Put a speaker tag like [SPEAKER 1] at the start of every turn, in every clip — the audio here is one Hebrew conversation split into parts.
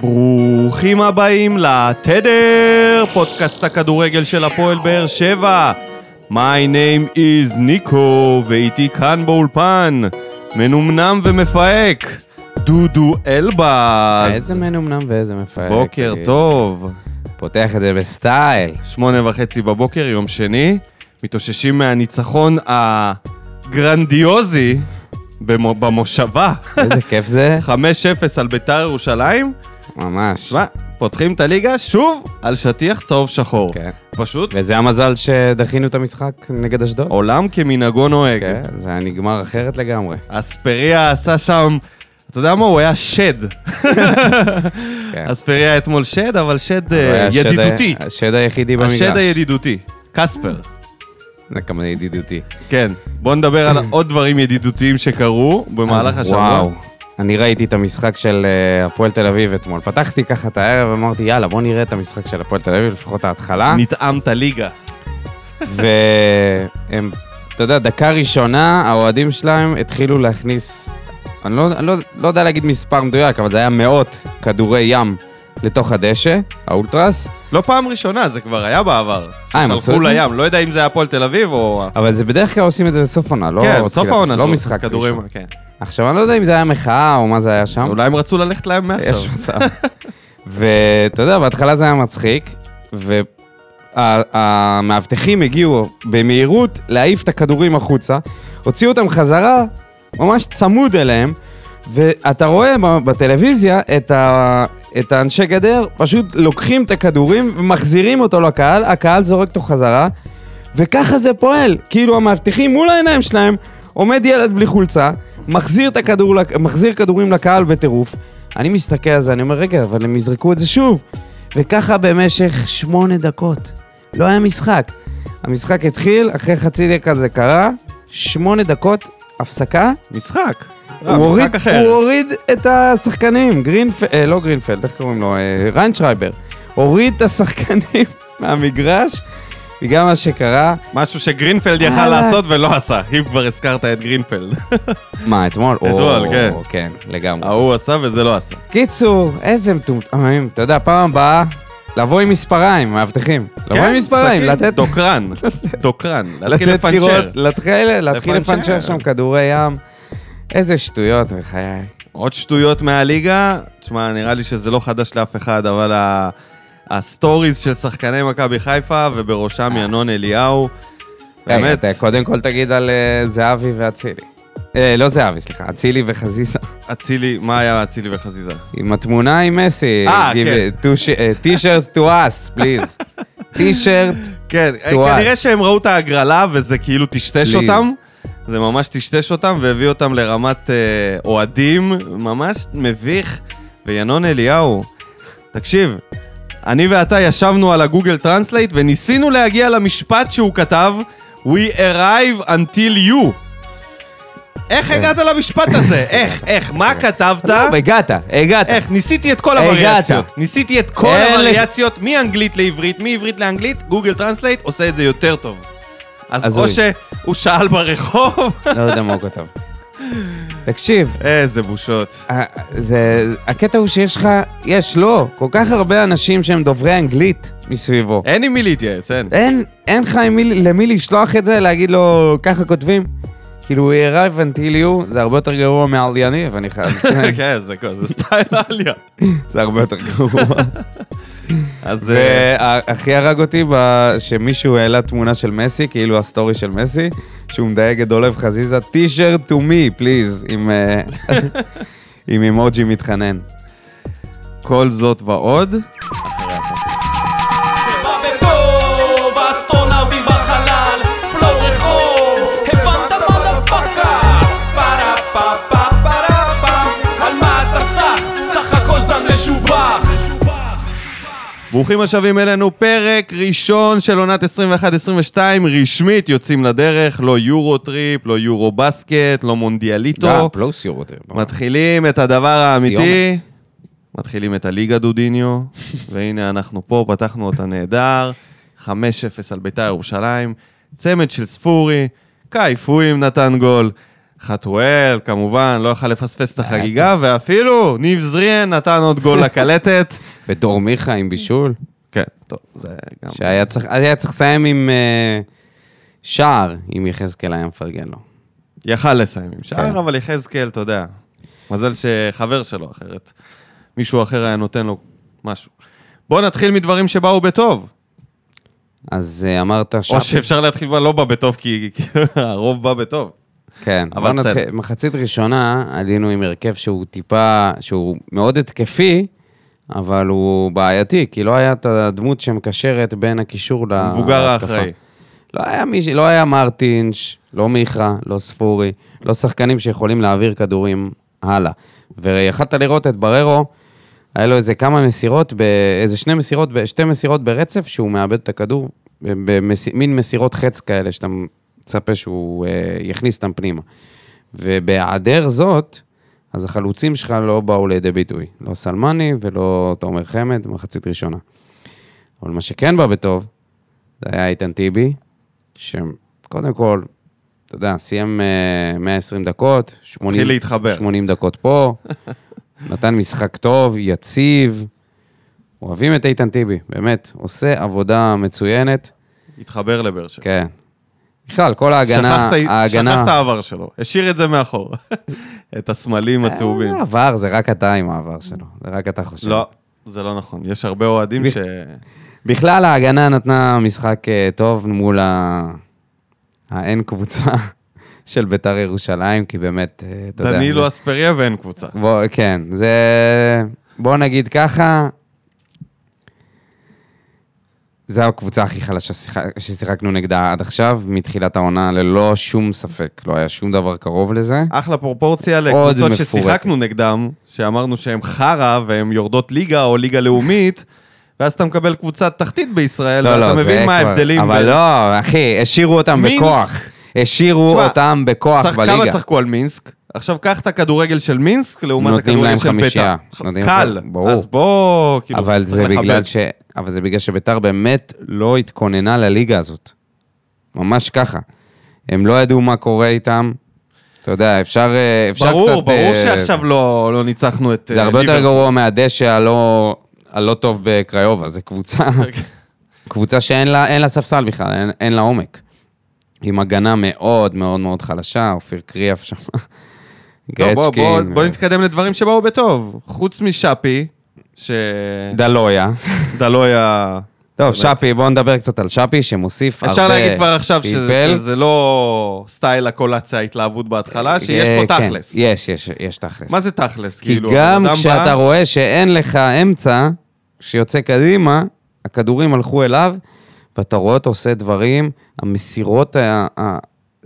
[SPEAKER 1] ברוכים הבאים לתדר, פודקאסט הכדורגל של הפועל באר שבע. My name is ניקו, ואיתי כאן באולפן, מנומנם ומפהק, דודו אלבז.
[SPEAKER 2] איזה אה. מנומנם ואיזה מפהק.
[SPEAKER 1] בוקר טוב.
[SPEAKER 2] פותח את זה בסטייל.
[SPEAKER 1] שמונה וחצי בבוקר, יום שני, מתאוששים מהניצחון הגרנדיוזי במו- במושבה.
[SPEAKER 2] איזה כיף זה.
[SPEAKER 1] 5-0 על ביתר ירושלים.
[SPEAKER 2] ממש.
[SPEAKER 1] תשמע, פותחים את הליגה שוב על שטיח צהוב שחור.
[SPEAKER 2] כן.
[SPEAKER 1] פשוט
[SPEAKER 2] וזה המזל שדחינו את המשחק נגד אשדוד.
[SPEAKER 1] עולם כמנהגו נוהג.
[SPEAKER 2] כן, זה היה נגמר אחרת לגמרי.
[SPEAKER 1] אספריה עשה שם, אתה יודע מה? הוא היה שד.
[SPEAKER 2] כן.
[SPEAKER 1] אספריה אתמול שד, אבל שד אה,
[SPEAKER 2] הוא היה השד
[SPEAKER 1] ידידותי.
[SPEAKER 2] ה- השד היחידי במגרש.
[SPEAKER 1] השד הידידותי. קספר.
[SPEAKER 2] זה כמה ידידותי.
[SPEAKER 1] כן. בואו נדבר על עוד דברים ידידותיים שקרו במהלך השבוע.
[SPEAKER 2] אה, וואו. אני ראיתי את המשחק של אה, הפועל תל אביב אתמול. פתחתי ככה את הערב, אמרתי, יאללה, בוא נראה את המשחק של הפועל תל אביב, לפחות ההתחלה.
[SPEAKER 1] נטעמת ליגה.
[SPEAKER 2] והם, אתה יודע, דקה ראשונה, האוהדים שלהם התחילו להכניס, אני לא, אני לא, לא יודע להגיד מספר מדויק, אבל זה היה מאות כדורי ים לתוך הדשא, האולטרס,
[SPEAKER 1] לא פעם ראשונה, זה כבר היה בעבר.
[SPEAKER 2] אה, הם עשו
[SPEAKER 1] ששלחו
[SPEAKER 2] את זה?
[SPEAKER 1] לים, לא יודע אם זה היה הפועל תל אביב או...
[SPEAKER 2] אבל זה בדרך כלל עושים את זה בסוף עונה, לא...
[SPEAKER 1] כן, בסוף
[SPEAKER 2] תחילת-
[SPEAKER 1] העונה.
[SPEAKER 2] לא
[SPEAKER 1] שוב,
[SPEAKER 2] משחק
[SPEAKER 1] כדורים,
[SPEAKER 2] ראשון.
[SPEAKER 1] כן.
[SPEAKER 2] עכשיו, אני לא יודע אם זה היה מחאה או מה זה היה שם.
[SPEAKER 1] אולי הם רצו ללכת להם מעכשיו.
[SPEAKER 2] יש מצב. ואתה יודע, בהתחלה זה היה מצחיק, והמאבטחים הגיעו במהירות להעיף את הכדורים החוצה, הוציאו אותם חזרה, ממש צמוד אליהם, ואתה רואה ב- בטלוויזיה את ה... את האנשי גדר, פשוט לוקחים את הכדורים ומחזירים אותו לקהל, הקהל זורק אותו חזרה, וככה זה פועל. כאילו המאבטחים מול העיניים שלהם, עומד ילד בלי חולצה, מחזיר, את הכדור, לק- מחזיר כדורים לקהל בטירוף. אני מסתכל על זה, אני אומר, רגע, אבל הם יזרקו את זה שוב. וככה במשך שמונה דקות. לא היה משחק. המשחק התחיל, אחרי חצי דקה זה קרה, שמונה דקות הפסקה,
[SPEAKER 1] משחק. אה,
[SPEAKER 2] הוא הוריד,
[SPEAKER 1] משחק אחר.
[SPEAKER 2] הוא הוריד את השחקנים, גרינפלד, אה, לא גרינפלד, איך קוראים לו? אה, ריינשרייבר. הוריד את השחקנים מהמגרש, בגלל מה שקרה.
[SPEAKER 1] משהו שגרינפלד יכל
[SPEAKER 2] אה.
[SPEAKER 1] לעשות ולא עשה, אם כבר הזכרת את גרינפלד.
[SPEAKER 2] מה, אתמול?
[SPEAKER 1] אתמול,
[SPEAKER 2] או,
[SPEAKER 1] כן.
[SPEAKER 2] כן, לגמרי.
[SPEAKER 1] ההוא עשה וזה לא עשה.
[SPEAKER 2] קיצור, איזה מטומטמים. אתה יודע, פעם הבאה, לבוא עם מספריים, מאבטחים. לבוא עם מספריים,
[SPEAKER 1] סכין,
[SPEAKER 2] לתת...
[SPEAKER 1] כן, דוקרן, דוקרן, להתחיל
[SPEAKER 2] לתת
[SPEAKER 1] לפנצ'ר.
[SPEAKER 2] קירות, להתחיל להתחיל
[SPEAKER 1] לפנצ'ר.
[SPEAKER 2] לפנצ'ר שם כדורי ים. איזה שטויות, בחיי.
[SPEAKER 1] עוד שטויות מהליגה, תשמע, נראה לי שזה לא חדש לאף אחד, אבל ה- הסטוריז של שחקני מכבי חיפה, ובראשם ינון אליהו, באמת,
[SPEAKER 2] רגע, אה. אתה קודם כל תגיד על אה, זהבי ואצילי. אה, לא זהבי, סליחה, אצילי וחזיזה.
[SPEAKER 1] אצילי, מה היה אצילי וחזיזה?
[SPEAKER 2] עם התמונה עם מסי.
[SPEAKER 1] אה,
[SPEAKER 2] טי-שירט to us, פליז. טי-שירט.
[SPEAKER 1] כן,
[SPEAKER 2] טוואז.
[SPEAKER 1] כנראה שהם ראו את ההגרלה וזה כאילו טשטש
[SPEAKER 2] פליז.
[SPEAKER 1] אותם. זה ממש טשטש אותם והביא אותם לרמת אה, אוהדים, ממש מביך. וינון אליהו, תקשיב, אני ואתה ישבנו על הגוגל טרנסלייט וניסינו להגיע למשפט שהוא כתב, We arrive until you. איך הגעת למשפט הזה? איך, איך, מה כתבת?
[SPEAKER 2] טוב, הגעת, הגעת.
[SPEAKER 1] אה? איך? ניסיתי את כל
[SPEAKER 2] הגעת.
[SPEAKER 1] הווריאציות. ניסיתי את כל
[SPEAKER 2] אין לך-
[SPEAKER 1] הווריאציות, מאנגלית לעברית, מעברית לאנגלית, גוגל טרנסלייט עושה את זה יותר טוב. אז או
[SPEAKER 2] הזוי.
[SPEAKER 1] שהוא שאל ברחוב,
[SPEAKER 2] לא יודע מה הוא כתב. תקשיב,
[SPEAKER 1] איזה בושות.
[SPEAKER 2] ה- זה, הקטע הוא שיש לך, יש, לא, כל כך הרבה אנשים שהם דוברי אנגלית מסביבו.
[SPEAKER 1] אין עם מי להתייעץ, אין.
[SPEAKER 2] אין, אין לך עם מי- למי לשלוח את זה, להגיד לו, ככה כותבים. כאילו, he arrived until you, זה הרבה יותר גרוע מעל יניב, אני חייב.
[SPEAKER 1] כן, זה כל- זה סטייל עליה.
[SPEAKER 2] זה הרבה יותר גרוע.
[SPEAKER 1] אז אה,
[SPEAKER 2] והכי הרג אותי ב- שמישהו העלה תמונה של מסי, כאילו הסטורי של מסי, שהוא מדייג את דולב חזיזה, t-shirt to me, please, עם, אה, עם אימוג'י מתחנן.
[SPEAKER 1] כל זאת ועוד.
[SPEAKER 3] בא בטוב, האסטרונאוטים בחלל, פלור רחוב, הבנת מה דפקה? פרה פה פה פרה פה, על מה אתה סח? סך הכל זן משובח
[SPEAKER 1] ברוכים השבים אלינו, פרק ראשון של עונת 21-22, רשמית יוצאים לדרך, לא יורו טריפ, לא יורו בסקט, לא מונדיאליטו.
[SPEAKER 2] פלוס יורו יותר.
[SPEAKER 1] מתחילים את הדבר האמיתי, מתחילים את הליגה דודיניו, והנה אנחנו פה, פתחנו אותה נהדר, 5-0 על ביתר ירושלים, צמד של ספורי, קייפויים נתן גול, 5-0 חתואל, כמובן, לא יכל לפספס את החגיגה, ואפילו ניב זריאן נתן עוד גול לקלטת.
[SPEAKER 2] ודור מיכה עם בישול,
[SPEAKER 1] כן, טוב, זה גם...
[SPEAKER 2] שהיה צריך היה צריך לסיים עם אה, שער, אם יחזקאל היה מפרגן לו.
[SPEAKER 1] יכל לסיים עם שער,
[SPEAKER 2] כן.
[SPEAKER 1] אבל יחזקאל, אתה יודע, מזל שחבר שלו אחרת. מישהו אחר היה נותן לו משהו. בואו נתחיל מדברים שבאו בטוב.
[SPEAKER 2] אז אה, אמרת
[SPEAKER 1] או
[SPEAKER 2] שפי.
[SPEAKER 1] שאפשר להתחיל מה לא בא בטוב, כי כי הרוב בא בטוב.
[SPEAKER 2] כן,
[SPEAKER 1] אבל
[SPEAKER 2] בוא
[SPEAKER 1] בסדר.
[SPEAKER 2] נתחיל. מחצית ראשונה עלינו עם הרכב שהוא טיפה, שהוא מאוד התקפי, אבל הוא בעייתי, כי לא היה את הדמות שמקשרת בין הקישור ל-
[SPEAKER 1] המבוגר
[SPEAKER 2] להתקפה.
[SPEAKER 1] האחראי.
[SPEAKER 2] לא היה, מיש... לא היה מרטינש, לא מיכה, לא ספורי, לא שחקנים שיכולים להעביר כדורים הלאה. ויכלת לראות את בררו, היה לו איזה כמה מסירות, ב... איזה שני מסירות, ב... שתי מסירות ברצף, שהוא מאבד את הכדור, במין מסירות חץ כאלה, שאתה מצפה שהוא אה, יכניס אותם פנימה. ובהיעדר זאת, אז החלוצים שלך לא באו לידי ביטוי. לא סלמני ולא תומר חמד, מחצית ראשונה. אבל מה שכן בא בטוב, זה היה איתן טיבי, שקודם כל, אתה יודע, סיים אה, 120 דקות, 80,
[SPEAKER 1] התחיל להתחבר.
[SPEAKER 2] 80 דקות פה, נתן משחק טוב, יציב. אוהבים את איתן טיבי, באמת, עושה עבודה מצוינת.
[SPEAKER 1] התחבר לבאר שבע.
[SPEAKER 2] כן. בכלל, כל ההגנה,
[SPEAKER 1] שכח את ה-
[SPEAKER 2] ההגנה...
[SPEAKER 1] שכח את העבר שלו, השאיר את זה מאחור. את הסמלים הצהובים.
[SPEAKER 2] אה, עבר, זה רק אתה עם העבר שלו, זה רק אתה חושב.
[SPEAKER 1] לא, זה לא נכון. יש הרבה אוהדים
[SPEAKER 2] אה. מי-
[SPEAKER 1] ש...
[SPEAKER 2] בכלל, ההגנה נתנה משחק אה, טוב מול ה... האין קבוצה של ביתר ירושלים, כי באמת, אה, אתה יודע...
[SPEAKER 1] דנילו אספריה ואין קבוצה.
[SPEAKER 2] בוא, כן, זה... בוא נגיד ככה, זו הקבוצה הכי חלשה ששיחק- ששיחקנו נגדה עד עכשיו, מתחילת העונה, ללא שום ספק. לא היה שום דבר קרוב לזה.
[SPEAKER 1] אחלה פרופורציה
[SPEAKER 2] עוד
[SPEAKER 1] לקבוצות
[SPEAKER 2] מפורקת.
[SPEAKER 1] ששיחקנו נגדם, שאמרנו שהן חרא והן יורדות ליגה או ליגה לאומית, ואז אתה מקבל קבוצת תחתית בישראל, ואתה
[SPEAKER 2] לא, זה
[SPEAKER 1] לא, מבין מה
[SPEAKER 2] כבר-
[SPEAKER 1] ההבדלים.
[SPEAKER 2] אבל
[SPEAKER 1] בין-
[SPEAKER 2] לא, אחי, השאירו אותם
[SPEAKER 1] מינסק.
[SPEAKER 2] בכוח. השאירו
[SPEAKER 1] תשמע,
[SPEAKER 2] אותם בכוח
[SPEAKER 1] צח-
[SPEAKER 2] בליגה.
[SPEAKER 1] כמה צחקו על מינסק? עכשיו קח את הכדורגל של מינסק לעומת
[SPEAKER 2] נותנים
[SPEAKER 1] הכדורגל
[SPEAKER 2] להם
[SPEAKER 1] של בית"ר.
[SPEAKER 2] חמישייה. נותנים
[SPEAKER 1] קל,
[SPEAKER 2] להם- ברור.
[SPEAKER 1] אז בוא, כאילו,
[SPEAKER 2] אבל
[SPEAKER 1] צריך
[SPEAKER 2] זה
[SPEAKER 1] לכבד.
[SPEAKER 2] בגלל ש... אבל זה בגלל שביתר באמת לא התכוננה לליגה הזאת. ממש ככה. הם לא ידעו מה קורה איתם. אתה יודע, אפשר, אה, אפשר
[SPEAKER 1] ברור,
[SPEAKER 2] קצת...
[SPEAKER 1] ברור
[SPEAKER 2] אה,
[SPEAKER 1] שעכשיו לא לא ניצחנו את...
[SPEAKER 2] זה
[SPEAKER 1] אה,
[SPEAKER 2] הרבה יותר
[SPEAKER 1] ליברפול.
[SPEAKER 2] גרוע מהדשא הלא, הלא טוב בקריובה. זה קבוצה, קבוצה שאין לה, אין לה ספסל בכלל, אין, אין לה עומק. עם הגנה מאוד מאוד מאוד חלשה, אופיר קריאף שם.
[SPEAKER 1] טוב, לא, בוא-
[SPEAKER 2] גרצ'קין,
[SPEAKER 1] בוא- בוא נתקדם לדברים שבאו בטוב. חוץ משאפי, ש...
[SPEAKER 2] אה, דלויה.
[SPEAKER 1] דלויה...
[SPEAKER 2] טוב,
[SPEAKER 1] באמת.
[SPEAKER 2] שפי, בואו נדבר קצת על שפי, שמוסיף הרבה...
[SPEAKER 1] אפשר להגיד כבר עכשיו שזה,
[SPEAKER 2] פיפל.
[SPEAKER 1] שזה לא סטייל הקולציה ההתלהבות בהתחלה, שיש
[SPEAKER 2] אה,
[SPEAKER 1] פה
[SPEAKER 2] כן,
[SPEAKER 1] תכלס.
[SPEAKER 2] יש, יש, יש תכלס.
[SPEAKER 1] מה זה תכלס?
[SPEAKER 2] כי
[SPEAKER 1] כאילו,
[SPEAKER 2] גם
[SPEAKER 1] הבן אדם
[SPEAKER 2] כשאתה
[SPEAKER 1] בא-
[SPEAKER 2] רואה שאין לך אמצע שיוצא קדימה, הכדורים הלכו אליו, ואתה רואה אותו עושה דברים, המסירות, ה- ה-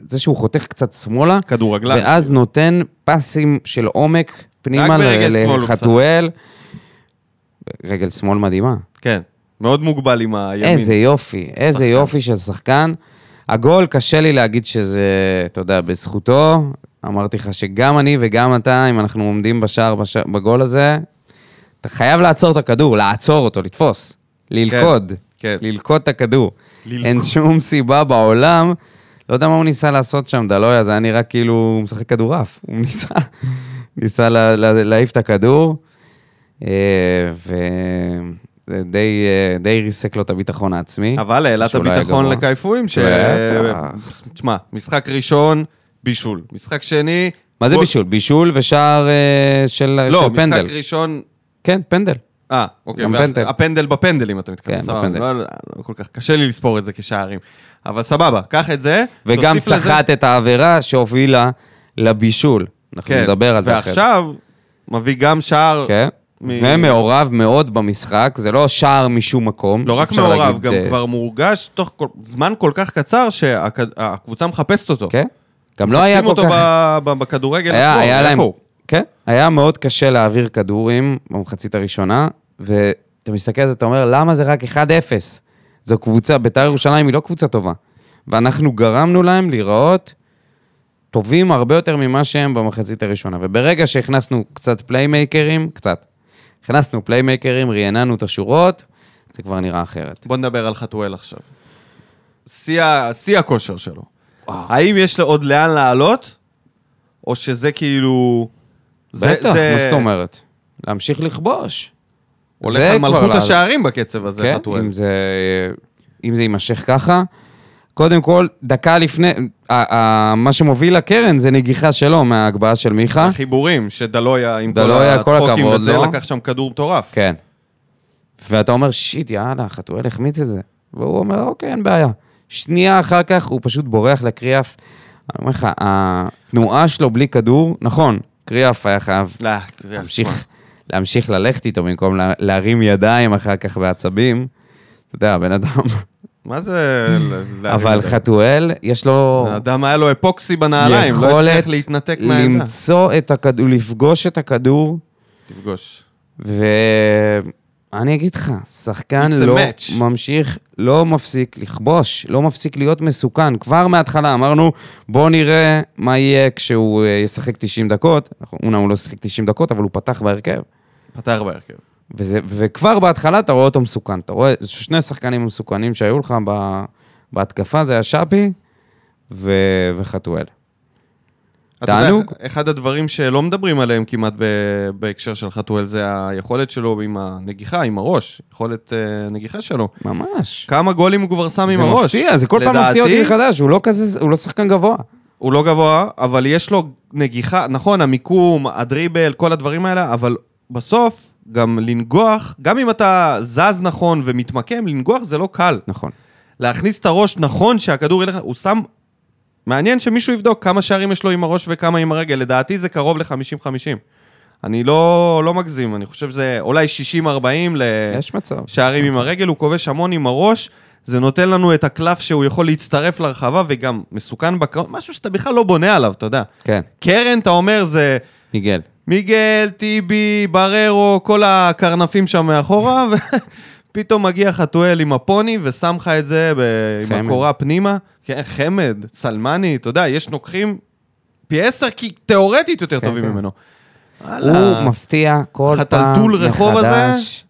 [SPEAKER 2] זה שהוא חותך קצת שמאלה,
[SPEAKER 1] כדורגלן.
[SPEAKER 2] ואז נותן פסים של עומק פנימה
[SPEAKER 1] רק ברגל
[SPEAKER 2] ל-
[SPEAKER 1] שמאל הוא
[SPEAKER 2] לחתואל. רגל שמאל מדהימה.
[SPEAKER 1] כן, מאוד מוגבל עם הימין.
[SPEAKER 2] איזה יופי, איזה יופי של שחקן. הגול, קשה לי להגיד שזה, אתה יודע, בזכותו. אמרתי לך שגם אני וגם אתה, אם אנחנו עומדים בשער בשע- בגול הזה, אתה חייב לעצור את הכדור, לעצור אותו, לתפוס, ללכוד,
[SPEAKER 1] כן.
[SPEAKER 2] ללכוד את הכדור.
[SPEAKER 1] ללכוד.
[SPEAKER 2] אין שום סיבה בעולם, לא יודע מה הוא ניסה לעשות שם, דלויה, זה היה נראה כאילו הוא משחק כדורעף, הוא ניסה, ניסה לה, לה, להעיף את הכדור, ודי די ריסק לו את הביטחון העצמי.
[SPEAKER 1] אבל העלה את
[SPEAKER 2] שאולי
[SPEAKER 1] הביטחון
[SPEAKER 2] הגרוע.
[SPEAKER 1] לקייפואים, ש...
[SPEAKER 2] בטח.
[SPEAKER 1] תשמע, משחק ראשון, בישול. משחק שני...
[SPEAKER 2] מה זה
[SPEAKER 1] גול-
[SPEAKER 2] בישול? בישול ושער אה, של,
[SPEAKER 1] לא,
[SPEAKER 2] של פנדל.
[SPEAKER 1] משחק ראשון...
[SPEAKER 2] כן, פנדל.
[SPEAKER 1] אה, אוקיי.
[SPEAKER 2] גם
[SPEAKER 1] ואח-
[SPEAKER 2] פנדל.
[SPEAKER 1] הפנדל בפנדל, אם אתה מתכוון.
[SPEAKER 2] כן,
[SPEAKER 1] סבבה,
[SPEAKER 2] בפנדל.
[SPEAKER 1] לא, לא, לא כל כך, קשה לי לספור את זה כשערים. אבל סבבה, קח את זה.
[SPEAKER 2] וגם
[SPEAKER 1] תוסיף לזה-
[SPEAKER 2] סחט את העבירה שהובילה לבישול. אנחנו
[SPEAKER 1] כן,
[SPEAKER 2] נדבר על זה אחרי זה.
[SPEAKER 1] ועכשיו, מביא גם שער...
[SPEAKER 2] כן.
[SPEAKER 1] אה, מ-
[SPEAKER 2] ומעורב מאוד במשחק, זה לא שער משום מקום.
[SPEAKER 1] לא רק
[SPEAKER 2] אפשר
[SPEAKER 1] מעורב,
[SPEAKER 2] להגיד,
[SPEAKER 1] גם
[SPEAKER 2] אה,
[SPEAKER 1] כבר מורגש תוך כל- זמן כל כך קצר שהקבוצה מחפשת אותו.
[SPEAKER 2] כן. גם לא היה כל
[SPEAKER 1] מחפשים
[SPEAKER 2] כך...
[SPEAKER 1] אותו ב- ב- בכדורגל.
[SPEAKER 2] היה,
[SPEAKER 1] עצמו,
[SPEAKER 2] היה
[SPEAKER 1] איפה
[SPEAKER 2] להם...
[SPEAKER 1] הוא?
[SPEAKER 2] כן. היה מאוד קשה להעביר כדורים במחצית הראשונה, ואתה מסתכל על זה, אתה אומר, למה זה רק 1-0? זו קבוצה, בית"ר ירושלים היא לא קבוצה טובה. ואנחנו גרמנו להם להיראות טובים הרבה יותר ממה שהם במחצית הראשונה. וברגע שהכנסנו קצת פליימייקרים, קצת, הכנסנו פליימייקרים, רעננו את השורות, זה כבר נראה אחרת.
[SPEAKER 1] בוא נדבר על חתואל עכשיו. שיא ה- שיא הכושר שלו.
[SPEAKER 2] וואו.
[SPEAKER 1] האם יש לו עוד לאן לעלות? או שזה כאילו... זה-
[SPEAKER 2] בטח,
[SPEAKER 1] זה-
[SPEAKER 2] מה זאת אומרת? להמשיך לכבוש.
[SPEAKER 1] הולך
[SPEAKER 2] זה
[SPEAKER 1] על
[SPEAKER 2] כבר
[SPEAKER 1] מלכות
[SPEAKER 2] לה-
[SPEAKER 1] השערים בקצב הזה,
[SPEAKER 2] כן,
[SPEAKER 1] חתואל.
[SPEAKER 2] אם זה, אם זה יימשך ככה. קודם כל, דקה לפני, ה- ה- מה שמוביל לקרן זה נגיחה שלו מההגבהה של מיכה.
[SPEAKER 1] החיבורים, שדלויה עם כל
[SPEAKER 2] דלויה, כל
[SPEAKER 1] הצחוקים
[SPEAKER 2] הכבוד
[SPEAKER 1] וזה,
[SPEAKER 2] לו.
[SPEAKER 1] לקח שם כדור מטורף.
[SPEAKER 2] כן. ואתה אומר, שיט, יאללה, חתואל החמיץ את זה. והוא אומר, אוקיי, אין בעיה. שנייה אחר כך הוא פשוט בורח לקריאף. אני אומר לך, התנועה שלו בלי כדור, נכון, קריאף היה חייב
[SPEAKER 1] לא, זה-
[SPEAKER 2] להמשיך, להמשיך ללכת איתו במקום לה- להרים ידיים אחר כך בעצבים. אתה יודע, הבן אדם.
[SPEAKER 1] מה זה... ל- להרים
[SPEAKER 2] אבל
[SPEAKER 1] את זה?
[SPEAKER 2] חתואל, יש לו
[SPEAKER 1] האדם היה לו אפוקסי בנעליים, לא
[SPEAKER 2] יכולת
[SPEAKER 1] הצליח להתנתק מהעמדה.
[SPEAKER 2] למצוא את הכדור, לפגוש את הכדור,
[SPEAKER 1] תפגוש.
[SPEAKER 2] ואני אגיד לך, שחקן
[SPEAKER 1] It's a
[SPEAKER 2] לא
[SPEAKER 1] match.
[SPEAKER 2] ממשיך, לא מפסיק לכבוש, לא מפסיק להיות מסוכן. כבר מההתחלה אמרנו, בואו נראה מה יהיה כשהוא אה, ישחק 90 דקות. אנחנו- אומנם הוא לא שיחק 90 דקות, אבל הוא פתח בהרכב.
[SPEAKER 1] פתח בהרכב.
[SPEAKER 2] וזה, וכבר בהתחלה אתה רואה אותו מסוכן. אתה רואה שני שחקנים מסוכנים שהיו לך ב, בהתקפה, זה היה שפי ו, וחתואל.
[SPEAKER 1] אתה יודע,
[SPEAKER 2] תענוג.
[SPEAKER 1] אחד הדברים שלא מדברים עליהם כמעט ב- בהקשר של חתואל, זה היכולת שלו עם הנגיחה, עם הראש, יכולת אה, נגיחה שלו.
[SPEAKER 2] ממש.
[SPEAKER 1] כמה גולים הוא כבר שם עם
[SPEAKER 2] זה
[SPEAKER 1] הראש.
[SPEAKER 2] מפתיע, זה כל פעם מפתיע אותי
[SPEAKER 1] לדעתי,
[SPEAKER 2] מחדש, הוא לא כזה, הוא לא שחקן גבוה.
[SPEAKER 1] הוא לא גבוה, אבל יש לו נגיחה, נכון, המיקום, הדריבל, כל הדברים האלה, אבל בסוף, גם לנגוח, גם אם אתה זז נכון ומתמקם, לנגוח זה לא קל.
[SPEAKER 2] נכון.
[SPEAKER 1] להכניס את הראש נכון שהכדור ילך, הוא שם... מעניין שמישהו יבדוק כמה שערים יש לו עם הראש וכמה עם הרגל, לדעתי זה קרוב ל-50-50. אני לא, לא מגזים, אני חושב שזה אולי 60-40
[SPEAKER 2] יש מצב.
[SPEAKER 1] לשערים עם הרגל, הוא כובש המון עם הראש, זה נותן לנו את הקלף שהוא יכול להצטרף לרחבה וגם מסוכן בקרוב, משהו שאתה בכלל לא בונה עליו, אתה יודע.
[SPEAKER 2] כן,
[SPEAKER 1] קרן, אתה אומר, זה
[SPEAKER 2] מיגל.
[SPEAKER 1] מיגל, טיבי, בררו, כל הקרנפים שם מאחורה, ופתאום מגיע חתואל עם הפוני ושם לך את זה ב- עם
[SPEAKER 2] חמד.
[SPEAKER 1] הקורה פנימה. כן, חמד, סלמני, אתה יודע, יש נוקחים פי עשר, כי תיאורטית יותר
[SPEAKER 2] כן,
[SPEAKER 1] טובים
[SPEAKER 2] כן.
[SPEAKER 1] ממנו. וואלה.
[SPEAKER 2] הוא מפתיע כל פעם
[SPEAKER 1] חתלתול רחוב הזה? אה.
[SPEAKER 2] מחדש.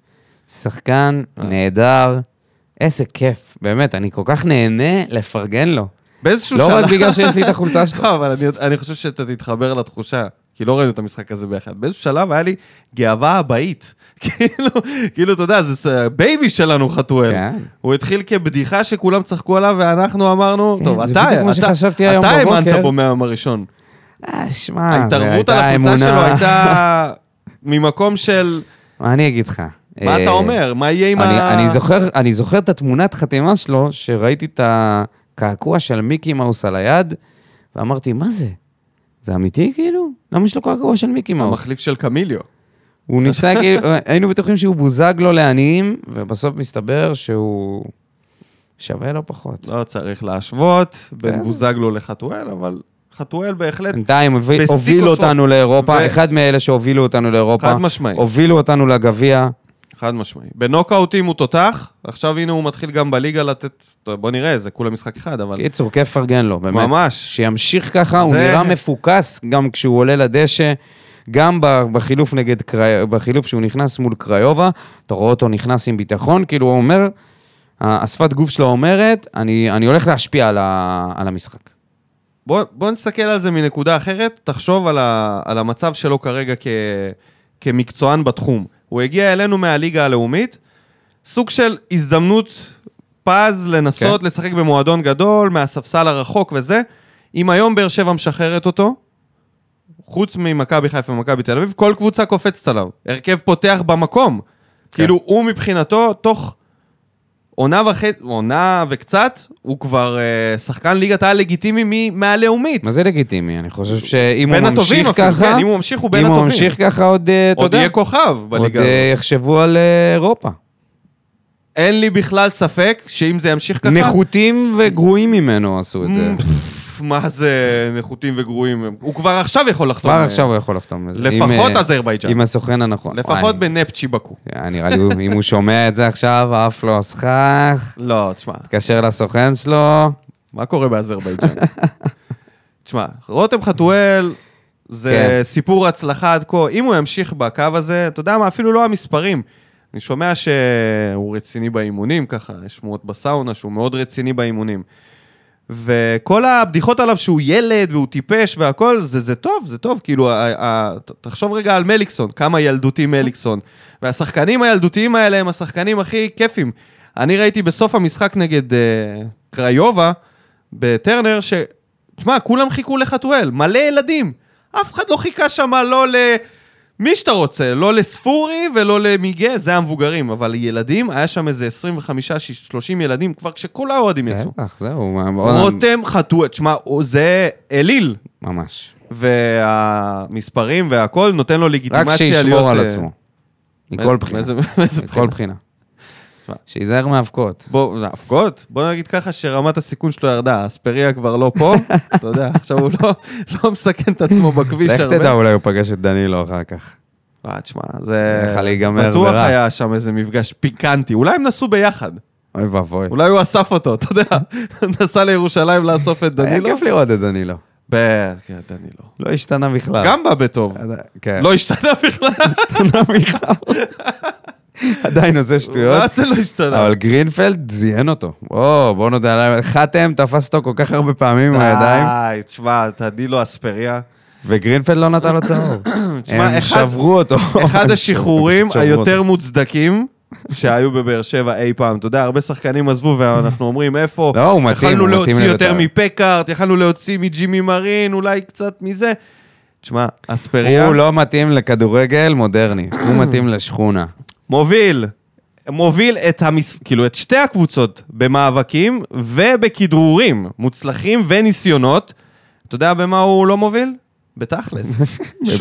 [SPEAKER 2] שחקן נהדר. איזה כיף, באמת, אני כל כך נהנה לפרגן לו.
[SPEAKER 1] באיזשהו
[SPEAKER 2] לא
[SPEAKER 1] שלב...
[SPEAKER 2] רק בגלל שיש לי את החולצה שלו.
[SPEAKER 1] לא, אבל אני, אני חושב שאתה תתחבר לתחושה, כי לא ראינו את המשחק הזה ביחד. באיזשהו שלב היה לי גאווה אבאית. כאילו, כאילו, אתה יודע, זה ס- בייבי שלנו חתואל.
[SPEAKER 2] כן.
[SPEAKER 1] הוא התחיל כבדיחה שכולם צחקו עליו, ואנחנו אמרנו,
[SPEAKER 2] כן,
[SPEAKER 1] טוב,
[SPEAKER 2] זה
[SPEAKER 1] אתה,
[SPEAKER 2] בדיוק מה
[SPEAKER 1] אתה,
[SPEAKER 2] שחשבתי היום
[SPEAKER 1] אתה האמנת
[SPEAKER 2] בבוקר."
[SPEAKER 1] בו מהיום הראשון.
[SPEAKER 2] אה, שמע, זה
[SPEAKER 1] ההתערבות על
[SPEAKER 2] הייתה
[SPEAKER 1] החולצה שלו
[SPEAKER 2] אמונה-
[SPEAKER 1] הייתה ממקום של,
[SPEAKER 2] מה אני אגיד לך?
[SPEAKER 1] מה אתה
[SPEAKER 2] אה,
[SPEAKER 1] אומר? מה יהיה עם
[SPEAKER 2] אני,
[SPEAKER 1] ה...
[SPEAKER 2] אני, זוכר, אני זוכר את התמונת חתימה שלו, שראיתי את הקעקוע של מיקי מאוס על היד, ואמרתי, מה זה? זה אמיתי כאילו? למה יש לו קעקוע של מיקי מאוס?
[SPEAKER 1] המחליף של קמיליו.
[SPEAKER 2] הוא ניסה, כאילו, היינו בטוחים שהוא בוזגלו לעניים, ובסוף מסתבר שהוא שווה לו פחות.
[SPEAKER 1] לא צריך להשוות בין
[SPEAKER 2] בסדר.
[SPEAKER 1] בוזגלו לחתואל, אבל חתואל בהחלט
[SPEAKER 2] בינתיים הוביל-
[SPEAKER 1] בשיא
[SPEAKER 2] הובילו
[SPEAKER 1] כושרו.
[SPEAKER 2] אותנו לאירופה,
[SPEAKER 1] ו-
[SPEAKER 2] אחד מאלה שהובילו אותנו לאירופה.
[SPEAKER 1] חד משמעי.
[SPEAKER 2] הובילו אותנו לגביע.
[SPEAKER 1] חד משמעי. בנוקאוטים הוא תותח, עכשיו הנה הוא מתחיל גם בליגה לתת... טוב, בוא נראה, זה כולה משחק אחד, אבל...
[SPEAKER 2] קיצור, כיף לפרגן לו, כן, באמת.
[SPEAKER 1] ממש.
[SPEAKER 2] שימשיך ככה, הוא
[SPEAKER 1] זה-
[SPEAKER 2] נראה מפוקס גם כשהוא עולה לדשא, גם ב- בחילוף נגד קרי... בחילוף שהוא נכנס מול קריובה, אתה רואה אותו נכנס עם ביטחון, כאילו הוא אומר, ה- השפת גוף שלו אומרת, אני, אני הולך להשפיע על, ה... על המשחק.
[SPEAKER 1] בוא, בוא נסתכל על זה מנקודה אחרת, תחשוב על, ה, על המצב שלו כרגע כ, כמקצוען בתחום. הוא הגיע אלינו מהליגה הלאומית, סוג של הזדמנות פז לנסות כן. לשחק במועדון גדול, מהספסל הרחוק וזה. אם היום באר שבע משחררת אותו, חוץ ממכבי חיפה ומכבי תל אביב, כל קבוצה קופצת עליו. הרכב פותח במקום. כן. כאילו, הוא מבחינתו, תוך עונה וחצי, עונה וקצת, הוא כבר אה, שחקן ליגת העל לגיטימי מ- מהלאומית.
[SPEAKER 2] מה זה לגיטימי? אני חושב שאם הוא
[SPEAKER 1] בין הטובים
[SPEAKER 2] ממשיך
[SPEAKER 1] אפילו,
[SPEAKER 2] ככה,
[SPEAKER 1] כן, אם הוא ממשיך הוא בין
[SPEAKER 2] אם הוא
[SPEAKER 1] הטובים.
[SPEAKER 2] ממשיך ככה עוד, אה, אתה
[SPEAKER 1] עוד
[SPEAKER 2] יודע,
[SPEAKER 1] יהיה כוכב
[SPEAKER 2] עוד
[SPEAKER 1] בליגה.
[SPEAKER 2] אה, יחשבו על אה, אירופה.
[SPEAKER 1] אין לי בכלל ספק שאם זה ימשיך ככה...
[SPEAKER 2] נחותים וגרועים ממנו עשו את זה.
[SPEAKER 1] מ- פפפ, מה זה נחותים וגרועים? הוא כבר עכשיו יכול לחתום.
[SPEAKER 2] כבר
[SPEAKER 1] אה,
[SPEAKER 2] עכשיו הוא יכול לחתום לזה.
[SPEAKER 1] לפחות
[SPEAKER 2] עם, אה,
[SPEAKER 1] אזרבייג'ן.
[SPEAKER 2] עם הסוכן הנכון.
[SPEAKER 1] לפחות
[SPEAKER 2] וואי.
[SPEAKER 1] בנפצ'י בקו.
[SPEAKER 2] אה, נראה לי, הוא- אם הוא שומע את זה עכשיו, עף לו הסכך,
[SPEAKER 1] לא, תשמע,
[SPEAKER 2] התקשר לסוכן שלו.
[SPEAKER 1] מה קורה באזרבייג'ן? תשמע, רותם חתואל זה
[SPEAKER 2] כן.
[SPEAKER 1] סיפור הצלחה עד כה. אם הוא ימשיך בקו הזה, אתה יודע מה, אפילו לא המספרים. אני שומע שהוא רציני באימונים, ככה, יש שמועות בסאונה שהוא מאוד רציני באימונים. וכל הבדיחות עליו שהוא ילד והוא טיפש והכל, זה, זה טוב, זה טוב. כאילו, ה, ה, ת- תחשוב רגע על מליקסון, כמה ילדותי מליקסון. והשחקנים הילדותיים האלה הם השחקנים הכי כיפים. אני ראיתי בסוף המשחק נגד אה, קריובה, בטרנר, ש... תשמע, כולם חיכו לחתואל, מלא ילדים. אף אחד לא חיכה שם לא ל... מי שאתה רוצה, לא לספורי ולא למיגה, זה המבוגרים, אבל ילדים, היה שם איזה 25-30 ילדים כבר כשכל האוהדים יצאו.
[SPEAKER 2] בטח, זהו. מה-
[SPEAKER 1] רותם חתואל, תשמע, הוא- זה אליל,
[SPEAKER 2] ממש.
[SPEAKER 1] והמספרים והכל נותן לו
[SPEAKER 2] רק
[SPEAKER 1] לגיטימציה להיות...
[SPEAKER 2] שישמור על
[SPEAKER 1] אה,
[SPEAKER 2] עצמו.
[SPEAKER 1] מא-
[SPEAKER 2] מכל בחינה. כן.
[SPEAKER 1] מאיזה- מאיזה
[SPEAKER 2] מכל
[SPEAKER 1] בחינה?
[SPEAKER 2] בחינה.
[SPEAKER 1] תשמע.
[SPEAKER 2] שייזהר מאבקות.
[SPEAKER 1] בוא, נפקות, בוא נגיד ככה שרמת הסיכון שלו ירדה, אספריה כבר לא פה, אתה יודע, עכשיו הוא לא, לא מסכן את עצמו בכביש
[SPEAKER 2] לך
[SPEAKER 1] הרבה.
[SPEAKER 2] תדע, אולי הוא פגש את דנילו אחר כך.
[SPEAKER 1] אה, תשמע, זה...
[SPEAKER 2] יכול להיגמר
[SPEAKER 1] בטוח
[SPEAKER 2] ברע.
[SPEAKER 1] היה שם איזה מפגש פיקנטי, אולי הם נסעו ביחד,
[SPEAKER 2] אוי ואבוי.
[SPEAKER 1] אולי הוא אסף אותו, אתה יודע, נסע לירושלים לאסוף את
[SPEAKER 2] היה
[SPEAKER 1] לא דנילו.
[SPEAKER 2] כיף לראות את דנילו.
[SPEAKER 1] ב... כן, דנילו.
[SPEAKER 2] לא השתנה בכלל.
[SPEAKER 1] גם בא בטוב.
[SPEAKER 2] כן.
[SPEAKER 1] לא השתנה בכלל,
[SPEAKER 2] השתנה בכלל. עדיין עושה שטויות.
[SPEAKER 1] מה זה לא השתנה?
[SPEAKER 2] אבל גרינפלד זיין אותו. וואו, בוא נודה עליו. חתם תפס אותו כל כך הרבה פעמים עם
[SPEAKER 1] אה.
[SPEAKER 2] הידיים,
[SPEAKER 1] די, תשמע, תדילו אספריה.
[SPEAKER 2] וגרינפלד לא נתן לו צהוב.
[SPEAKER 1] תשמע,
[SPEAKER 2] הם
[SPEAKER 1] אחד-
[SPEAKER 2] שברו אותו.
[SPEAKER 1] אחד השחרורים
[SPEAKER 2] שברו אותו.
[SPEAKER 1] היותר מוצדקים שהיו בבאר שבע אי פעם. אתה יודע, הרבה שחקנים עזבו ואנחנו אומרים איפה.
[SPEAKER 2] לא, הוא מתאים,
[SPEAKER 1] יכלנו
[SPEAKER 2] הוא מתאים
[SPEAKER 1] להוציא יותר
[SPEAKER 2] לבית"ר.
[SPEAKER 1] מפקארט, יכלנו להוציא מג'ימי מרין, אולי קצת מזה. תשמע, אספריה
[SPEAKER 2] הוא לא מתאים לכדורגל מודרני, הוא מתאים לשכונה.
[SPEAKER 1] מוביל. מוביל את, המס... כאילו, את שתי הקבוצות במאבקים ובכדרורים מוצלחים וניסיונות. אתה יודע במה הוא לא מוביל? בתכלס. שום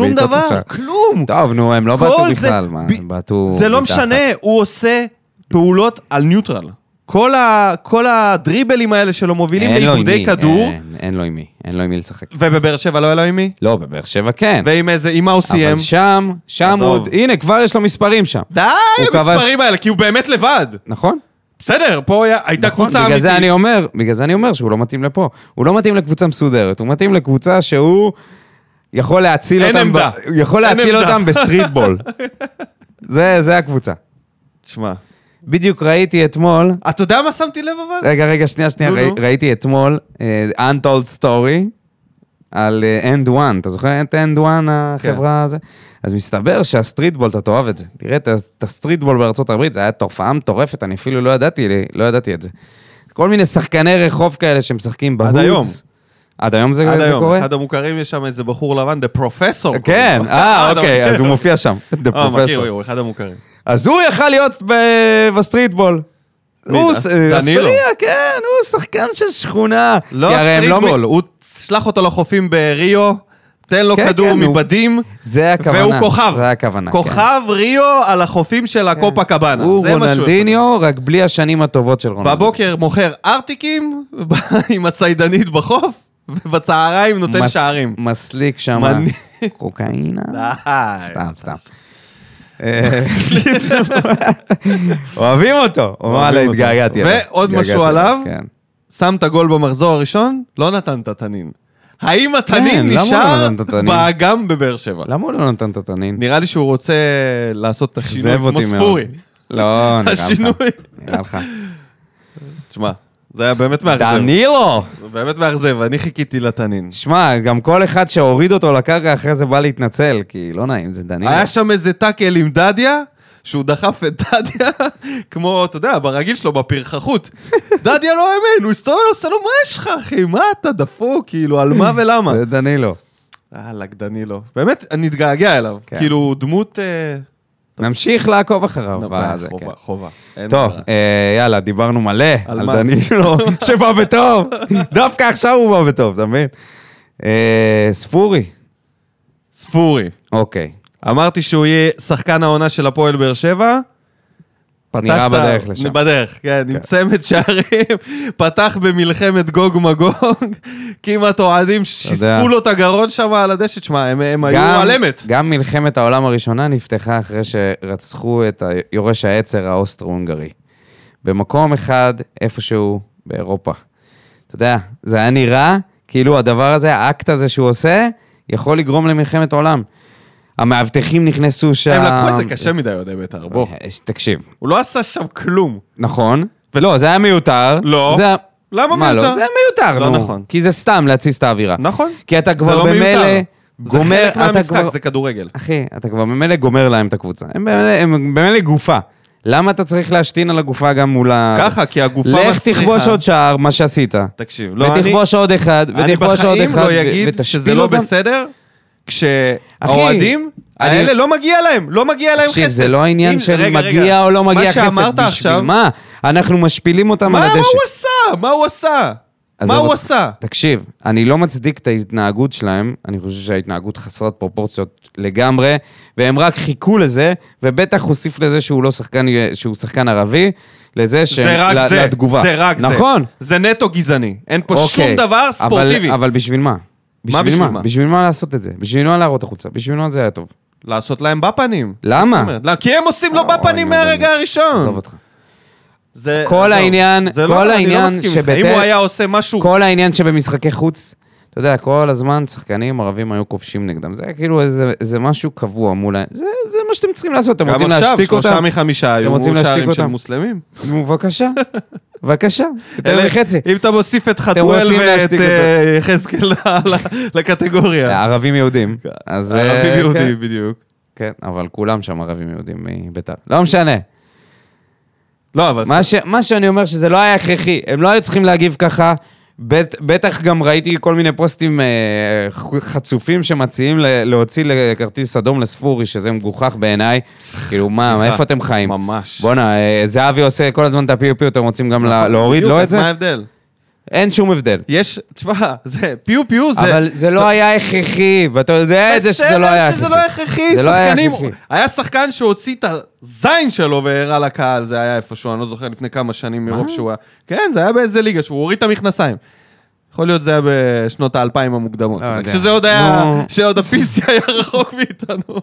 [SPEAKER 2] בבעיטות
[SPEAKER 1] דבר,
[SPEAKER 2] השער.
[SPEAKER 1] כלום.
[SPEAKER 2] טוב, נו, הם לא
[SPEAKER 1] כל
[SPEAKER 2] בעטו
[SPEAKER 1] זה-
[SPEAKER 2] בכלל, מה,
[SPEAKER 1] ב-
[SPEAKER 2] הם בעטו...
[SPEAKER 1] זה לא
[SPEAKER 2] מתחת.
[SPEAKER 1] משנה, הוא עושה פעולות על ניוטרל. כל, ה, כל הדריבלים האלה שלו מובילים
[SPEAKER 2] אין לו אה. עם
[SPEAKER 1] לאיבודי
[SPEAKER 2] מי,
[SPEAKER 1] כדור,
[SPEAKER 2] אין- אין לו עם מי, אין לו עם מי לשחק.
[SPEAKER 1] ובבאר שבע לא היה לו עם מי?
[SPEAKER 2] לא, בבאר שבע כן.
[SPEAKER 1] ועם איזה, עם מה הוא סיים?
[SPEAKER 2] אבל שם, שם
[SPEAKER 1] עזוב.
[SPEAKER 2] עוד... הנה, כבר יש לו מספרים שם.
[SPEAKER 1] די,
[SPEAKER 2] הוא כבש-
[SPEAKER 1] המספרים האלה, כי הוא באמת לבד.
[SPEAKER 2] נכון?
[SPEAKER 1] בסדר, פה היה, הייתה
[SPEAKER 2] נכון,
[SPEAKER 1] קבוצה
[SPEAKER 2] בגלל
[SPEAKER 1] אמיתית.
[SPEAKER 2] זה אני אומר, בגלל זה אני אומר שהוא לא מתאים לפה. הוא לא מתאים לקבוצה מסודרת, הוא מתאים לקבוצה שהוא יכול להציל
[SPEAKER 1] אין
[SPEAKER 2] אותם... ב-
[SPEAKER 1] עמדה.
[SPEAKER 2] הוא יכול
[SPEAKER 1] אין
[SPEAKER 2] להציל
[SPEAKER 1] עמדה.
[SPEAKER 2] אותם בסטריטבול. זה זה הקבוצה.
[SPEAKER 1] תשמע,
[SPEAKER 2] בדיוק ראיתי אתמול,
[SPEAKER 1] אתה יודע מה שמתי לב אבל?
[SPEAKER 2] רגע, רגע, שנייה, שנייה,
[SPEAKER 1] נו,
[SPEAKER 2] ראי-
[SPEAKER 1] נו.
[SPEAKER 2] ראיתי אתמול אה, Untold Story על אה, End One, אתה זוכר את End One,
[SPEAKER 1] כן.
[SPEAKER 2] החברה הזה? אז מסתבר שהסטריטבול, אתה תאהב את זה. תראה את ה- את הסטריטבול בארצות הברית, זה היה תופעה מטורפת, אני אפילו לא ידעתי, לא ידעתי את זה. כל מיני שחקני רחוב כאלה שמשחקים
[SPEAKER 1] עד
[SPEAKER 2] בהוץ.
[SPEAKER 1] היום.
[SPEAKER 2] עד היום אה, זה,
[SPEAKER 1] עד
[SPEAKER 2] זה
[SPEAKER 1] היום,
[SPEAKER 2] קורה?
[SPEAKER 1] אחד המוכרים יש שם איזה בחור לבן, דה פרופסור.
[SPEAKER 2] כן, אה, אוקיי, אז הוא
[SPEAKER 1] מוכר.
[SPEAKER 2] מופיע שם, דה
[SPEAKER 1] אה, מכיר,
[SPEAKER 2] פרופסור.
[SPEAKER 1] הוא אחד המוכרים.
[SPEAKER 2] אז הוא יכל להיות ב- בסטריטבול.
[SPEAKER 1] מי,
[SPEAKER 2] הוא,
[SPEAKER 1] דס-
[SPEAKER 2] אה,
[SPEAKER 1] דנילו?
[SPEAKER 2] אספריה, כן, הוא שחקן של שכונה.
[SPEAKER 1] לא
[SPEAKER 2] כי הרי הם מ-
[SPEAKER 1] סטריטבול, הוא שלח אותו לחופים בריו, תן לו
[SPEAKER 2] כן,
[SPEAKER 1] כדור
[SPEAKER 2] כן, הוא-
[SPEAKER 1] מבדים.
[SPEAKER 2] זה הכוונה.
[SPEAKER 1] והוא כוכב.
[SPEAKER 2] זה הכוונה, כן.
[SPEAKER 1] כוכב ריו על החופים של הקופה קבאנה.
[SPEAKER 2] הוא
[SPEAKER 1] זה מה שהוא יכול
[SPEAKER 2] רונלדיניו, רק בלי השנים הטובות של
[SPEAKER 1] להיות.
[SPEAKER 2] רונלדיניו.
[SPEAKER 1] בבוקר מוכר ארטיקים עם הציידנית בחוף, ובצהריים נותן
[SPEAKER 2] מס-
[SPEAKER 1] שערים.
[SPEAKER 2] מסליק שם.
[SPEAKER 1] מני-
[SPEAKER 2] קוקאינה.
[SPEAKER 1] די.
[SPEAKER 2] סתם, סתם. אה, אוהבים אותו. וואלה,
[SPEAKER 1] אותו.
[SPEAKER 2] התגעגעתי. אליו.
[SPEAKER 1] ועוד משהו
[SPEAKER 2] התגעגעתי אליו,
[SPEAKER 1] עליו?
[SPEAKER 2] כן.
[SPEAKER 1] שם את הגול במחזור הראשון, לא נתן את התנין. האם
[SPEAKER 2] כן,
[SPEAKER 1] התנין
[SPEAKER 2] למה הוא לא
[SPEAKER 1] נשאר
[SPEAKER 2] נתן את התנין?
[SPEAKER 1] באגם בבאר שבע?
[SPEAKER 2] למה הוא לא נתן את התנין?
[SPEAKER 1] נראה לי שהוא רוצה לעשות את השינוי
[SPEAKER 2] אכזב
[SPEAKER 1] כמו
[SPEAKER 2] אותי מאוד.
[SPEAKER 1] ספורי.
[SPEAKER 2] לא, נראה לך.
[SPEAKER 1] השינוי.
[SPEAKER 2] נראה לך.
[SPEAKER 1] תשמע, זה היה באמת מאכזב.
[SPEAKER 2] דנילו!
[SPEAKER 1] זה באמת מאכזב, אני חיכיתי לתנין.
[SPEAKER 2] שמע, גם כל אחד שהוריד אותו לקרקע אחרי זה בא להתנצל, כי לא נעים, זה דנילו.
[SPEAKER 1] היה שם איזה טאקל עם דדיה, שהוא דחף את דדיה, כמו, אתה יודע, ברגיל שלו, בפרחחות. דדיה לא האמין, הוא הסתובב, הוא עושה לו, מה יש לך, אחי? מה אתה דפוק? כאילו, על מה ולמה?
[SPEAKER 2] זה דנילו.
[SPEAKER 1] אהלק, דנילו. באמת, אני אתגעגע אליו.
[SPEAKER 2] כן.
[SPEAKER 1] כאילו, דמות... אה,
[SPEAKER 2] נמשיך לעקוב אחריו.
[SPEAKER 1] אה,
[SPEAKER 2] בזה, כן.
[SPEAKER 1] חובה, חובה. אין
[SPEAKER 2] טוב,
[SPEAKER 1] ברירה.
[SPEAKER 2] אה, יאללה, דיברנו מלא על
[SPEAKER 1] מה?
[SPEAKER 2] דנילו, שבא בטוב. דווקא עכשיו הוא בא בטוב, אתה מבין? אה, ספורי.
[SPEAKER 1] ספורי.
[SPEAKER 2] אוקיי.
[SPEAKER 1] אמרתי שהוא יהיה שחקן העונה של הפועל באר שבע.
[SPEAKER 2] נראה
[SPEAKER 1] פתח את ה-
[SPEAKER 2] בדרך לשם.
[SPEAKER 1] בדרך, כן, עם צמד שערים, פתח במלחמת גוג מגוג, כמעט אוהדים שיספו לו את הגרון שם על הדשא, תשמע, הם- הם היו
[SPEAKER 2] גם-
[SPEAKER 1] על אמת.
[SPEAKER 2] גם מלחמת העולם הראשונה נפתחה אחרי שרצחו את יורש העצר האוסטרו-הונגרי. במקום אחד, איפשהו באירופה. אתה יודע, זה היה נראה כאילו הדבר הזה, האקט הזה שהוא עושה, יכול לגרום למלחמת עולם. המאבטחים נכנסו שם...
[SPEAKER 1] הם לקחו את זה קשה מדי, אוהדי בית"ר,
[SPEAKER 2] אה.
[SPEAKER 1] בוא.
[SPEAKER 2] תקשיב,
[SPEAKER 1] הוא לא עשה שם כלום.
[SPEAKER 2] נכון. ולא, זה היה מיותר.
[SPEAKER 1] לא.
[SPEAKER 2] זה היה-
[SPEAKER 1] למה
[SPEAKER 2] מה
[SPEAKER 1] מיותר?
[SPEAKER 2] לא? זה מיותר,
[SPEAKER 1] לא
[SPEAKER 2] נו.
[SPEAKER 1] נכון.
[SPEAKER 2] כי זה סתם להתסיס את האווירה.
[SPEAKER 1] נכון.
[SPEAKER 2] כי אתה כבר
[SPEAKER 1] לא
[SPEAKER 2] במילא
[SPEAKER 1] מיותר. זה
[SPEAKER 2] גומר...
[SPEAKER 1] חלק
[SPEAKER 2] אתה
[SPEAKER 1] מהמשחק,
[SPEAKER 2] כבר-
[SPEAKER 1] זה כדורגל.
[SPEAKER 2] אחי, אתה כבר ממילא גומר להם את הקבוצה. הם במילא- הם במילא גופה. למה אתה צריך להשתין על הגופה גם מול ה...
[SPEAKER 1] ככה, כי הגופה
[SPEAKER 2] אה. לך
[SPEAKER 1] מצליחה-
[SPEAKER 2] תכבוש עוד שער, מה שעשית.
[SPEAKER 1] תקשיב, לא, אני...
[SPEAKER 2] ותכבוש עוד אחד,
[SPEAKER 1] אני
[SPEAKER 2] ותכבוש עוד
[SPEAKER 1] בחיים
[SPEAKER 2] אחד,
[SPEAKER 1] לא
[SPEAKER 2] ו-
[SPEAKER 1] אגיד
[SPEAKER 2] ותשפיל
[SPEAKER 1] שזה לא
[SPEAKER 2] אותם.
[SPEAKER 1] בסדר, כשהאוהדים
[SPEAKER 2] אני-
[SPEAKER 1] האלה לא מגיע להם, לא מגיע להם חסד.
[SPEAKER 2] תקשיב, זה לא העניין
[SPEAKER 1] אם-
[SPEAKER 2] של
[SPEAKER 1] רגע, רגע.
[SPEAKER 2] מגיע או לא מגיע
[SPEAKER 1] מה
[SPEAKER 2] כסף.
[SPEAKER 1] שאמרת עכשיו,
[SPEAKER 2] בשביל מה? אנחנו משפילים אותם
[SPEAKER 1] מה
[SPEAKER 2] על
[SPEAKER 1] מה
[SPEAKER 2] הדשא.
[SPEAKER 1] הוא עשה? מה הוא עשה?
[SPEAKER 2] אז
[SPEAKER 1] מה
[SPEAKER 2] אבל-
[SPEAKER 1] הוא עשה?
[SPEAKER 2] תקשיב, אני לא מצדיק את ההתנהגות שלהם, אני חושב שההתנהגות חסרת פרופורציות לגמרי, והם רק חיכו לזה, ובטח הוסיף לזה שהוא לא שחקן, שהוא שחקן ערבי, לזה שהם...
[SPEAKER 1] זה רק
[SPEAKER 2] ל-
[SPEAKER 1] זה,
[SPEAKER 2] לתגובה.
[SPEAKER 1] זה רק זה.
[SPEAKER 2] נכון.
[SPEAKER 1] זה נטו גזעני. אין פה שום
[SPEAKER 2] אוקיי,
[SPEAKER 1] דבר
[SPEAKER 2] אבל-
[SPEAKER 1] ספורטיבי.
[SPEAKER 2] אבל בשביל מה?
[SPEAKER 1] בשביל מה?
[SPEAKER 2] בשביל מה לעשות את זה? בשביל מה להראות החוצה? בשביל מה זה היה טוב?
[SPEAKER 1] לעשות להם בפנים.
[SPEAKER 2] למה? אה,
[SPEAKER 1] מה זאת אומרת? לא, כי הם עושים לו
[SPEAKER 2] אוי,
[SPEAKER 1] בפנים
[SPEAKER 2] נו,
[SPEAKER 1] מהרגע
[SPEAKER 2] באמת.
[SPEAKER 1] הראשון.
[SPEAKER 2] עזוב אותך.
[SPEAKER 1] זה-
[SPEAKER 2] כל
[SPEAKER 1] לא,
[SPEAKER 2] העניין-
[SPEAKER 1] זה לא-
[SPEAKER 2] כל
[SPEAKER 1] אני לא
[SPEAKER 2] העניין
[SPEAKER 1] מסכים איתך.
[SPEAKER 2] שבטל-
[SPEAKER 1] אם הוא היה עושה משהו...
[SPEAKER 2] כל העניין שבמשחקי חוץ, אתה יודע, כל הזמן שחקנים ערבים היו כובשים נגדם. זה היה כאילו איזה, איזה משהו קבוע מול ה... זה, זה מה שאתם צריכים לעשות, אתם רוצים
[SPEAKER 1] גם עכשיו,
[SPEAKER 2] להשתיק
[SPEAKER 1] שלושה
[SPEAKER 2] אותם?
[SPEAKER 1] מחמישה היו
[SPEAKER 2] רוצים להשתיק
[SPEAKER 1] שערים של
[SPEAKER 2] אותם?
[SPEAKER 1] מוסלמים.
[SPEAKER 2] נו, בבקשה, בבקשה,
[SPEAKER 1] אלה-
[SPEAKER 2] יותר מחצי.
[SPEAKER 1] אם אתה מוסיף את חתואל
[SPEAKER 2] רוצים
[SPEAKER 1] ואת
[SPEAKER 2] להשתיק
[SPEAKER 1] אה, יחזקאל ל- ל- לקטגוריה.
[SPEAKER 2] ערבים יהודים. אז... אה,
[SPEAKER 1] ערבים
[SPEAKER 2] כן,
[SPEAKER 1] יהודים, בדיוק.
[SPEAKER 2] כן, אבל כולם שם ערבים יהודים מביתר. לא משנה.
[SPEAKER 1] לא, אבל...
[SPEAKER 2] מה, ש, מה שאני אומר שזה לא היה הכרחי, הם לא היו צריכים להגיב ככה. בט, בטח גם ראיתי כל מיני פוסטים אה, ח- חצופים שמציעים ל, להוציא לכרטיס אדום לספורי, שזה מגוחך בעיניי. כאילו, מה,
[SPEAKER 1] סליחה,
[SPEAKER 2] איפה אתם חיים?
[SPEAKER 1] ממש. נכון.
[SPEAKER 2] בואנה, אה, זהבי עושה כל הזמן את הפיו-פיו, אתם רוצים גם לה, להוריד
[SPEAKER 1] בדיוק,
[SPEAKER 2] לו את
[SPEAKER 1] אז מה
[SPEAKER 2] זה?
[SPEAKER 1] ההבדל?
[SPEAKER 2] אין שום הבדל.
[SPEAKER 1] יש, תשמע, זה פיו פיו זה...
[SPEAKER 2] אבל זה לא היה הכרחי, ואתה יודע את זה שזה לא היה
[SPEAKER 1] בסדר שזה לא הכרחי,
[SPEAKER 2] זה לא היה
[SPEAKER 1] שחקנים...
[SPEAKER 2] הכרחי.
[SPEAKER 1] היה שחקן שהוציא את הזין שלו והראה לקהל, זה היה איפשהו, אני לא זוכר לפני כמה שנים מרוב שהוא היה... כן, זה היה באיזה ליגה, שהוא הוריד את המכנסיים. יכול להיות זה היה בשנות האלפיים המוקדמות.
[SPEAKER 2] לא יודע.
[SPEAKER 1] כשזה עוד היה...
[SPEAKER 2] נו.
[SPEAKER 1] כשעוד הפיסי היה רחוק מאיתנו.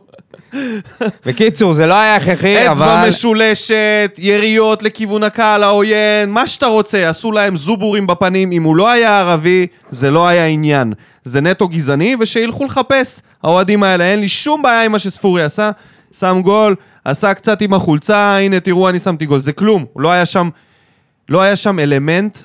[SPEAKER 2] בקיצור, זה לא היה הכרחי,
[SPEAKER 1] אצבע
[SPEAKER 2] אבל...
[SPEAKER 1] משולשת, יריות לכיוון הקהל העוין, מה שאתה רוצה, עשו להם זובורים בפנים. אם הוא לא היה ערבי, זה לא היה עניין. זה נטו גזעני, ושילכו לחפש, האוהדים האלה. אין לי שום בעיה עם מה שספורי עשה. שם גול, עשה קצת עם החולצה, הנה תראו, אני שמתי גול. זה כלום. לא היה שם, לא היה שם אלמנט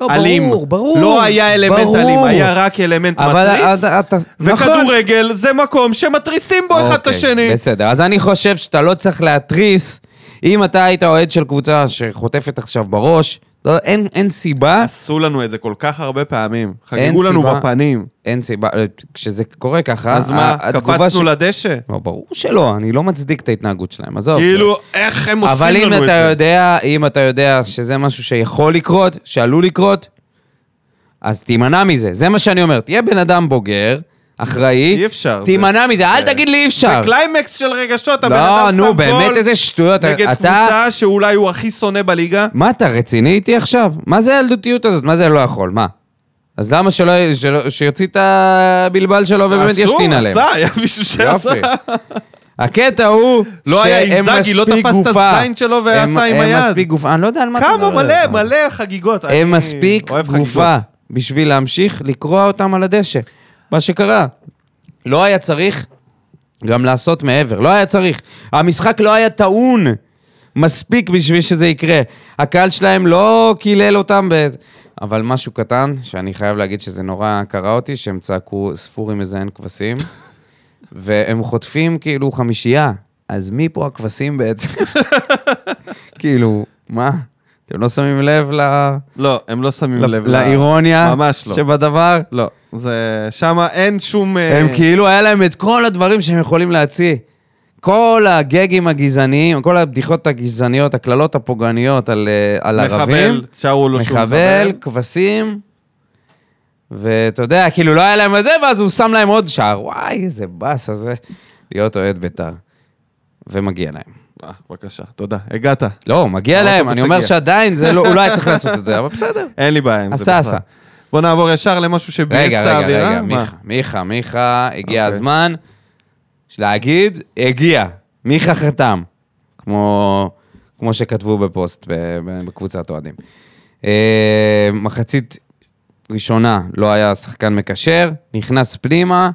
[SPEAKER 2] לא, ברור,
[SPEAKER 1] אלים.
[SPEAKER 2] ברור,
[SPEAKER 1] לא היה אלמנט
[SPEAKER 2] ברור.
[SPEAKER 1] אלים, היה רק אלמנט
[SPEAKER 2] אבל
[SPEAKER 1] מתריס.
[SPEAKER 2] אתה- אתה- נכון.
[SPEAKER 1] וכדורגל זה מקום שמתריסים בו אחד את
[SPEAKER 2] אוקיי,
[SPEAKER 1] השני.
[SPEAKER 2] בסדר, אז אני חושב שאתה לא צריך להתריס. אם אתה היית אוהד של קבוצה שחוטפת עכשיו בראש, לא, אין, אין סיבה,
[SPEAKER 1] עשו לנו את זה כל כך הרבה פעמים.
[SPEAKER 2] אין
[SPEAKER 1] חגגו לנו
[SPEAKER 2] סיבה.
[SPEAKER 1] בפנים.
[SPEAKER 2] אין סיבה, אה, כשזה קורה ככה,
[SPEAKER 1] אז מה,
[SPEAKER 2] ה- התגובה
[SPEAKER 1] קפצנו
[SPEAKER 2] ש-
[SPEAKER 1] לדשא?
[SPEAKER 2] לא, ברור שלא, אני לא מצדיק את ההתנהגות שלהם, עזוב.
[SPEAKER 1] כאילו, איך הם עושים
[SPEAKER 2] אוקיי. אבל אם
[SPEAKER 1] לנו את
[SPEAKER 2] אתה
[SPEAKER 1] זה?
[SPEAKER 2] יודע, אם אתה יודע שזה משהו שיכול לקרות, שעלול לקרות, אז תימנע מזה, זה מה שאני אומר. תהיה בן אדם בוגר, אחראי,
[SPEAKER 1] אי אפשר,
[SPEAKER 2] תימנע
[SPEAKER 1] זה-
[SPEAKER 2] מזה, אל תגיד לי אי
[SPEAKER 1] זה
[SPEAKER 2] אפשר.
[SPEAKER 1] קליימקס של רגשות, הבן
[SPEAKER 2] לא,
[SPEAKER 1] אדם
[SPEAKER 2] נו,
[SPEAKER 1] שם
[SPEAKER 2] באמת
[SPEAKER 1] גול
[SPEAKER 2] איזה שטויות.
[SPEAKER 1] נגד
[SPEAKER 2] אתה-
[SPEAKER 1] קבוצה שאולי הוא הכי שונא בליגה.
[SPEAKER 2] מה, אתה רציני איתי עכשיו? מה זה הילדותיות הזאת? מה זה לא יכול? מה? אז למה שלא, שלא שיוציא את הבלבל שלו ובאמת ישתין עליהם?
[SPEAKER 1] עשו, עשה, היה מישהו שעשה.
[SPEAKER 2] יופי. הקטע הוא
[SPEAKER 1] לא היה
[SPEAKER 2] שהם
[SPEAKER 1] אינזאגי, לא
[SPEAKER 2] מספיק
[SPEAKER 1] תפס את
[SPEAKER 2] גופה.
[SPEAKER 1] הזין שלו ועשה
[SPEAKER 2] הם-
[SPEAKER 1] עם היד.
[SPEAKER 2] הם מספיק גופה, אני לא יודע על מה אתה
[SPEAKER 1] כמה,
[SPEAKER 2] מדבר.
[SPEAKER 1] מלא, מלא חגיגות. אני
[SPEAKER 2] הם מספיק
[SPEAKER 1] אוהב
[SPEAKER 2] גופה
[SPEAKER 1] חגיגות.
[SPEAKER 2] בשביל להמשיך לקרוע אותם על הדשא. מה שקרה. לא היה צריך גם לעשות מעבר, לא היה צריך. המשחק לא היה טעון מספיק בשביל שזה יקרה. הקהל שלהם לא קילל אותם באיזה... אבל משהו קטן, שאני חייב להגיד שזה נורא קרה אותי, שהם צעקו ספורי מזיין כבשים, והם חוטפים כאילו חמישייה. אז מי פה הכבשים בעצם? כאילו, מה? אתם לא שמים לב ל...
[SPEAKER 1] לא, הם לא שמים לב.
[SPEAKER 2] ל-
[SPEAKER 1] ל-
[SPEAKER 2] לאירוניה
[SPEAKER 1] ממש לא.
[SPEAKER 2] שבדבר?
[SPEAKER 1] לא, זה... שמה אין שום... אה,
[SPEAKER 2] הם כאילו, היה להם את כל הדברים שהם יכולים להציע. כל הגגים הגזעניים, כל הבדיחות הגזעניות, הקללות הפוגעניות על, אה, על ערבים.
[SPEAKER 1] מחבל, לא שרו לו שהוא
[SPEAKER 2] מחבל, כבשים. ואתה יודע, כאילו, לא היה להם את זה, ואז הוא שם להם עוד שער. וואי, איזה באסה זה להיות אוהד בית"ר. ומגיע להם.
[SPEAKER 1] אה, בבקשה, תודה. הגעת.
[SPEAKER 2] לא, מגיע
[SPEAKER 1] האוטובוס
[SPEAKER 2] להם, אני אומר
[SPEAKER 1] הגיע.
[SPEAKER 2] שעדיין, זה לא, הוא לא היה צריך לעשות את זה, אבל בסדר.
[SPEAKER 1] אין לי בעיה עם זה
[SPEAKER 2] עשה, עשה.
[SPEAKER 1] בוא נעבור ישר למשהו שביאס את
[SPEAKER 2] רגע, רגע,
[SPEAKER 1] האווירה.
[SPEAKER 2] רגע,
[SPEAKER 1] מה?
[SPEAKER 2] מיכה, מיכה, מיכה, הגיע
[SPEAKER 1] אוקיי.
[SPEAKER 2] הזמן להגיד, הגיע, מיכה חתם, כמו, כמו שכתבו בפוסט ב- ב- בקבוצת אוהדים. אה, מחצית ראשונה לא היה שחקן מקשר, נכנס פנימה,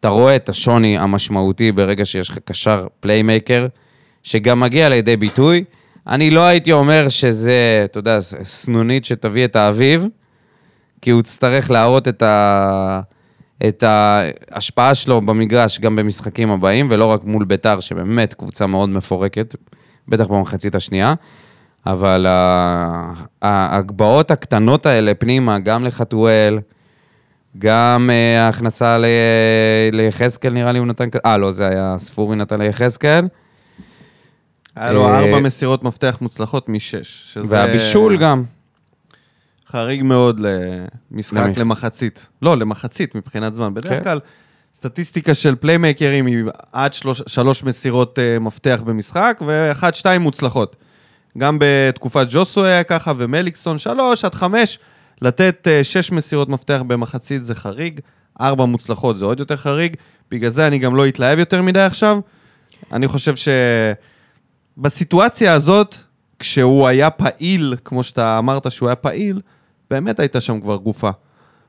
[SPEAKER 2] אתה רואה את השוני המשמעותי ברגע שיש לך קשר פליימייקר, שגם מגיע לידי ביטוי. אני לא הייתי אומר שזה, אתה יודע, ס- סנונית שתביא את האביב, כי הוא יצטרך להראות את, ה... את ההשפעה שלו במגרש גם במשחקים הבאים, ולא רק מול ביתר, שבאמת קבוצה מאוד מפורקת, בטח במחצית השנייה. אבל ה- ההגבהות הקטנות האלה פנימה, גם לחתואל, גם אה, ההכנסה ל- ליחזקאל, נראה לי הוא נתן... כ- אה, לא, זה היה ספורי נתן ליחזקאל.
[SPEAKER 1] היה לו
[SPEAKER 2] אה,
[SPEAKER 1] ארבע מסירות מפתח מוצלחות משש. שזה
[SPEAKER 2] והבישול גם.
[SPEAKER 1] חריג מאוד למשחק
[SPEAKER 2] למי?
[SPEAKER 1] למחצית. לא, למחצית מבחינת זמן.
[SPEAKER 2] כן.
[SPEAKER 1] בדרך כלל, סטטיסטיקה של פליימייקרים היא עד שלוש- שלוש מסירות אה, מפתח במשחק, ואחת, שתיים מוצלחות. גם בתקופת ג'וסו היה ככה, ומליקסון שלוש עד חמש. לתת אה, שש מסירות מפתח במחצית זה חריג, ארבע מוצלחות זה עוד יותר חריג. בגלל זה אני גם לא אתלהב יותר מדי עכשיו. אני חושב שבסיטואציה הזאת, כשהוא היה פעיל, כמו שאתה אמרת שהוא היה פעיל, באמת הייתה שם כבר גופה.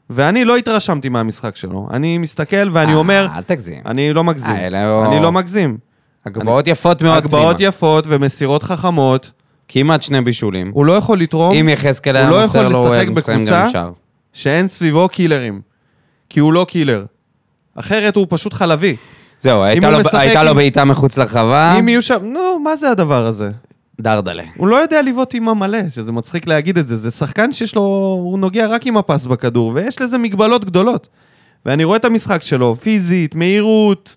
[SPEAKER 1] ואני לא התרשמתי מהמשחק שלו. אני מסתכל ואני אומר,
[SPEAKER 2] אה, אל תגזים.
[SPEAKER 1] אני לא מגזים.
[SPEAKER 2] אה, לא.
[SPEAKER 1] אני לא מגזים.
[SPEAKER 2] הגבהות יפות מאוד.
[SPEAKER 1] הגבהות
[SPEAKER 2] פנימה.
[SPEAKER 1] יפות ומסירות חכמות,
[SPEAKER 2] כמעט שני בישולים.
[SPEAKER 1] הוא לא יכול לתרום
[SPEAKER 2] אם יחזקאל
[SPEAKER 1] הוא
[SPEAKER 2] היה
[SPEAKER 1] לא
[SPEAKER 2] מוסר
[SPEAKER 1] יכול
[SPEAKER 2] לו, הוא היה
[SPEAKER 1] לשחק
[SPEAKER 2] מסיים
[SPEAKER 1] בקבוצה.
[SPEAKER 2] גם שער.
[SPEAKER 1] שאין סביבו קילרים. כי הוא לא קילר. אחרת הוא פשוט חלבי.
[SPEAKER 2] זהו, הייתה
[SPEAKER 1] הוא
[SPEAKER 2] לו-
[SPEAKER 1] משחק
[SPEAKER 2] הייתה לו
[SPEAKER 1] עם-
[SPEAKER 2] בעיטה מחוץ לרחבה,
[SPEAKER 1] אם יהיו שם, נו, מה זה הדבר הזה?
[SPEAKER 2] דרדלה.
[SPEAKER 1] הוא לא יודע לבעוט עם המלא, שזה מצחיק להגיד את זה. זה שחקן שיש לו, הוא נוגע רק עם הפס בכדור, ויש לזה מגבלות גדולות. ואני רואה את המשחק שלו, פיזית, מהירות.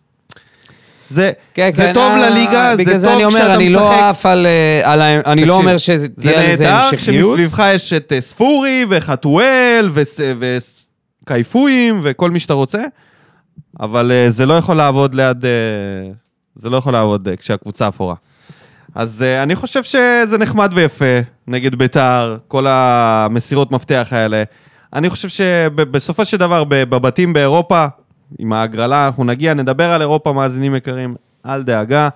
[SPEAKER 1] זה,
[SPEAKER 2] כן,
[SPEAKER 1] זה
[SPEAKER 2] כן,
[SPEAKER 1] טוב
[SPEAKER 2] אה,
[SPEAKER 1] לליגה, זה
[SPEAKER 2] בגלל
[SPEAKER 1] טוב
[SPEAKER 2] אני אומר,
[SPEAKER 1] כשאתה
[SPEAKER 2] אני לא
[SPEAKER 1] משחק.
[SPEAKER 2] עף על... אה, על ה- אני לא
[SPEAKER 1] תקשיב,
[SPEAKER 2] אומר שתהיה לזה
[SPEAKER 1] נהדר
[SPEAKER 2] המשכיות.
[SPEAKER 1] כשמסביבך יש את אה, ספורי וחתואל וקייפויים אה, וכל מי שאתה רוצה, אבל אה, זה לא יכול לעבוד ליד... אה, זה לא יכול לעבוד אה, כשהקבוצה אפורה. אז אה, אני חושב שזה נחמד ויפה נגד ביתר, כל המסירות מפתח האלה. אני חושב שבסופו של דבר, ב- בבתים באירופה, עם ההגרלה, אנחנו נגיע, נדבר על אירופה, מאזינים יקרים, אל דאגה.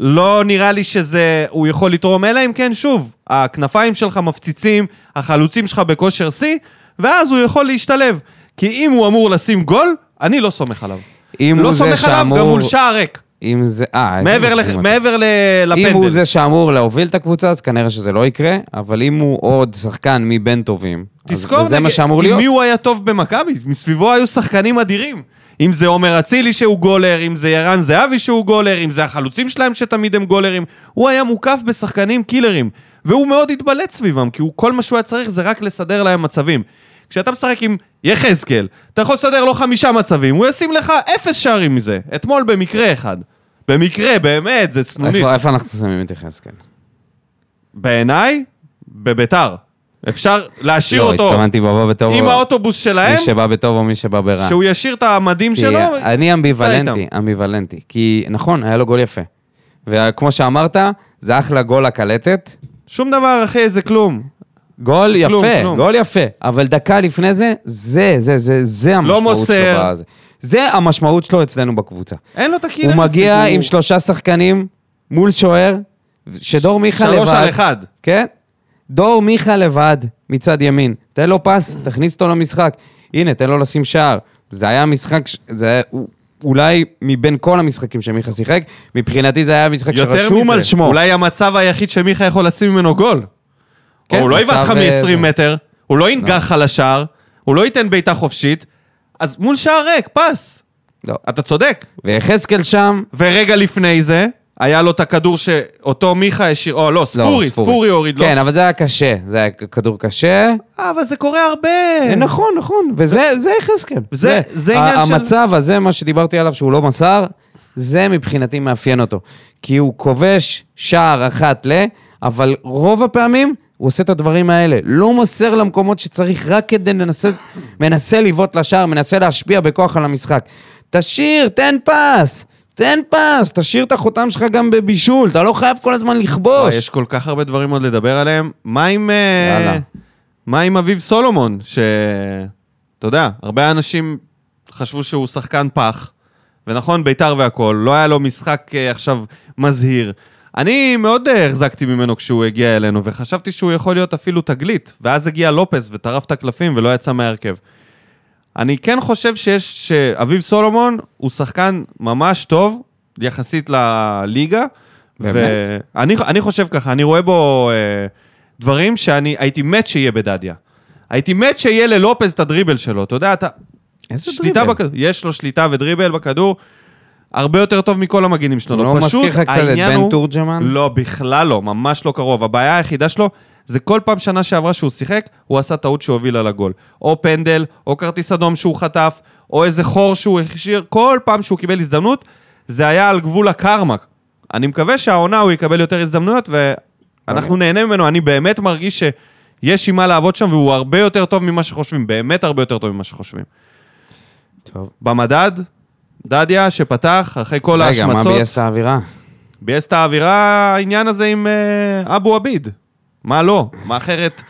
[SPEAKER 1] לא נראה לי שזה, הוא יכול לתרום, אלא אם כן, שוב, הכנפיים שלך מפציצים, החלוצים שלך בכושר שיא, ואז הוא יכול להשתלב. כי אם הוא אמור לשים גול, אני לא סומך עליו.
[SPEAKER 2] אם
[SPEAKER 1] לא
[SPEAKER 2] הוא זה
[SPEAKER 1] סומך עליו גם
[SPEAKER 2] שאמור-
[SPEAKER 1] מול שער ריק.
[SPEAKER 2] אם זה... אה,
[SPEAKER 1] מעבר,
[SPEAKER 2] איזה
[SPEAKER 1] ל-
[SPEAKER 2] מגזים
[SPEAKER 1] מעבר ל- לפנדל.
[SPEAKER 2] אם הוא זה שאמור להוביל את הקבוצה, אז כנראה שזה לא יקרה, אבל אם הוא עוד שחקן מבין טובים, אז
[SPEAKER 1] תזכור,
[SPEAKER 2] זה
[SPEAKER 1] נגד-
[SPEAKER 2] מה שאמור
[SPEAKER 1] עם
[SPEAKER 2] להיות.
[SPEAKER 1] מי הוא היה טוב במכבי? מסביבו היו שחקנים אדירים. אם זה עומר אצילי שהוא גולר, אם זה ירן זהבי שהוא גולר, אם זה החלוצים שלהם שתמיד הם גולרים. הוא היה מוקף בשחקנים קילרים. והוא מאוד התבלט סביבם, כי הוא, כל מה שהוא היה צריך זה רק לסדר להם מצבים. כשאתה משחק עם יחזקאל, אתה יכול לסדר לו חמישה מצבים, הוא ישים לך אפס שערים מזה. אתמול במקרה אחד. במקרה, באמת, זה סנונית.
[SPEAKER 2] איפה איפה אנחנו שמים את יחזקאל?
[SPEAKER 1] בעיניי, בביתר. אפשר להשאיר
[SPEAKER 2] לא,
[SPEAKER 1] אותו
[SPEAKER 2] התכוונתי בבא בטוב.
[SPEAKER 1] עם האוטובוס שלהם,
[SPEAKER 2] מי שבא בטוב או מי שבא ברע.
[SPEAKER 1] שהוא ישיר את המדים
[SPEAKER 2] כי
[SPEAKER 1] שלו.
[SPEAKER 2] אני אמביוולנטי,
[SPEAKER 1] איתם.
[SPEAKER 2] אמביוולנטי. כי נכון, היה לו גול יפה. וכמו שאמרת, זה אחלה גול הקלטת.
[SPEAKER 1] שום דבר, אחי, זה כלום.
[SPEAKER 2] גול יפה,
[SPEAKER 1] כלום, כלום.
[SPEAKER 2] גול יפה. אבל דקה לפני זה, זה, זה, זה, זה המשמעות שלו.
[SPEAKER 1] לא מוסר.
[SPEAKER 2] בזה. זה המשמעות שלו אצלנו בקבוצה.
[SPEAKER 1] אין לו את הקילר.
[SPEAKER 2] הוא מגיע
[SPEAKER 1] הזה,
[SPEAKER 2] עם שלושה שחקנים מול שוער, שדור מיכה לבד.
[SPEAKER 1] שלוש על אחד.
[SPEAKER 2] כן. דור מיכה לבד מצד ימין. תן לו פס, תכניס אותו למשחק. הנה, תן לו לשים שער. זה היה משחק, ש- זה היה הוא- אולי מבין כל המשחקים שמיכה שיחק, מבחינתי זה היה משחק
[SPEAKER 1] יותר
[SPEAKER 2] שרשום
[SPEAKER 1] מזה,
[SPEAKER 2] על שמו.
[SPEAKER 1] אולי המצב היחיד שמיכה יכול לשים ממנו גול.
[SPEAKER 2] כן,
[SPEAKER 1] הוא לא יבעט לך
[SPEAKER 2] מצב, אה,
[SPEAKER 1] מ-20
[SPEAKER 2] זה.
[SPEAKER 1] מטר, הוא לא ינגח על השער, הוא לא ייתן בעיטה חופשית, אז מול שער ריק, פס.
[SPEAKER 2] לא.
[SPEAKER 1] אתה צודק.
[SPEAKER 2] ויחזקאל שם,
[SPEAKER 1] ורגע לפני זה, היה לו את הכדור שאותו מיכה השאיר, או לא,
[SPEAKER 2] לא,
[SPEAKER 1] ספורי, ספורי הוריד לו. אה,
[SPEAKER 2] כן, אבל זה היה קשה, זה היה כדור קשה.
[SPEAKER 1] אבל זה קורה הרבה.
[SPEAKER 2] נכון, נכון, וזה זה יחזקאל.
[SPEAKER 1] זה- כן. זה
[SPEAKER 2] ה-
[SPEAKER 1] עניין של-
[SPEAKER 2] המצב הזה, מה שדיברתי עליו, שהוא לא מסר, זה מבחינתי מאפיין אותו. כי הוא כובש שער אחת ל, אבל רוב הפעמים הוא עושה את הדברים האלה. לא מוסר למקומות שצריך רק כדי לנסות, מנסה לבעוט לשער, מנסה להשפיע בכוח על המשחק. תשאיר, תן פס. תן פס, תשאיר את החותם שלך גם בבישול, אתה לא חייב כל הזמן
[SPEAKER 1] וואי,
[SPEAKER 2] לכבוש.
[SPEAKER 1] לא, יש כל כך הרבה דברים עוד לדבר עליהם. מה עם... אה,
[SPEAKER 2] יאללה.
[SPEAKER 1] מה עם אביב סולומון, ש... אתה יודע, הרבה אנשים חשבו שהוא שחקן פח, ונכון, ביתר והכול, לא היה לו משחק אה, עכשיו מזהיר. אני מאוד אה, החזקתי ממנו כשהוא הגיע אלינו, וחשבתי שהוא יכול להיות אפילו תגלית, ואז הגיע לופס וטרף את הקלפים ולא יצא מההרכב. אני כן חושב שיש, שאביב סולומון הוא שחקן ממש טוב, יחסית לליגה,
[SPEAKER 2] באמת?
[SPEAKER 1] ואני, אני חושב ככה, אני רואה בו אה, דברים שאני הייתי מת שיהיה בדדיה. הייתי מת שיהיה ללופז את הדריבל שלו, אתה יודע, אתה...
[SPEAKER 2] איזה
[SPEAKER 1] שליטה
[SPEAKER 2] דריבל?
[SPEAKER 1] בכדור, יש לו שליטה ודריבל בכדור, הרבה יותר טוב מכל המגינים שלו.
[SPEAKER 2] לא
[SPEAKER 1] פשוט
[SPEAKER 2] מזכיר לך קצת את
[SPEAKER 1] העניין
[SPEAKER 2] בן
[SPEAKER 1] הוא-
[SPEAKER 2] תורג'מן?
[SPEAKER 1] לא, בכלל לא, ממש לא קרוב. הבעיה היחידה שלו זה כל פעם שנה שעברה שהוא שיחק, הוא עשה טעות שהובילה לגול. או פנדל, או כרטיס אדום שהוא חטף, או איזה חור שהוא הכשיר, כל פעם שהוא קיבל הזדמנות, זה היה על גבול הקרמה. אני מקווה שהעונה הוא יקבל יותר הזדמנויות, ואנחנו נהנה ממנו. אני באמת מרגיש שיש עם מה לעבוד שם, והוא הרבה יותר טוב ממה שחושבים, באמת הרבה יותר טוב ממה שחושבים.
[SPEAKER 2] טוב.
[SPEAKER 1] במדד, דדיה שפתח אחרי כל
[SPEAKER 2] רגע, מה
[SPEAKER 1] ההשמצות.
[SPEAKER 2] ביאס את האווירה?
[SPEAKER 1] ביאס את האווירה, העניין הזה עם אה, אבו עביד. מה לא? מה אחרת?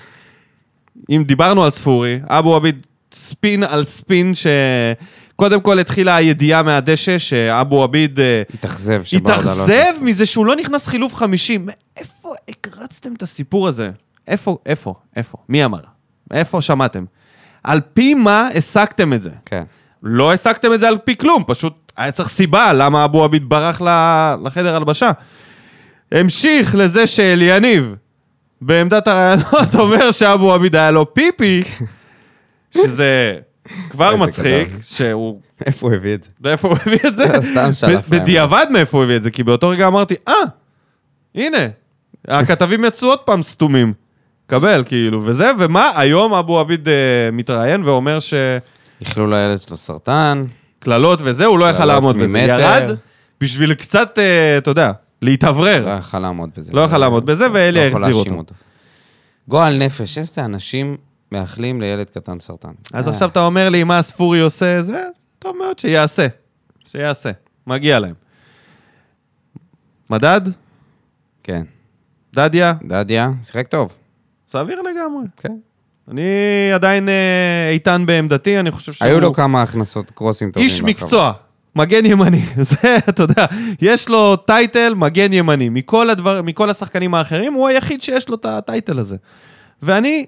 [SPEAKER 1] אם דיברנו על ספורי, אבו עביד ספין על ספין, שקודם כל התחילה הידיעה מהדשא שאבו עביד אה,
[SPEAKER 2] התאכזב שברדה לא...
[SPEAKER 1] התאכזב מזה שהוא לא נכנס חילוף 50. איפה הקרצתם את הסיפור הזה? איפה, איפה, איפה? מי אמר? איפה שמעתם? על פי מה הסקתם את זה?
[SPEAKER 2] כן.
[SPEAKER 1] לא הסקתם את זה על פי כלום, פשוט היה צריך סיבה למה אבו עביד ברח ל- לחדר הלבשה. המשיך לזה שאליניב בעמדת הרעיונות אומר שאבו עביד היה לו פיפי, שזה כבר
[SPEAKER 2] איזה
[SPEAKER 1] מצחיק,
[SPEAKER 2] גדול.
[SPEAKER 1] שהוא...
[SPEAKER 2] איפה הוא הביא את זה?
[SPEAKER 1] מאיפה הוא הביא את זה?
[SPEAKER 2] סתם שלף להם.
[SPEAKER 1] ב- בדיעבד מאיפה הוא הביא את זה, כי באותו רגע אמרתי, אה, הנה, הכתבים יצאו עוד פעם סתומים. קבל, כאילו, וזה, ומה, היום אבו עביד אה, מתראיין ואומר ש...
[SPEAKER 2] איחלו לילד שלו סרטן.
[SPEAKER 1] קללות וזה, הוא לא יכל
[SPEAKER 2] קללות
[SPEAKER 1] לעמוד בזה.
[SPEAKER 2] ממטר.
[SPEAKER 1] ירד בשביל קצת, אה, אתה יודע,
[SPEAKER 2] לא
[SPEAKER 1] להתאוורר.
[SPEAKER 2] יכל לעמוד בזה.
[SPEAKER 1] לא יכל לעמוד בזה, ואלי
[SPEAKER 2] לא יכול
[SPEAKER 1] החזיר
[SPEAKER 2] להאשים
[SPEAKER 1] אותו.
[SPEAKER 2] גועל נפש, איזה אנשים מאחלים לילד קטן סרטן.
[SPEAKER 1] אז
[SPEAKER 2] אה,
[SPEAKER 1] עכשיו אתה אומר לי, מה הספורי עושה? זה טוב מאוד, שיעשה. שיעשה. מגיע להם. מדד?
[SPEAKER 2] כן.
[SPEAKER 1] דדיה?
[SPEAKER 2] דדיה, שיחק טוב.
[SPEAKER 1] סביר לגמרי.
[SPEAKER 2] כן.
[SPEAKER 1] אני עדיין אה, איתן בעמדתי, אני חושב שהוא...
[SPEAKER 2] היו לו כמה הכנסות קרוסים טובים.
[SPEAKER 1] איש
[SPEAKER 2] ברחבה.
[SPEAKER 1] מקצוע, מגן ימני. זה, אתה יודע, יש לו טייטל מגן ימני. מכל, הדבר, מכל השחקנים האחרים, הוא היחיד שיש לו את הטייטל הזה. ואני,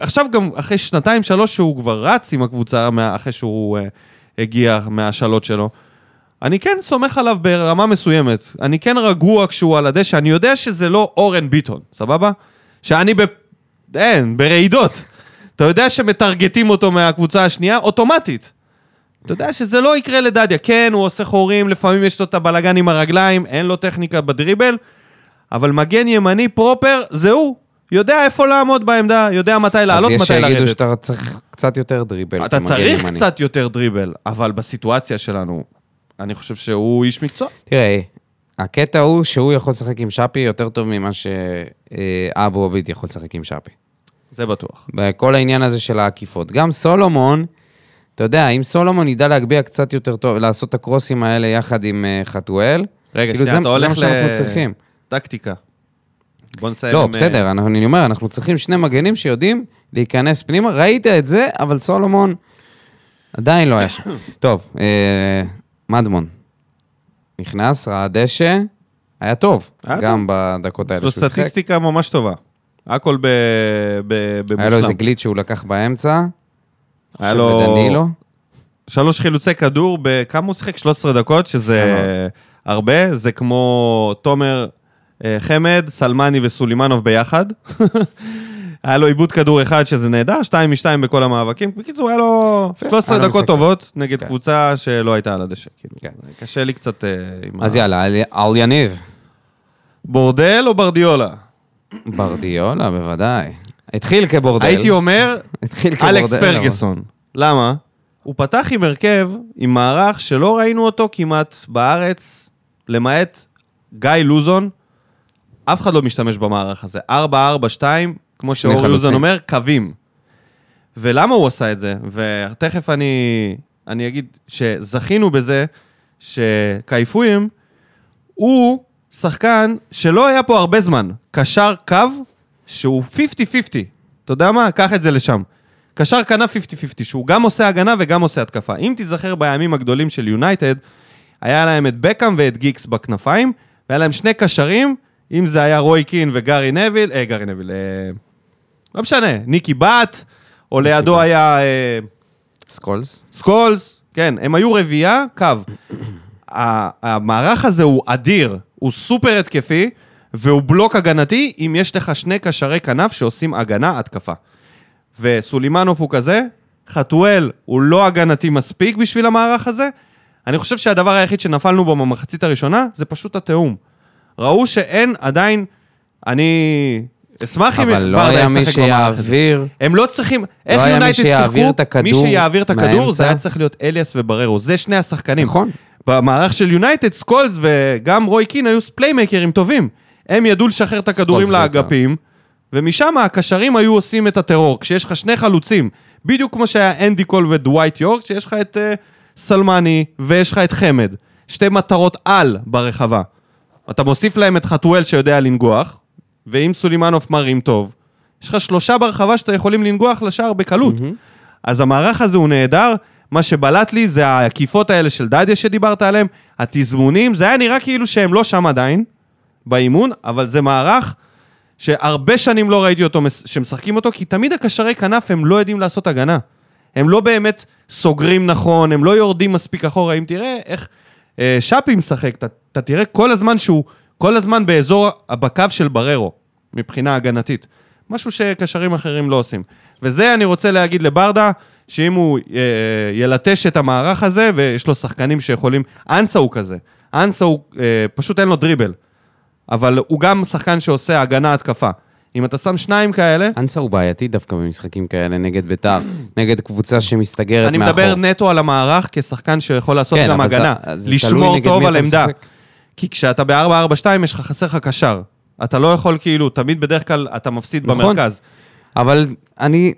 [SPEAKER 1] עכשיו גם אחרי שנתיים, שלוש, שהוא כבר רץ עם הקבוצה, מה- אחרי שהוא אה, הגיע מהשאלות שלו, אני כן סומך עליו ברמה מסוימת. אני כן רגוע כשהוא על הדשא. אני יודע שזה לא אורן ביטון, סבבה? שאני ב... אין, ברעידות. אתה יודע שמטרגטים אותו מהקבוצה השנייה אוטומטית. אתה יודע שזה לא יקרה לדדיה. כן, הוא עושה חורים, לפעמים יש לו את הבלגן עם הרגליים, אין לו טכניקה בדריבל, אבל מגן ימני פרופר, זה הוא. יודע איפה לעמוד בעמדה, יודע מתי לעלות,
[SPEAKER 2] אז יש
[SPEAKER 1] מתי
[SPEAKER 2] שיגידו
[SPEAKER 1] לרדת.
[SPEAKER 2] שאתה צריך קצת יותר דריבל.
[SPEAKER 1] אתה
[SPEAKER 2] כמגן
[SPEAKER 1] צריך
[SPEAKER 2] ימני.
[SPEAKER 1] קצת יותר דריבל, אבל בסיטואציה שלנו, אני חושב שהוא איש מקצוע.
[SPEAKER 2] תראה, הקטע הוא שהוא יכול לשחק עם שפי יותר טוב ממה שאבו עביד יכול לשחק עם שפי.
[SPEAKER 1] זה בטוח.
[SPEAKER 2] בכל העניין הזה של העקיפות. גם סולומון, אתה יודע, אם סולומון ידע להגביה קצת יותר טוב, לעשות את הקרוסים האלה יחד עם אה, חתואל,
[SPEAKER 1] רגע,
[SPEAKER 2] כאילו,
[SPEAKER 1] שנייה,
[SPEAKER 2] זה-
[SPEAKER 1] אתה הולך ל...
[SPEAKER 2] זה מה שאנחנו צריכים.
[SPEAKER 1] טקטיקה. בוא נסיים אה,
[SPEAKER 2] לא,
[SPEAKER 1] עם,
[SPEAKER 2] בסדר, אנחנו- אני אומר, אנחנו צריכים שני מגנים שיודעים להיכנס פנימה. ראית את זה, אבל סולומון עדיין לא היה שם. טוב, אה, מדמון. נכנס, ראה דשא, היה טוב,
[SPEAKER 1] היה
[SPEAKER 2] גם בדקות
[SPEAKER 1] אה, יש
[SPEAKER 2] האלה
[SPEAKER 1] לו
[SPEAKER 2] שהוא שיחק.
[SPEAKER 1] סטטיסטיקה ממש טובה. הכל ב- ב- במושלם.
[SPEAKER 2] היה לו איזה גליץ' שהוא לקח באמצע.
[SPEAKER 1] היה
[SPEAKER 2] של
[SPEAKER 1] לו
[SPEAKER 2] דנילו.
[SPEAKER 1] שלוש חילוצי כדור בכמה הוא שיחק? 13 דקות, שזה
[SPEAKER 2] יפה כן, מאוד.
[SPEAKER 1] הרבה. זה כמו תומר אה, חמד, סלמני וסולימנוב ביחד. היה לו עיבוד כדור אחד, שזה נהדר, שתיים משתיים בכל המאבקים. בקיצור, היה לו
[SPEAKER 2] יפה,
[SPEAKER 1] 13
[SPEAKER 2] היה לו
[SPEAKER 1] דקות
[SPEAKER 2] משחק.
[SPEAKER 1] טובות נגד
[SPEAKER 2] כן.
[SPEAKER 1] קבוצה שלא הייתה על הדשא. כאילו,
[SPEAKER 2] כן.
[SPEAKER 1] קשה לי קצת אה, עם
[SPEAKER 2] אז
[SPEAKER 1] ה-
[SPEAKER 2] יאללה, על- על יניב.
[SPEAKER 1] בורדל או ברדיולה?
[SPEAKER 2] ברדיולה, בוודאי. התחיל כבורדל.
[SPEAKER 1] הייתי אומר,
[SPEAKER 2] התחיל כבורדל. לא,
[SPEAKER 1] אלכס
[SPEAKER 2] אבל-
[SPEAKER 1] פרגוסון. למה? הוא פתח עם הרכב, עם מערך שלא ראינו אותו כמעט בארץ, למעט גיא לוזון. אף אחד לא משתמש במערך הזה. 4-4-2, כמו שאור
[SPEAKER 2] חלוצים.
[SPEAKER 1] לוזון אומר, קווים. ולמה הוא עשה את זה? ותכף אני, אני אגיד שזכינו בזה שקייפויים, הוא שחקן שלא היה פה הרבה זמן. קשר קו שהוא 50-50. אתה יודע מה? קח את זה לשם. קשר כנף 50-50, שהוא גם עושה הגנה וגם עושה התקפה. אם תיזכר בימים הגדולים של יונייטד, היה להם את בקאם ואת גיקס בכנפיים, והיה להם שני קשרים, אם זה היה רוי קין וגארי נביל, אה, גארי נביל, אה, לא משנה, ניקי בת, או לידו
[SPEAKER 2] בת.
[SPEAKER 1] היה... אה,
[SPEAKER 2] סקולס.
[SPEAKER 1] סקולס, כן, הם היו רביעייה, קו. ה- המערך הזה הוא אדיר, הוא סופר התקפי, והוא בלוק הגנתי אם יש לך שני קשרי כנף שעושים הגנה-התקפה. וסולימנוב הוא כזה, חתואל הוא לא הגנתי מספיק בשביל המערך הזה. אני חושב שהדבר היחיד שנפלנו בו במחצית הראשונה זה פשוט התיאום. ראו שאין עדיין, אני אשמח אם
[SPEAKER 2] אבל לא
[SPEAKER 1] ברדה
[SPEAKER 2] היה מי
[SPEAKER 1] ישחק במערך הזה.
[SPEAKER 2] שיעביר.
[SPEAKER 1] הם לא צריכים, איך
[SPEAKER 2] כן. היה מי
[SPEAKER 1] יונייטד
[SPEAKER 2] שיעביר
[SPEAKER 1] שיחקו,
[SPEAKER 2] את הכדור
[SPEAKER 1] מי שיעביר את הכדור
[SPEAKER 2] מהאמצע.
[SPEAKER 1] זה היה צריך להיות אליאס ובררו, זה שני השחקנים.
[SPEAKER 2] נכון.
[SPEAKER 1] במערך של יונייטד, סקולס וגם רוי קין היו פליימקרים טובים. הם ידעו לשחרר את הכדורים
[SPEAKER 2] בעיקר.
[SPEAKER 1] לאגפים, ומשם הקשרים היו עושים את הטרור, כשיש לך שני חלוצים, בדיוק כמו שהיה אנדי קול ודווייט יורק, שיש לך את אה, סלמני ויש לך את חמד. שתי מטרות על ברחבה. אתה מוסיף להם את חתואל שיודע לנגוח, ואם סולימנוב מרים טוב, יש לך שלושה ברחבה שאתה יכולים לנגוח לשער בקלות. אז המערך הזה הוא נהדר, מה שבלט לי זה העקיפות האלה של דדיה שדיברת עליהם, התזמונים, זה היה נראה כאילו שהם לא שם עדיין, באימון, אבל זה מערך שהרבה שנים לא ראיתי אותו מס- שמשחקים אותו, כי תמיד הקשרי כנף הם לא יודעים לעשות הגנה. הם לא באמת סוגרים נכון, הם לא יורדים מספיק אחורה. אם תראה איך אה, שפי משחק, אתה- אתה תראה כל הזמן שהוא, כל הזמן באזור הבקו של בררו, מבחינה הגנתית. משהו שקשרים אחרים לא עושים. וזה אני רוצה להגיד לברדה, שאם הוא אה, ילטש את המערך הזה, ויש לו שחקנים שיכולים... אנסה הוא כזה. אנסה הוא, אה, פשוט אין לו דריבל. אבל הוא גם שחקן שעושה הגנה-התקפה. אם אתה שם שניים כאלה,
[SPEAKER 2] אנסה הוא בעייתי דווקא במשחקים כאלה נגד ביתר, נגד קבוצה שמסתגרת
[SPEAKER 1] אני
[SPEAKER 2] מאחור.
[SPEAKER 1] מדבר נטו על המערך כשחקן שיכול לעשות
[SPEAKER 2] כן,
[SPEAKER 1] גם
[SPEAKER 2] אבל זה-
[SPEAKER 1] הגנה.
[SPEAKER 2] זה תלוי
[SPEAKER 1] לשמור
[SPEAKER 2] נגד
[SPEAKER 1] טוב
[SPEAKER 2] מי
[SPEAKER 1] על
[SPEAKER 2] אתה
[SPEAKER 1] עמדה.
[SPEAKER 2] משחק.
[SPEAKER 1] כי כשאתה ב-4-4-2, יש לך חסר לך קשר. אתה לא יכול כאילו, תמיד בדרך כלל אתה מפסיד
[SPEAKER 2] נכון.
[SPEAKER 1] במרכז.
[SPEAKER 2] אבל אני,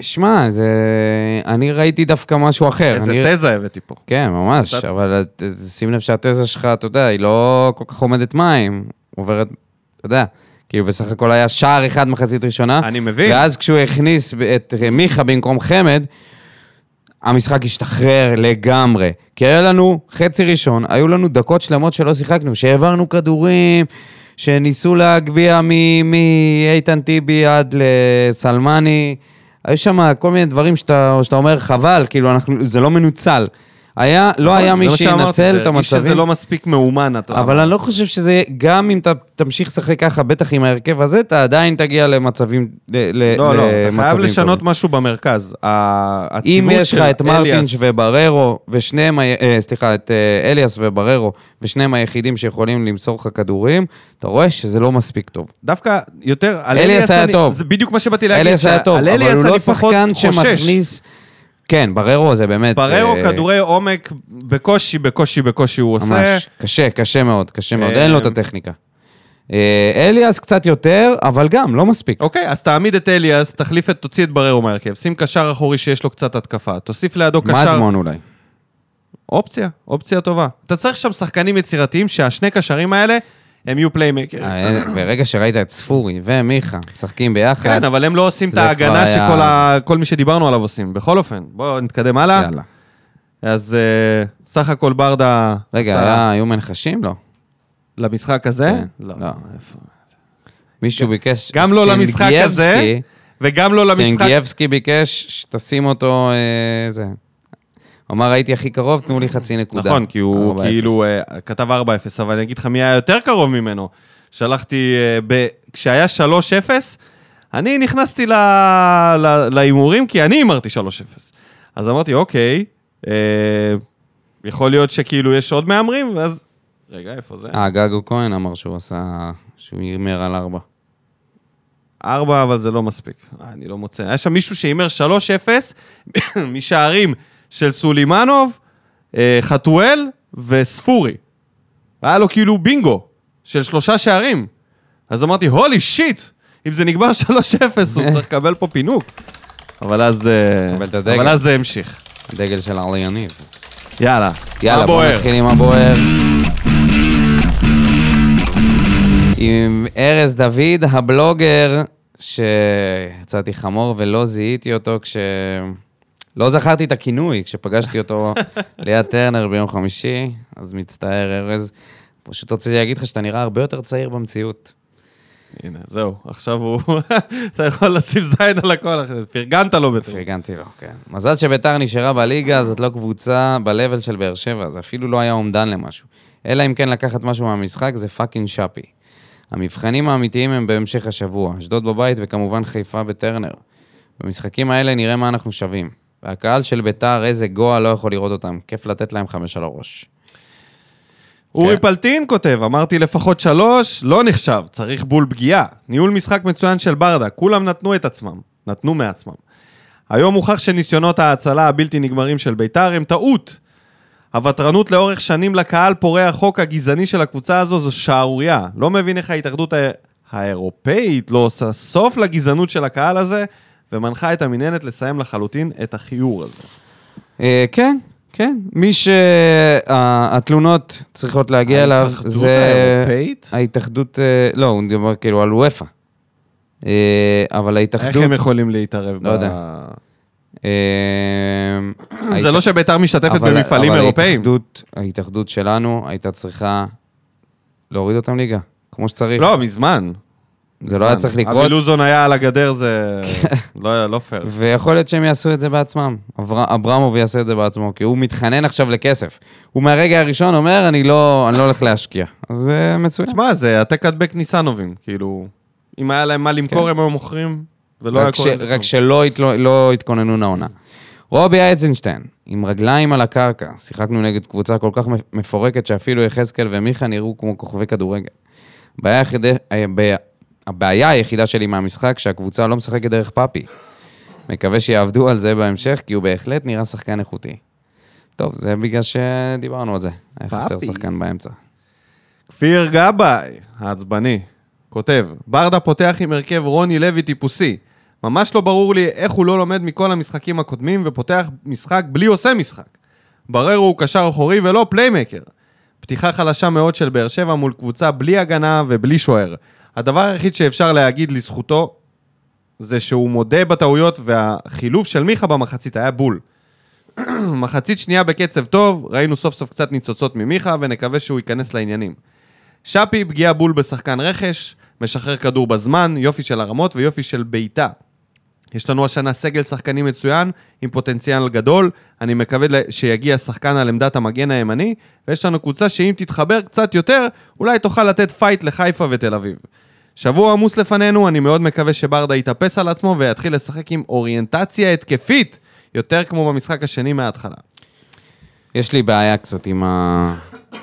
[SPEAKER 2] שמע, זה... אני ראיתי דווקא משהו אחר.
[SPEAKER 1] איזה
[SPEAKER 2] כן, אני...
[SPEAKER 1] תזה הבאתי פה.
[SPEAKER 2] כן, ממש,
[SPEAKER 1] פצצת.
[SPEAKER 2] אבל את- שים לב שהתזה שלך, אתה יודע, היא לא כל כך עומדת מים, עוברת, אתה יודע, כאילו בסך הכל היה שער אחד מחצית ראשונה.
[SPEAKER 1] אני מבין.
[SPEAKER 2] אה, ואז כשהוא הכניס את מיכה במקום חמד, המשחק השתחרר לגמרי. כי היה לנו חצי ראשון, היו לנו דקות שלמות שלא שיחקנו, שהעברנו כדורים, שניסו להגביה מ- מאיתן טיבי עד לסלמני. היו שם כל מיני דברים שאתה, שאתה אומר, חבל, כאילו, אנחנו, זה לא מנוצל. היה, לא היה מי
[SPEAKER 1] נכון, זה מה שאמרתי,
[SPEAKER 2] שינצל
[SPEAKER 1] זה
[SPEAKER 2] את המצבים.
[SPEAKER 1] איש שזה לא מספיק מאומן, אתה
[SPEAKER 2] אבל אני לא חושב שזה, גם אם אתה תמשיך לשחק ככה, בטח עם ההרכב הזה, אתה עדיין תגיע למצבים ל-
[SPEAKER 1] לא, לא, אתה חייב
[SPEAKER 2] למצבים
[SPEAKER 1] לשנות
[SPEAKER 2] טובים.
[SPEAKER 1] משהו במרכז. ה-
[SPEAKER 2] אם
[SPEAKER 1] הציוות
[SPEAKER 2] יש לך
[SPEAKER 1] של
[SPEAKER 2] את מרטינש
[SPEAKER 1] אליאס-
[SPEAKER 2] ובררו, ושניהם, ה- אה, סליחה, את אה, אליאס ובררו, ושניהם היחידים שיכולים למסור לך כדורים, אתה רואה שזה לא מספיק טוב.
[SPEAKER 1] דווקא יותר, על
[SPEAKER 2] אליאס היה
[SPEAKER 1] אני-
[SPEAKER 2] טוב.
[SPEAKER 1] זה בדיוק מה שבאתי להגיד.
[SPEAKER 2] אליאס היה
[SPEAKER 1] שה-
[SPEAKER 2] טוב,
[SPEAKER 1] על
[SPEAKER 2] אבל
[SPEAKER 1] אליאס
[SPEAKER 2] הוא
[SPEAKER 1] אני
[SPEAKER 2] לא
[SPEAKER 1] פחות
[SPEAKER 2] שחקן
[SPEAKER 1] חושש.
[SPEAKER 2] שמכניס... כן, בררו זה באמת...
[SPEAKER 1] בררו
[SPEAKER 2] אה,
[SPEAKER 1] כדורי עומק, בקושי, בקושי, בקושי הוא עושה.
[SPEAKER 2] ממש, קשה, קשה מאוד, קשה מאוד,
[SPEAKER 1] אה,
[SPEAKER 2] אין לו את הטכניקה. אה, אליאס קצת יותר, אבל גם, לא מספיק.
[SPEAKER 1] אוקיי, אז תעמיד את אליאס, תחליף את, תוציא את בררו מהרכב, שים קשר אחורי שיש לו קצת התקפה, תוסיף לידו אוקיי, קשר...
[SPEAKER 2] מדמון אולי.
[SPEAKER 1] אופציה, אופציה טובה. אתה צריך שם שחקנים יצירתיים שהשני קשרים האלה, הם יהיו פליימקרים.
[SPEAKER 2] אה, ברגע שראית את ספורי ומיכה משחקים ביחד,
[SPEAKER 1] כן, אבל הם לא עושים את
[SPEAKER 2] זה כבר
[SPEAKER 1] ההגנה
[SPEAKER 2] היה-
[SPEAKER 1] שכל ה... כל מי שדיברנו עליו עושים. בכל אופן, בואו נתקדם הלאה.
[SPEAKER 2] יאללה.
[SPEAKER 1] אז אה, סך הכל ברדה...
[SPEAKER 2] רגע,
[SPEAKER 1] עשה
[SPEAKER 2] היה- היו מנחשים? לא.
[SPEAKER 1] למשחק הזה?
[SPEAKER 2] כן, לא.
[SPEAKER 1] איפה?
[SPEAKER 2] מישהו ביקש...
[SPEAKER 1] גם לא למשחק הזה,
[SPEAKER 2] סינגייבסקי-
[SPEAKER 1] וגם לא למשחק...
[SPEAKER 2] סינגייבסקי ביקש שתשים אותו, אה, זה. הוא אמר, הייתי הכי קרוב, תנו לי חצי נקודה.
[SPEAKER 1] נכון, כי הוא
[SPEAKER 2] 4-0.
[SPEAKER 1] כאילו אה, כתב 4-0, אבל אני אגיד לך מי היה יותר קרוב ממנו. שלחתי, אה, ב- כשהיה 3-0, אני נכנסתי ל- ל- להימורים, כי אני הימרתי 3-0. אז אמרתי, אוקיי, אה, יכול להיות שכאילו יש עוד מהמרים, ואז... רגע, איפה זה?
[SPEAKER 2] אה, גגו כהן אמר שהוא עשה... שהוא הימר על ארבע.
[SPEAKER 1] ארבע, אבל זה לא מספיק. אה, אני לא מוצא. היה שם מישהו שהימר 3-0 משערים של סולימנוב, אה, חתואל וספורי. היה לו כאילו בינגו של שלושה שערים. אז אמרתי, הולי שיט, אם זה נגמר 3-0, הוא צריך לקבל פה פינוק. אבל אז... אה,
[SPEAKER 2] אבל את הדגל.
[SPEAKER 1] אבל אז זה המשיך.
[SPEAKER 2] הדגל של ארלי יניב.
[SPEAKER 1] יאללה.
[SPEAKER 2] יאללה,
[SPEAKER 1] מה
[SPEAKER 2] בואו
[SPEAKER 1] בוער?
[SPEAKER 2] נתחיל עם הבוער. עם ארז דוד, הבלוגר, שיצאתי חמור ולא זיהיתי אותו כש... לא זכרתי את הכינוי, כשפגשתי אותו ליד טרנר ביום חמישי, אז מצטער, ארז. פשוט רציתי להגיד לך שאתה נראה הרבה יותר צעיר במציאות.
[SPEAKER 1] הנה, זהו, עכשיו הוא... אתה יכול לשים זין על הכל, אחי, פרגנת לו בטח.
[SPEAKER 2] פרגנתי לו, כן. מזל שביתר נשארה בליגה, זאת לא קבוצה בלבל של באר שבע, זה אפילו לא היה אומדן למשהו. אלא אם כן לקחת משהו מהמשחק, זה פאקינג שפי. המבחנים האמיתיים הם בהמשך השבוע, אשדוד בבית וכמובן חיפה בטרנר. במשחקים האלה נראה מה אנחנו שווים. והקהל של ביתר, איזה גואה לא יכול לראות אותם. כיף לתת להם חמש על הראש.
[SPEAKER 1] אורי
[SPEAKER 2] כן.
[SPEAKER 1] פלטין כותב, אמרתי לפחות שלוש, לא נחשב, צריך בול פגיעה. ניהול משחק מצוין של ברדה, כולם נתנו את עצמם, נתנו מעצמם. היום הוכח שניסיונות ההצלה הבלתי נגמרים של ביתר הם טעות. הוותרנות לאורך שנים לקהל פורע החוק הגזעני של הקבוצה הזו זו שערורייה. לא מבין איך ההתאחדות הא- האירופאית לא עושה סוף לגזענות של הקהל הזה, ומנחה את המינהלת לסיים לחלוטין את החיור הזה.
[SPEAKER 2] אה, כן, כן. מי שהתלונות צריכות להגיע אליו
[SPEAKER 1] ההתאחדות
[SPEAKER 2] זה...
[SPEAKER 1] האירופאית?
[SPEAKER 2] ההתאחדות, אה, לא, הוא מדבר כאילו על וופא. אה, אבל
[SPEAKER 1] איך
[SPEAKER 2] ההתאחדות...
[SPEAKER 1] הם יכולים להתערב
[SPEAKER 2] לא יודע. אה,
[SPEAKER 1] זה לא
[SPEAKER 2] ההתאח-
[SPEAKER 1] שביתר משתתפת
[SPEAKER 2] אבל-
[SPEAKER 1] במפעלים
[SPEAKER 2] אבל
[SPEAKER 1] אירופאיים.
[SPEAKER 2] ההתאחדות- ההתאחדות שלנו הייתה צריכה להוריד אותם ליגה, כמו שצריך.
[SPEAKER 1] לא, מזמן.
[SPEAKER 2] זה לא היה צריך לקרות. כן.
[SPEAKER 1] אבי לוזון היה על הגדר, זה לא לא פייר.
[SPEAKER 2] ויכול להיות שהם יעשו את זה בעצמם. אבר... אברמוב יעשה את זה בעצמו, כי הוא מתחנן עכשיו לכסף. הוא מהרגע הראשון אומר, אני לא, אני לא הולך להשקיע. אז זה מצוין.
[SPEAKER 1] שמע, זה העתק הדבק ניסנובים, כאילו, אם היה להם מה למכור, הם היו מוכרים, ולא לא היה
[SPEAKER 2] כן. רק, ש...
[SPEAKER 1] קורה לזה
[SPEAKER 2] רק
[SPEAKER 1] כלום.
[SPEAKER 2] שלא הת... לא, לא התכוננו לעונה. רובי אייזנשטיין, עם רגליים על הקרקע, שיחקנו נגד קבוצה כל כך מפורקת שאפילו יחזקאל ומיכה נראו כמו כוכבי כדורגל. הבעיה, היחיד... הבעיה היחידה שלי מהמשחק שהקבוצה לא משחקת דרך פאפי. מקווה שיעבדו על זה בהמשך, כי הוא בהחלט נראה שחקן איכותי. טוב, זה בגלל שדיברנו על זה. היה חסר
[SPEAKER 1] פאפי.
[SPEAKER 2] שחקן באמצע.
[SPEAKER 1] כפיר גבאי, העצבני, כותב, ברדה פותח עם הרכב רוני לוי טיפוסי. ממש לא ברור לי איך הוא לא לומד מכל המשחקים הקודמים ופותח משחק בלי עושה משחק. ברר הוא קשר אחורי ולא פליימקר. פתיחה חלשה מאוד של באר שבע מול קבוצה בלי הגנה ובלי שוער. הדבר היחיד שאפשר להגיד לזכותו זה שהוא מודה בטעויות והחילוף של מיכה במחצית היה בול. מחצית שנייה בקצב טוב, ראינו סוף סוף קצת ניצוצות ממיכה ונקווה שהוא ייכנס לעניינים. שפי, פגיעה בול בשחקן רכש, משחרר כדור בזמן, יופי של הרמות ויופי של בעיטה. יש לנו השנה סגל שחקנים מצוין, עם פוטנציאל גדול, אני מקווה ל- שיגיע שחקן על עמדת המגן הימני, ויש לנו קבוצה שאם תתחבר קצת יותר, אולי תוכל לתת פייט לחיפה ותל אביב. שבוע עמוס לפנינו, אני מאוד מקווה שברדה יתאפס על עצמו ויתחיל לשחק עם אוריינטציה התקפית, יותר כמו במשחק השני מההתחלה.
[SPEAKER 2] יש לי בעיה קצת עם, ה...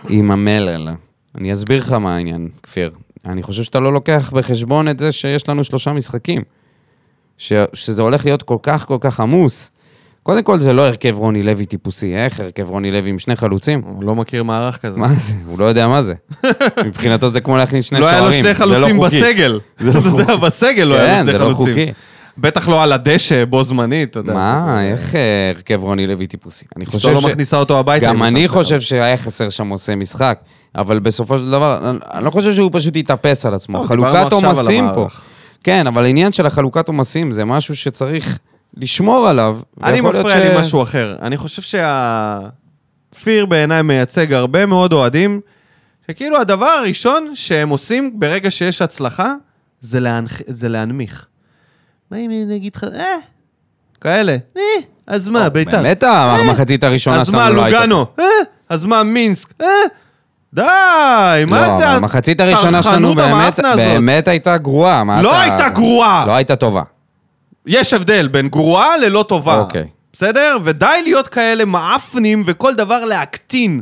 [SPEAKER 2] עם המלל. אני אסביר לך מה העניין, כפיר. אני חושב שאתה לא לוקח בחשבון את זה שיש לנו שלושה משחקים. ש... שזה הולך להיות כל כך כל כך עמוס. קודם כל, זה לא הרכב רוני לוי טיפוסי. איך הרכב רוני לוי עם שני חלוצים?
[SPEAKER 1] הוא לא מכיר מערך כזה.
[SPEAKER 2] מה זה? הוא לא יודע מה זה. מבחינתו זה כמו להכניס שני
[SPEAKER 1] לא
[SPEAKER 2] שוערים.
[SPEAKER 1] היה לו שני
[SPEAKER 2] זה
[SPEAKER 1] חלוצים
[SPEAKER 2] חוקי.
[SPEAKER 1] בסגל.
[SPEAKER 2] זה לא
[SPEAKER 1] אתה יודע,
[SPEAKER 2] חוקי.
[SPEAKER 1] בסגל לא היה לו
[SPEAKER 2] כן,
[SPEAKER 1] שני
[SPEAKER 2] זה לא
[SPEAKER 1] חלוצים.
[SPEAKER 2] חוקי.
[SPEAKER 1] בטח לא על הדשא, בו זמנית, אתה יודע.
[SPEAKER 2] מה, איך אה, הרכב רוני לוי טיפוסי? אני חושב
[SPEAKER 1] אשתו לא מכניסה אותו הביתה.
[SPEAKER 2] גם
[SPEAKER 1] אם
[SPEAKER 2] אני
[SPEAKER 1] שמת לב.
[SPEAKER 2] חושב שהיה חסר שם עושה משחק, אבל בסופו של דבר, אני- אני לא חושב שהוא פשוט התאפס על עצמו.
[SPEAKER 1] לא,
[SPEAKER 2] חלוקת
[SPEAKER 1] דיברנו עכשיו על
[SPEAKER 2] עומסים פה.
[SPEAKER 1] המערך.
[SPEAKER 2] כן, אבל העניין של החלוקת עומסים זה משהו שצריך לשמור עליו.
[SPEAKER 1] אני
[SPEAKER 2] ויכול להיות
[SPEAKER 1] מפריע לי
[SPEAKER 2] ש-
[SPEAKER 1] משהו אחר. אני חושב שה... כפיר בעיניי מייצג הרבה מאוד אוהדים, שכאילו הדבר הראשון שהם עושים ברגע שיש הצלחה, זה, להנח... זה להנמיך. מה אם אני אגיד לך, אה, כאלה, אה, אז מה, בית"ר.
[SPEAKER 2] באמת אה, המחצית הראשונה
[SPEAKER 1] אה, אז מה,
[SPEAKER 2] שלנו לא הייתה...
[SPEAKER 1] לוגאנו? אה? אז מה, מינסק? אה? די, מה
[SPEAKER 2] לא,
[SPEAKER 1] זה?
[SPEAKER 2] אבל המחצית הראשונה שלנו
[SPEAKER 1] הטרחנות
[SPEAKER 2] באמת,
[SPEAKER 1] המאפנה הזאת?
[SPEAKER 2] באמת הייתה גרועה. מה
[SPEAKER 1] לא
[SPEAKER 2] אתה-
[SPEAKER 1] הייתה גרועה!
[SPEAKER 2] לא הייתה טובה.
[SPEAKER 1] יש הבדל בין גרועה ללא טובה.
[SPEAKER 2] אוקיי.
[SPEAKER 1] בסדר? ודי להיות כאלה מעפנים וכל דבר להקטין.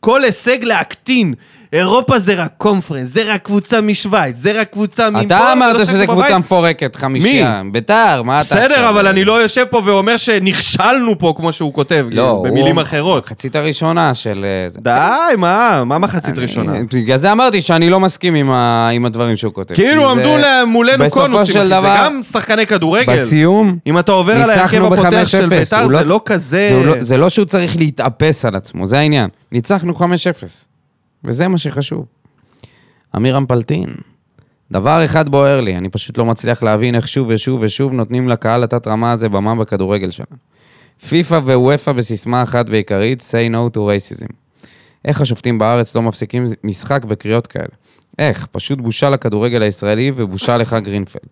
[SPEAKER 1] כל הישג להקטין. אירופה זה רק קונפרנס, זה רק קבוצה משוויץ, זה רק קבוצה מפה.
[SPEAKER 2] אתה
[SPEAKER 1] ולא
[SPEAKER 2] אמרת
[SPEAKER 1] שיחקו
[SPEAKER 2] שזה קבוצה
[SPEAKER 1] בבית.
[SPEAKER 2] מפורקת, חמישייה. ביתר, מה אתה...
[SPEAKER 1] בסדר,
[SPEAKER 2] עכשיו-
[SPEAKER 1] אבל אני לא יושב פה ואומר שנכשלנו פה, כמו שהוא כותב,
[SPEAKER 2] לא,
[SPEAKER 1] במילים
[SPEAKER 2] הוא-
[SPEAKER 1] אחרות.
[SPEAKER 2] המחצית הראשונה של... אה, זה.
[SPEAKER 1] די, מה? מה מחצית ראשונה?
[SPEAKER 2] בגלל זה אמרתי שאני לא מסכים עם, ה... עם הדברים שהוא כותב.
[SPEAKER 1] כאילו
[SPEAKER 2] כי זה-
[SPEAKER 1] עמדו להם- מולנו
[SPEAKER 2] בסופו
[SPEAKER 1] קונוסים,
[SPEAKER 2] של
[SPEAKER 1] אחי, זה
[SPEAKER 2] דבר-
[SPEAKER 1] גם שחקני כדורגל.
[SPEAKER 2] בסיום,
[SPEAKER 1] אם אתה עובר על ההרכב
[SPEAKER 2] ניצחנו
[SPEAKER 1] הפותח
[SPEAKER 2] ב-5-0.
[SPEAKER 1] של ביתר,
[SPEAKER 2] הוא
[SPEAKER 1] זה לא כזה...
[SPEAKER 2] זה, לא, זה לא שהוא צריך להתאפס על עצמו, זה העניין. ניצחנו 5-0, וזה מה שחשוב. אמירם פלטין, דבר אחד בוער לי, אני פשוט לא מצליח להבין איך שוב ושוב ושוב נותנים לקהל התת-רמה הזה במה בכדורגל שלנו. פיפ"א וופ"א בסיסמה אחת ועיקרית, say no to racism. איך השופטים בארץ לא מפסיקים משחק בקריאות כאלה? איך? פשוט בושה לכדורגל הישראלי ובושה לך גרינפלד.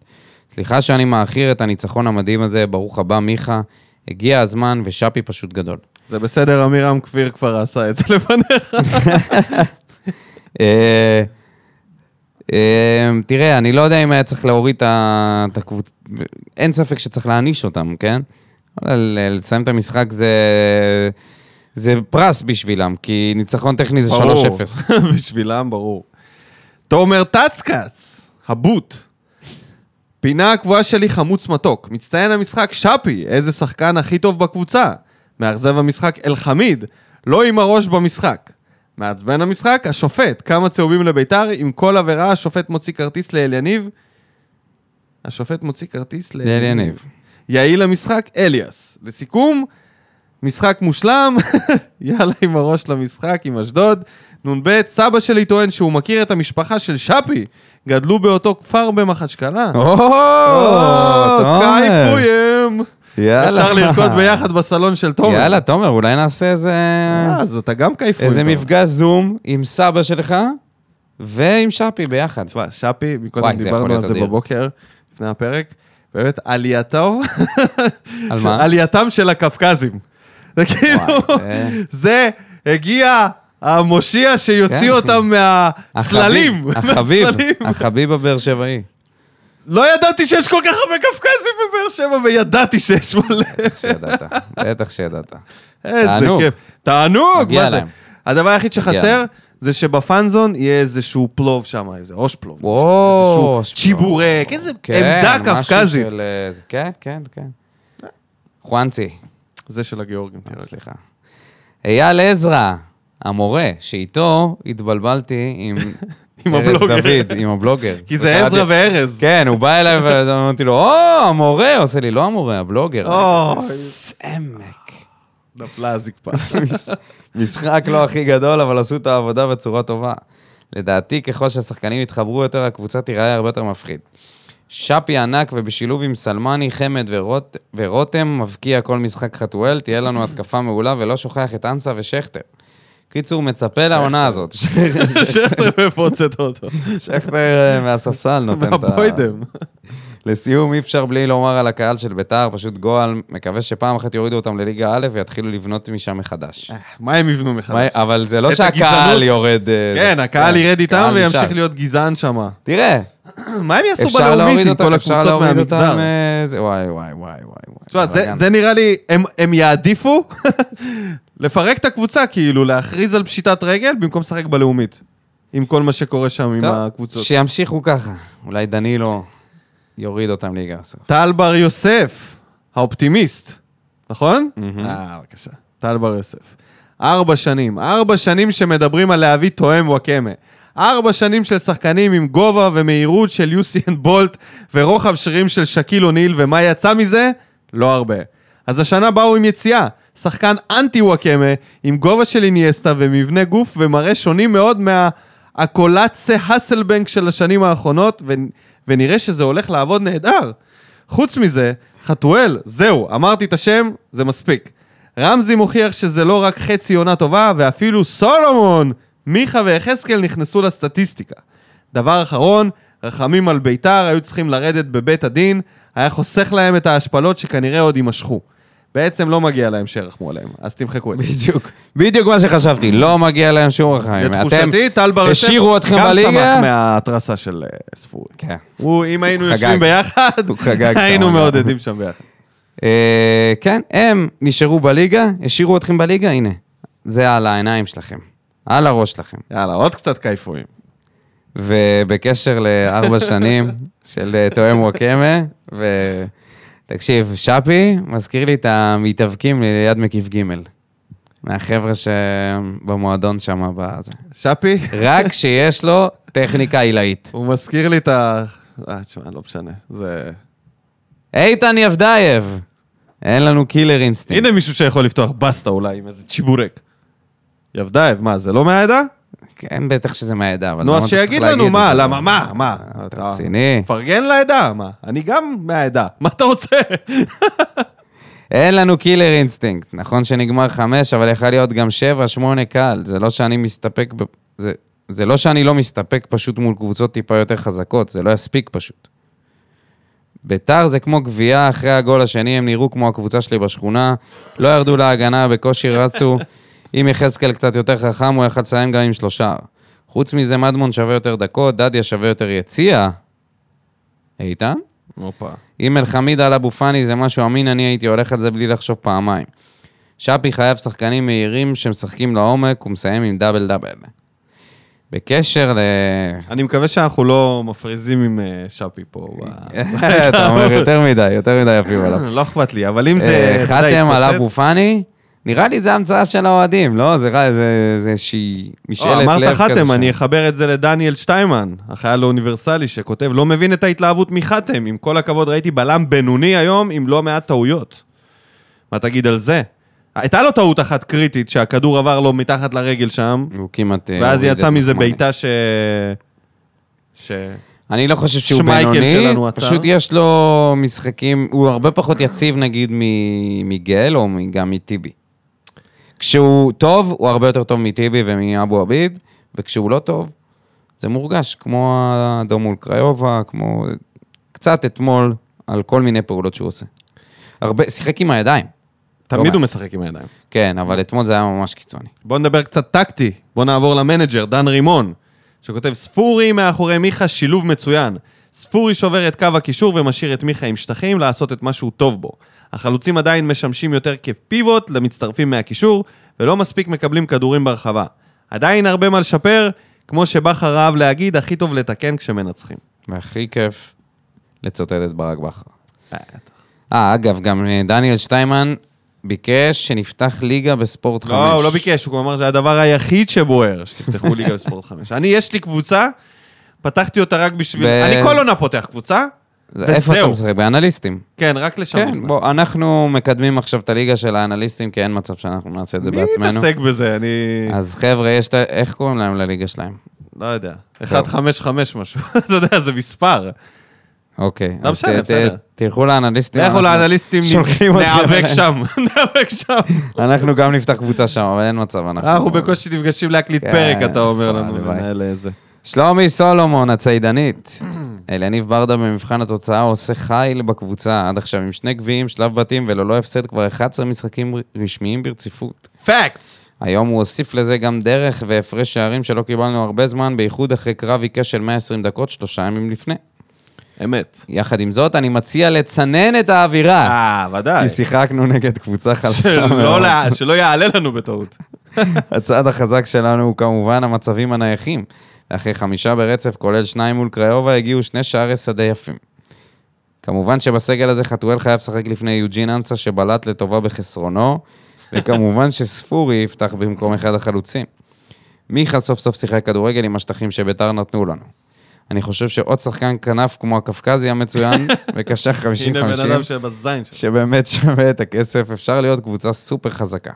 [SPEAKER 2] סליחה שאני מאחיר את הניצחון המדהים הזה, ברוך הבא מיכה. הגיע הזמן ושאפי פשוט גדול.
[SPEAKER 1] זה בסדר, עמירם כפיר כבר עשה את זה לפניך.
[SPEAKER 2] אה, אה, תראה, אני לא יודע אם היה צריך להוריד את ה- את הקבוצ... אין ספק שצריך להעניש אותם, כן? אבל ל- לסיים את המשחק זה... זה פרס בשבילם, כי ניצחון טכני זה 3-0.
[SPEAKER 1] ברור. בשבילם, ברור. תומר טצקץ, הבוט. פינה הקבועה שלי חמוץ מתוק. מצטיין המשחק שפי, איזה שחקן הכי טוב בקבוצה. מאכזב המשחק אלחמיד, לא עם הראש במשחק. מעצבן המשחק, השופט, כמה צהובים לביתר, עם כל עבירה השופט מוציא כרטיס לאל יניב. השופט מוציא כרטיס לאל
[SPEAKER 2] דניאל יניב.
[SPEAKER 1] יעיל המשחק, אליאס. לסיכום, משחק מושלם, יאללה עם הראש למשחק, עם אשדוד. נ"ב, סבא שלי טוען שהוא מכיר את המשפחה של שפי, גדלו באותו כפר במחשקלה.
[SPEAKER 2] או, אה, תומר.
[SPEAKER 1] קייפויים!
[SPEAKER 2] יאללה.
[SPEAKER 1] אה, אפשר לרקוד ביחד בסלון של תומר.
[SPEAKER 2] יאללה, תומר, אולי נעשה איזה...
[SPEAKER 1] אה, אז אתה גם קייפוי.
[SPEAKER 2] איזה
[SPEAKER 1] תומר.
[SPEAKER 2] מפגש זום עם סבא שלך ועם שפי ביחד.
[SPEAKER 1] תשמע, שפי, מקודם
[SPEAKER 2] וואי, זה יכול
[SPEAKER 1] דיברנו
[SPEAKER 2] להיות
[SPEAKER 1] על זה
[SPEAKER 2] אדיר.
[SPEAKER 1] בבוקר, לפני הפרק, באמת עלייתו,
[SPEAKER 2] על
[SPEAKER 1] של-
[SPEAKER 2] מה?
[SPEAKER 1] עלייתם של הקפקזים. זה כאילו,
[SPEAKER 2] וואי,
[SPEAKER 1] זה הגיע המושיע שיוציא
[SPEAKER 2] כן.
[SPEAKER 1] אותם מהצללים.
[SPEAKER 2] החביב,
[SPEAKER 1] מהצללים.
[SPEAKER 2] החביב הבאר שבעי.
[SPEAKER 1] לא ידעתי שיש כל כך הרבה קפקזים בבאר שבע, וידעתי שיש מלא.
[SPEAKER 2] בטח שידעת, בטח שידעת.
[SPEAKER 1] איזה
[SPEAKER 2] תענוג.
[SPEAKER 1] כיף. תענוג,
[SPEAKER 2] מגיע
[SPEAKER 1] מה זה?
[SPEAKER 2] להם.
[SPEAKER 1] הדבר היחיד שחסר
[SPEAKER 2] להם.
[SPEAKER 1] זה שבפאנזון יהיה איזשהו פלוב שם, איזה ראש פלוב.
[SPEAKER 2] וואו.
[SPEAKER 1] איזשהו צ'יבורק, איזה
[SPEAKER 2] כן,
[SPEAKER 1] עמדה
[SPEAKER 2] משהו
[SPEAKER 1] קפקזית.
[SPEAKER 2] של, אה, זה- כן, כן, כן. חואנצי,
[SPEAKER 1] זה של הגיאורגים, תראה.
[SPEAKER 2] סליחה. אייל עזרא, המורה, שאיתו התבלבלתי עם...
[SPEAKER 1] עם
[SPEAKER 2] ארז
[SPEAKER 1] הבלוגר.
[SPEAKER 2] דוד, עם הבלוגר.
[SPEAKER 1] כי זה עזרא
[SPEAKER 2] וקראתי-
[SPEAKER 1] וארז.
[SPEAKER 2] כן, הוא בא אליי ואמרתי לו, או, המורה, עושה לי, לא המורה, הבלוגר.
[SPEAKER 1] אוי.
[SPEAKER 2] סמק. כן.
[SPEAKER 1] נפלה הזקפה.
[SPEAKER 2] משחק לא הכי גדול, אבל עשו את העבודה בצורה טובה. לדעתי, ככל שהשחקנים יתחברו יותר, הקבוצה תיראה הרבה יותר מפחיד. שפי ענק, ובשילוב עם סלמני, חמד ורוט... ורותם, מבקיע כל משחק חתואל, תהיה לנו התקפה מעולה, ולא שוכח את אנסה ושכטר. קיצור, מצפה לעונה הזאת.
[SPEAKER 1] שאתה מפוצץ אותו.
[SPEAKER 2] שכטר אה, מהספסל נותן את ה...
[SPEAKER 1] מהבוידם.
[SPEAKER 2] לסיום, אי אפשר בלי לומר על הקהל של ביתר, פשוט גועל, מקווה שפעם אחת יורידו אותם לליגה א' ויתחילו לבנות משם מחדש.
[SPEAKER 1] מה הם יבנו
[SPEAKER 2] מה-
[SPEAKER 1] מחדש?
[SPEAKER 2] אבל זה לא
[SPEAKER 1] את
[SPEAKER 2] שהקהל
[SPEAKER 1] הגזענות.
[SPEAKER 2] יורד... אה,
[SPEAKER 1] כן,
[SPEAKER 2] זה-
[SPEAKER 1] הקהל ירד איתם
[SPEAKER 2] הקהל
[SPEAKER 1] וימשיך
[SPEAKER 2] נשאר.
[SPEAKER 1] להיות גזען שם.
[SPEAKER 2] תראה,
[SPEAKER 1] מה הם יעשו
[SPEAKER 2] אפשר
[SPEAKER 1] בלאומית
[SPEAKER 2] להוריד
[SPEAKER 1] עם
[SPEAKER 2] אותם,
[SPEAKER 1] כל
[SPEAKER 2] אפשר
[SPEAKER 1] הקבוצות
[SPEAKER 2] להוריד
[SPEAKER 1] מהמגזר?
[SPEAKER 2] אותם... אה, זה- וואי, וואי, וואי, וואי.
[SPEAKER 1] תשמע, זה-
[SPEAKER 2] בלאגן.
[SPEAKER 1] זה נראה לי, הם- הם יעדיפו לפרק את הקבוצה, כאילו, להכריז על פשיטת רגל במקום לשחק בלאומית. עם כל מה שקורה שם עם
[SPEAKER 2] טוב,
[SPEAKER 1] הקבוצות.
[SPEAKER 2] שימשיכו ככה. אולי דנילו יוריד אותם ליגה בסוף.
[SPEAKER 1] טל בר יוסף, האופטימיסט, נכון?
[SPEAKER 2] מהמם.
[SPEAKER 1] אה, בבקשה. טל בר יוסף. ארבע שנים, ארבע שנים שמדברים על להביא תואם וואקמה. ארבע שנים של שחקנים עם גובה ומהירות של יוסיאן בולט ורוחב שרירים של שקיל אוניל, ומה יצא מזה? לא הרבה. אז השנה באו עם יציאה, שחקן אנטי וואקמה, עם גובה של איניאסטה ומבנה גוף ומראה שונים מאוד מהקולאצה הסלבנק של השנים האחרונות, ו... ונראה שזה הולך לעבוד נהדר. חוץ מזה, חתואל, זהו, אמרתי את השם, זה מספיק. רמזי מוכיח שזה לא רק חצי עונה טובה, ואפילו סולומון, מיכה ויחזקאל נכנסו לסטטיסטיקה. דבר אחרון, רחמים על ביתר היו צריכים לרדת בבית הדין, היה חוסך להם את ההשפלות שכנראה עוד יימשכו. בעצם לא מגיע להם שירחמו עליהם, אז תמחקו את זה.
[SPEAKER 2] בדיוק. בדיוק מה שחשבתי, לא מגיע להם שום רחמים.
[SPEAKER 1] לתחושתי, טל בר יוסף
[SPEAKER 2] אה, השאירו אתכם
[SPEAKER 1] גם
[SPEAKER 2] בליגה?
[SPEAKER 1] שמח מההתרסה של אה, ספורי.
[SPEAKER 2] אתם- כן.
[SPEAKER 1] הוא, אם היינו
[SPEAKER 2] הוא
[SPEAKER 1] יושבים
[SPEAKER 2] חגג.
[SPEAKER 1] ביחד,
[SPEAKER 2] הוא חגג את
[SPEAKER 1] היינו
[SPEAKER 2] העונה.
[SPEAKER 1] מעודדים שם ביחד.
[SPEAKER 2] אה, כן, הם נשארו בליגה, השאירו אתכם בליגה, הנה. זה על העיניים שלכם, על הראש שלכם.
[SPEAKER 1] יאללה, עוד קצת קייפויים.
[SPEAKER 2] ובקשר לארבע שנים של אה, תואם וואקמה, ו... תקשיב, שפי מזכיר לי את המתאבקים ליד מקיף ג' מהחבר'ה שבמועדון שם בזה.
[SPEAKER 1] שפי?
[SPEAKER 2] רק שיש לו טכניקה עילאית.
[SPEAKER 1] הוא מזכיר לי את ה... אה, תשמע, לא משנה. זה...
[SPEAKER 2] איתן יבדייב, אין לנו קילר אינסטינקט.
[SPEAKER 1] הנה מישהו שיכול לפתוח בסטה אולי עם איזה צ'יבורק. יבדייב, מה, זה לא מהעדה?
[SPEAKER 2] כן, בטח שזה מהעדה, אבל...
[SPEAKER 1] נו,
[SPEAKER 2] למה
[SPEAKER 1] אז
[SPEAKER 2] אתה צריך
[SPEAKER 1] שיגיד
[SPEAKER 2] להגיד
[SPEAKER 1] לנו
[SPEAKER 2] את
[SPEAKER 1] מה,
[SPEAKER 2] זה?
[SPEAKER 1] למה, מה, אה, מה.
[SPEAKER 2] אתה רציני.
[SPEAKER 1] מפרגן לעדה, מה? אני גם מהעדה, מה אתה רוצה?
[SPEAKER 2] אין לנו קילר אינסטינקט. נכון שנגמר חמש, אבל יכול להיות גם שבע, שמונה קל. זה לא שאני מסתפק... ב... זה... זה לא שאני לא מסתפק פשוט מול קבוצות טיפה יותר חזקות, זה לא יספיק פשוט. ביתר זה כמו גבייה אחרי הגול השני, הם נראו כמו הקבוצה שלי בשכונה, לא ירדו להגנה, בקושי רצו. אם יחזקאל קצת יותר חכם, הוא יכל לסיים גם עם שלושה. חוץ מזה, מדמון שווה יותר דקות, דדיה שווה יותר יציע. איתן?
[SPEAKER 1] הופה.
[SPEAKER 2] אם אלחמיד על אבו פאני זה משהו אמין, אני הייתי הולך על זה בלי לחשוב פעמיים. שפי חייב שחקנים מהירים שמשחקים לעומק ומסיים עם דאבל דאבל. בקשר ל...
[SPEAKER 1] אני מקווה שאנחנו לא מפריזים עם אה, שפי פה. ב-
[SPEAKER 2] כן. אתה אומר יותר מדי, יותר מדי יפים עליו.
[SPEAKER 1] לא אכפת לי, אבל אם זה...
[SPEAKER 2] אה,
[SPEAKER 1] אתה יודע,
[SPEAKER 2] חתם על
[SPEAKER 1] התפוצץ-
[SPEAKER 2] אבו פאני, נראה לי זה המצאה של האוהדים, לא? זה רע, זה זה איזושהי משאלת לב
[SPEAKER 1] או,
[SPEAKER 2] כזה.
[SPEAKER 1] אמרת חתם,
[SPEAKER 2] שם.
[SPEAKER 1] אני אחבר את זה לדניאל שטיימן, החייל האוניברסלי שכותב, לא מבין את ההתלהבות מחתם, עם כל הכבוד ראיתי בלם בינוני היום עם לא מעט טעויות. מה תגיד על זה? הייתה לו טעות אחת קריטית שהכדור עבר לו מתחת לרגל שם,
[SPEAKER 2] הוא כמעט... אה,
[SPEAKER 1] ואז
[SPEAKER 2] הוריד
[SPEAKER 1] יצא
[SPEAKER 2] את
[SPEAKER 1] מזה
[SPEAKER 2] מחמני.
[SPEAKER 1] בעיטה ש... ש...
[SPEAKER 2] אני לא חושב שהוא
[SPEAKER 1] שמייקל
[SPEAKER 2] בינוני,
[SPEAKER 1] שלנו עצר.
[SPEAKER 2] פשוט יש לו משחקים, הוא הרבה פחות יציב נגיד מ- מגל או מ- גם מטיבי. כשהוא טוב, הוא הרבה יותר טוב מטיבי ומאבו עביד, וכשהוא לא טוב, זה מורגש, כמו האדום מול קריובה, כמו קצת אתמול, על כל מיני פעולות שהוא עושה. הרבה, שיחק עם הידיים,
[SPEAKER 1] תמיד
[SPEAKER 2] מעט.
[SPEAKER 1] הוא משחק עם הידיים.
[SPEAKER 2] כן, אבל אתמול זה היה ממש קיצוני.
[SPEAKER 1] בואו נדבר קצת טקטי. בואו נעבור למנג'ר, דן רימון, שכותב, ספורי מאחורי מיכה, שילוב מצוין. ספורי שובר את קו הקישור ומשאיר את מיכה עם שטחים לעשות את מה שהוא טוב בו. החלוצים עדיין משמשים יותר כפיבוט למצטרפים מהקישור, ולא מספיק מקבלים כדורים ברחבה. עדיין הרבה מה לשפר, כמו שבכר אהב להגיד, הכי טוב לתקן כשמנצחים.
[SPEAKER 2] והכי כיף לצוטט את ברק בכר. אה, אגב, גם אה, דניאל שטיימן ביקש שנפתח ליגה בספורט 5.
[SPEAKER 1] לא, הוא לא ביקש, הוא אמר שזה הדבר היחיד שבוער, שתפתחו ליגה בספורט חמש. אני, יש לי קבוצה, פתחתי אותה רק בשביל...
[SPEAKER 2] ו-
[SPEAKER 1] אני כל עונה פותח קבוצה,
[SPEAKER 2] איפה
[SPEAKER 1] וזהו.
[SPEAKER 2] אתה משחק? באנליסטים.
[SPEAKER 1] כן, רק לשם
[SPEAKER 2] כן,
[SPEAKER 1] נכנסתי.
[SPEAKER 2] בוא, אנחנו מקדמים עכשיו את הליגה של האנליסטים, כי אין מצב שאנחנו נעשה את זה
[SPEAKER 1] מי
[SPEAKER 2] בעצמנו. אה,
[SPEAKER 1] מתעסק בזה? אני
[SPEAKER 2] אז חבר'ה, יש את ה... איך קוראים להם לליגה שלהם?
[SPEAKER 1] לא יודע. 155 משהו, אתה יודע, זה מספר.
[SPEAKER 2] אוקיי.
[SPEAKER 1] לא
[SPEAKER 2] אז
[SPEAKER 1] משנה,
[SPEAKER 2] ת-
[SPEAKER 1] בסדר.
[SPEAKER 2] ת- תלכו לאנליסטים.
[SPEAKER 1] לכו
[SPEAKER 2] אנחנו-
[SPEAKER 1] לאנליסטים,
[SPEAKER 2] שולחים אותי
[SPEAKER 1] ניאבק
[SPEAKER 2] אליהם.
[SPEAKER 1] שם, ניאבק שם.
[SPEAKER 2] אנחנו גם נפתח קבוצה שם, אבל אין מצב, אנחנו...
[SPEAKER 1] אנחנו בקושי נפגשים להקליט
[SPEAKER 2] כן,
[SPEAKER 1] פרק, אתה אומר
[SPEAKER 2] איפה,
[SPEAKER 1] לנו,
[SPEAKER 2] הלוואי.
[SPEAKER 1] מנהל איזה.
[SPEAKER 2] שלומי סולומון, הציידנית. אלניב ברדה במבחן התוצאה עושה חיל בקבוצה, עד עכשיו עם שני גביעים, שלב בתים וללא הפסד כבר 11 משחקים רשמיים ברציפות.
[SPEAKER 1] פאקס!
[SPEAKER 2] היום הוא הוסיף לזה גם דרך והפרש שערים שלא קיבלנו הרבה זמן, בייחוד אחרי קרב עיקש של 120 דקות, שלושה ימים לפני.
[SPEAKER 1] אמת.
[SPEAKER 2] יחד עם זאת, אני מציע לצנן את האווירה,
[SPEAKER 1] אה, ודאי.
[SPEAKER 2] כי שיחקנו נגד קבוצה חלשה
[SPEAKER 1] שלא
[SPEAKER 2] מאוד.
[SPEAKER 1] לה- שלא יעלה לנו בטעות.
[SPEAKER 2] הצעד החזק שלנו הוא כמובן המצבים הנייחים. אחרי חמישה ברצף, כולל שניים מול קריובה, הגיעו שני שערי שדה יפים. כמובן שבסגל הזה חתואל חייב לשחק לפני יוג'ין אנסה שבלט לטובה בחסרונו, וכמובן שספורי יפתח במקום אחד החלוצים. מיכה סוף סוף שיחק כדורגל עם השטחים שביתר נתנו לנו. אני חושב שעוד שחקן כנף כמו הקפקזי המצוין, וקשר 50-50.
[SPEAKER 1] הנה בן אדם שבזין שלו.
[SPEAKER 2] שבאמת שווה את הכסף, אפשר להיות קבוצה סופר חזקה.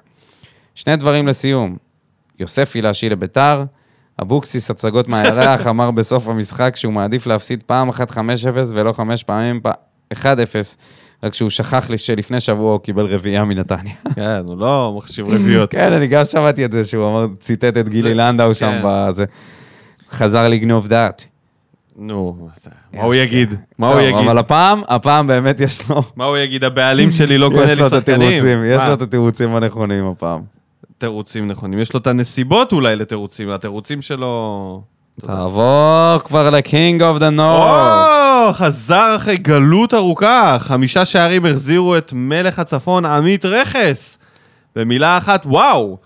[SPEAKER 2] שני דברים לסיום, יוספי להשאיל לביתר, אבוקסיס הצגות מהירח אמר בסוף המשחק שהוא מעדיף להפסיד פעם אחת 5-0 ולא חמש פעמים פ- 1-0, רק שהוא שכח לי שלפני שבוע הוא קיבל רביעייה מנתניה.
[SPEAKER 1] כן, הוא לא מחשיב רביעיות.
[SPEAKER 2] כן, אני גם שמעתי את זה שהוא אמר, ציטט את גילי
[SPEAKER 1] זה-
[SPEAKER 2] לנדאו שם
[SPEAKER 1] כן.
[SPEAKER 2] בזה. חזר לגנוב דעת.
[SPEAKER 1] נו, מה הוא יגיד? מה הוא
[SPEAKER 2] כן. טוב,
[SPEAKER 1] יגיד?
[SPEAKER 2] אבל הפעם, הפעם באמת יש לו...
[SPEAKER 1] מה הוא יגיד? הבעלים שלי לא קונה
[SPEAKER 2] יש לו
[SPEAKER 1] לי
[SPEAKER 2] את
[SPEAKER 1] שחקנים.
[SPEAKER 2] התירוצים, יש
[SPEAKER 1] מה?
[SPEAKER 2] לו את התירוצים הנכונים הפעם.
[SPEAKER 1] תירוצים נכונים. יש לו את הנסיבות אולי לתירוצים, התירוצים שלו...
[SPEAKER 2] תעבור כבר לקינג אוף דה נורף.
[SPEAKER 1] או, חזר אחרי גלות ארוכה. חמישה שערים החזירו את מלך הצפון עמית רכס. במילה אחת, וואו!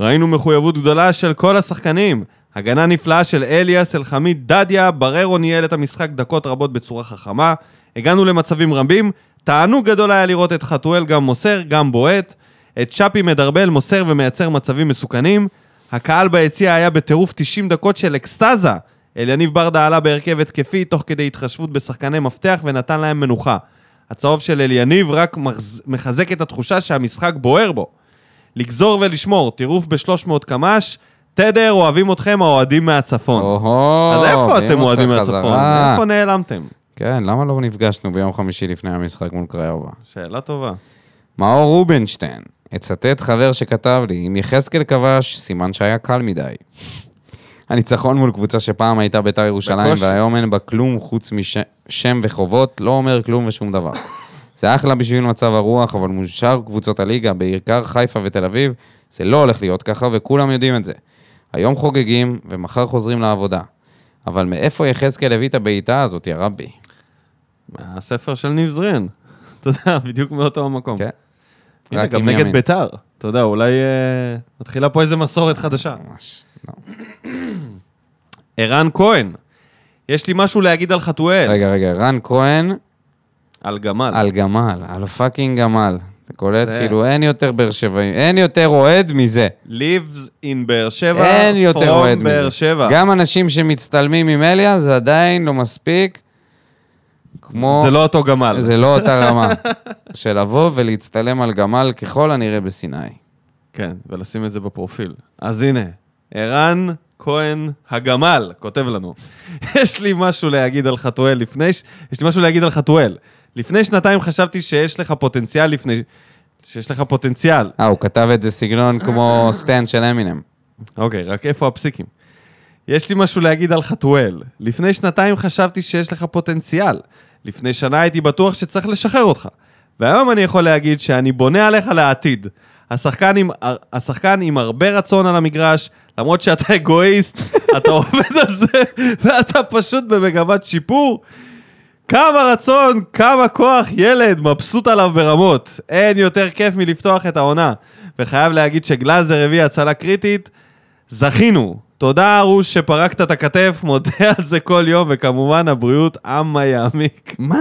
[SPEAKER 1] ראינו מחויבות גדולה של כל השחקנים. הגנה נפלאה של אליאס, אלחמיד, דדיה, בררו ניהל את המשחק דקות רבות בצורה חכמה. הגענו למצבים רבים. תענוג גדול היה לראות את חתואל גם מוסר, גם בועט. את שפי מדרבל, מוסר ומייצר מצבים מסוכנים. הקהל ביציע היה בטירוף 90 דקות של אקסטזה. אליניב ברדה עלה בהרכב התקפי תוך כדי התחשבות בשחקני מפתח ונתן להם מנוחה. הצהוב של אליניב רק מחז- מחזק את התחושה שהמשחק בוער בו. לגזור ולשמור, טירוף ב-300 קמ"ש, תדר, אוהבים אתכם האוהדים מהצפון.
[SPEAKER 2] אוהו,
[SPEAKER 1] אז איפה
[SPEAKER 2] מביאים
[SPEAKER 1] אתם
[SPEAKER 2] אותך
[SPEAKER 1] אוהדים
[SPEAKER 2] חזרה.
[SPEAKER 1] מהצפון? איפה נעלמתם?
[SPEAKER 2] כן, למה לא נפגשנו ביום חמישי לפני המשחק מול קריובה?
[SPEAKER 1] שאלה טובה.
[SPEAKER 2] מאור רובינשטיין, אצטט חבר שכתב לי, אם יחזקאל כבש, סימן שהיה קל מדי. הניצחון מול קבוצה שפעם הייתה ביתר ירושלים,
[SPEAKER 1] בקושי.
[SPEAKER 2] והיום אין בה כלום חוץ משם וחובות, לא אומר כלום ושום דבר. זה אחלה בשביל מצב הרוח, אבל מול שאר קבוצות הליגה, בעיקר חיפה ותל אביב, זה לא הולך להיות ככה, וכולם יודעים את זה. היום חוגגים ומחר חוזרים לעבודה. אבל מאיפה יחזקאל הביא את הבעיטה הזאת, יא רבי?
[SPEAKER 1] מהספר של ניב זרין. אתה יודע, בדיוק מאותו המקום.
[SPEAKER 2] כן.
[SPEAKER 1] הנה,
[SPEAKER 2] רק
[SPEAKER 1] גם
[SPEAKER 2] עם
[SPEAKER 1] נגד
[SPEAKER 2] ימין.
[SPEAKER 1] ביתר. אתה יודע, אולי אה, מתחילה פה איזה מסורת חדשה.
[SPEAKER 2] ממש. לא.
[SPEAKER 1] ערן כהן, יש לי משהו להגיד על חתואל.
[SPEAKER 2] רגע, רגע, רן כהן
[SPEAKER 1] על גמל.
[SPEAKER 2] על גמל, על פאקינג גמל. אתה קולט?
[SPEAKER 1] זה-
[SPEAKER 2] כאילו, אין יותר באר שבעים, אין יותר אוהד מזה.
[SPEAKER 1] ליבס אין באר שבע,
[SPEAKER 2] אין יותר אוהד
[SPEAKER 1] פרום
[SPEAKER 2] מזה.
[SPEAKER 1] באר שבע.
[SPEAKER 2] גם אנשים שמצטלמים עם אליה, זה עדיין לא מספיק. כמו...
[SPEAKER 1] זה לא אותו גמל.
[SPEAKER 2] זה לא אותה רמה. של לבוא ולהצטלם על גמל ככל הנראה בסיני.
[SPEAKER 1] כן, ולשים את זה בפרופיל. אז הנה, ערן כהן הגמל כותב לנו. יש לי משהו להגיד על חתואל לפני... ש... יש לי משהו להגיד על חתואל. לפני שנתיים חשבתי שיש לך פוטנציאל לפני... שיש לך פוטנציאל.
[SPEAKER 2] אה, הוא כתב את זה סגנון כמו סטנד של אמינם.
[SPEAKER 1] אוקיי, רק איפה הפסיקים? יש לי משהו להגיד על חתואל. לפני שנתיים חשבתי שיש לך פוטנציאל. לפני שנה הייתי בטוח שצריך לשחרר אותך. והיום אני יכול להגיד שאני בונה עליך לעתיד. השחקן עם, השחקן עם הרבה רצון על המגרש, למרות שאתה אגואיסט, אתה עובד על זה, ואתה פשוט במגמת שיפור. כמה רצון, כמה כוח, ילד, מבסוט עליו ברמות. אין יותר כיף מלפתוח את העונה. וחייב להגיד שגלאזר הביא הצלה קריטית, זכינו. תודה, ארוש, שפרקת את הכתף, מודה על זה כל יום, וכמובן, הבריאות עמה יעמיק.
[SPEAKER 2] מה?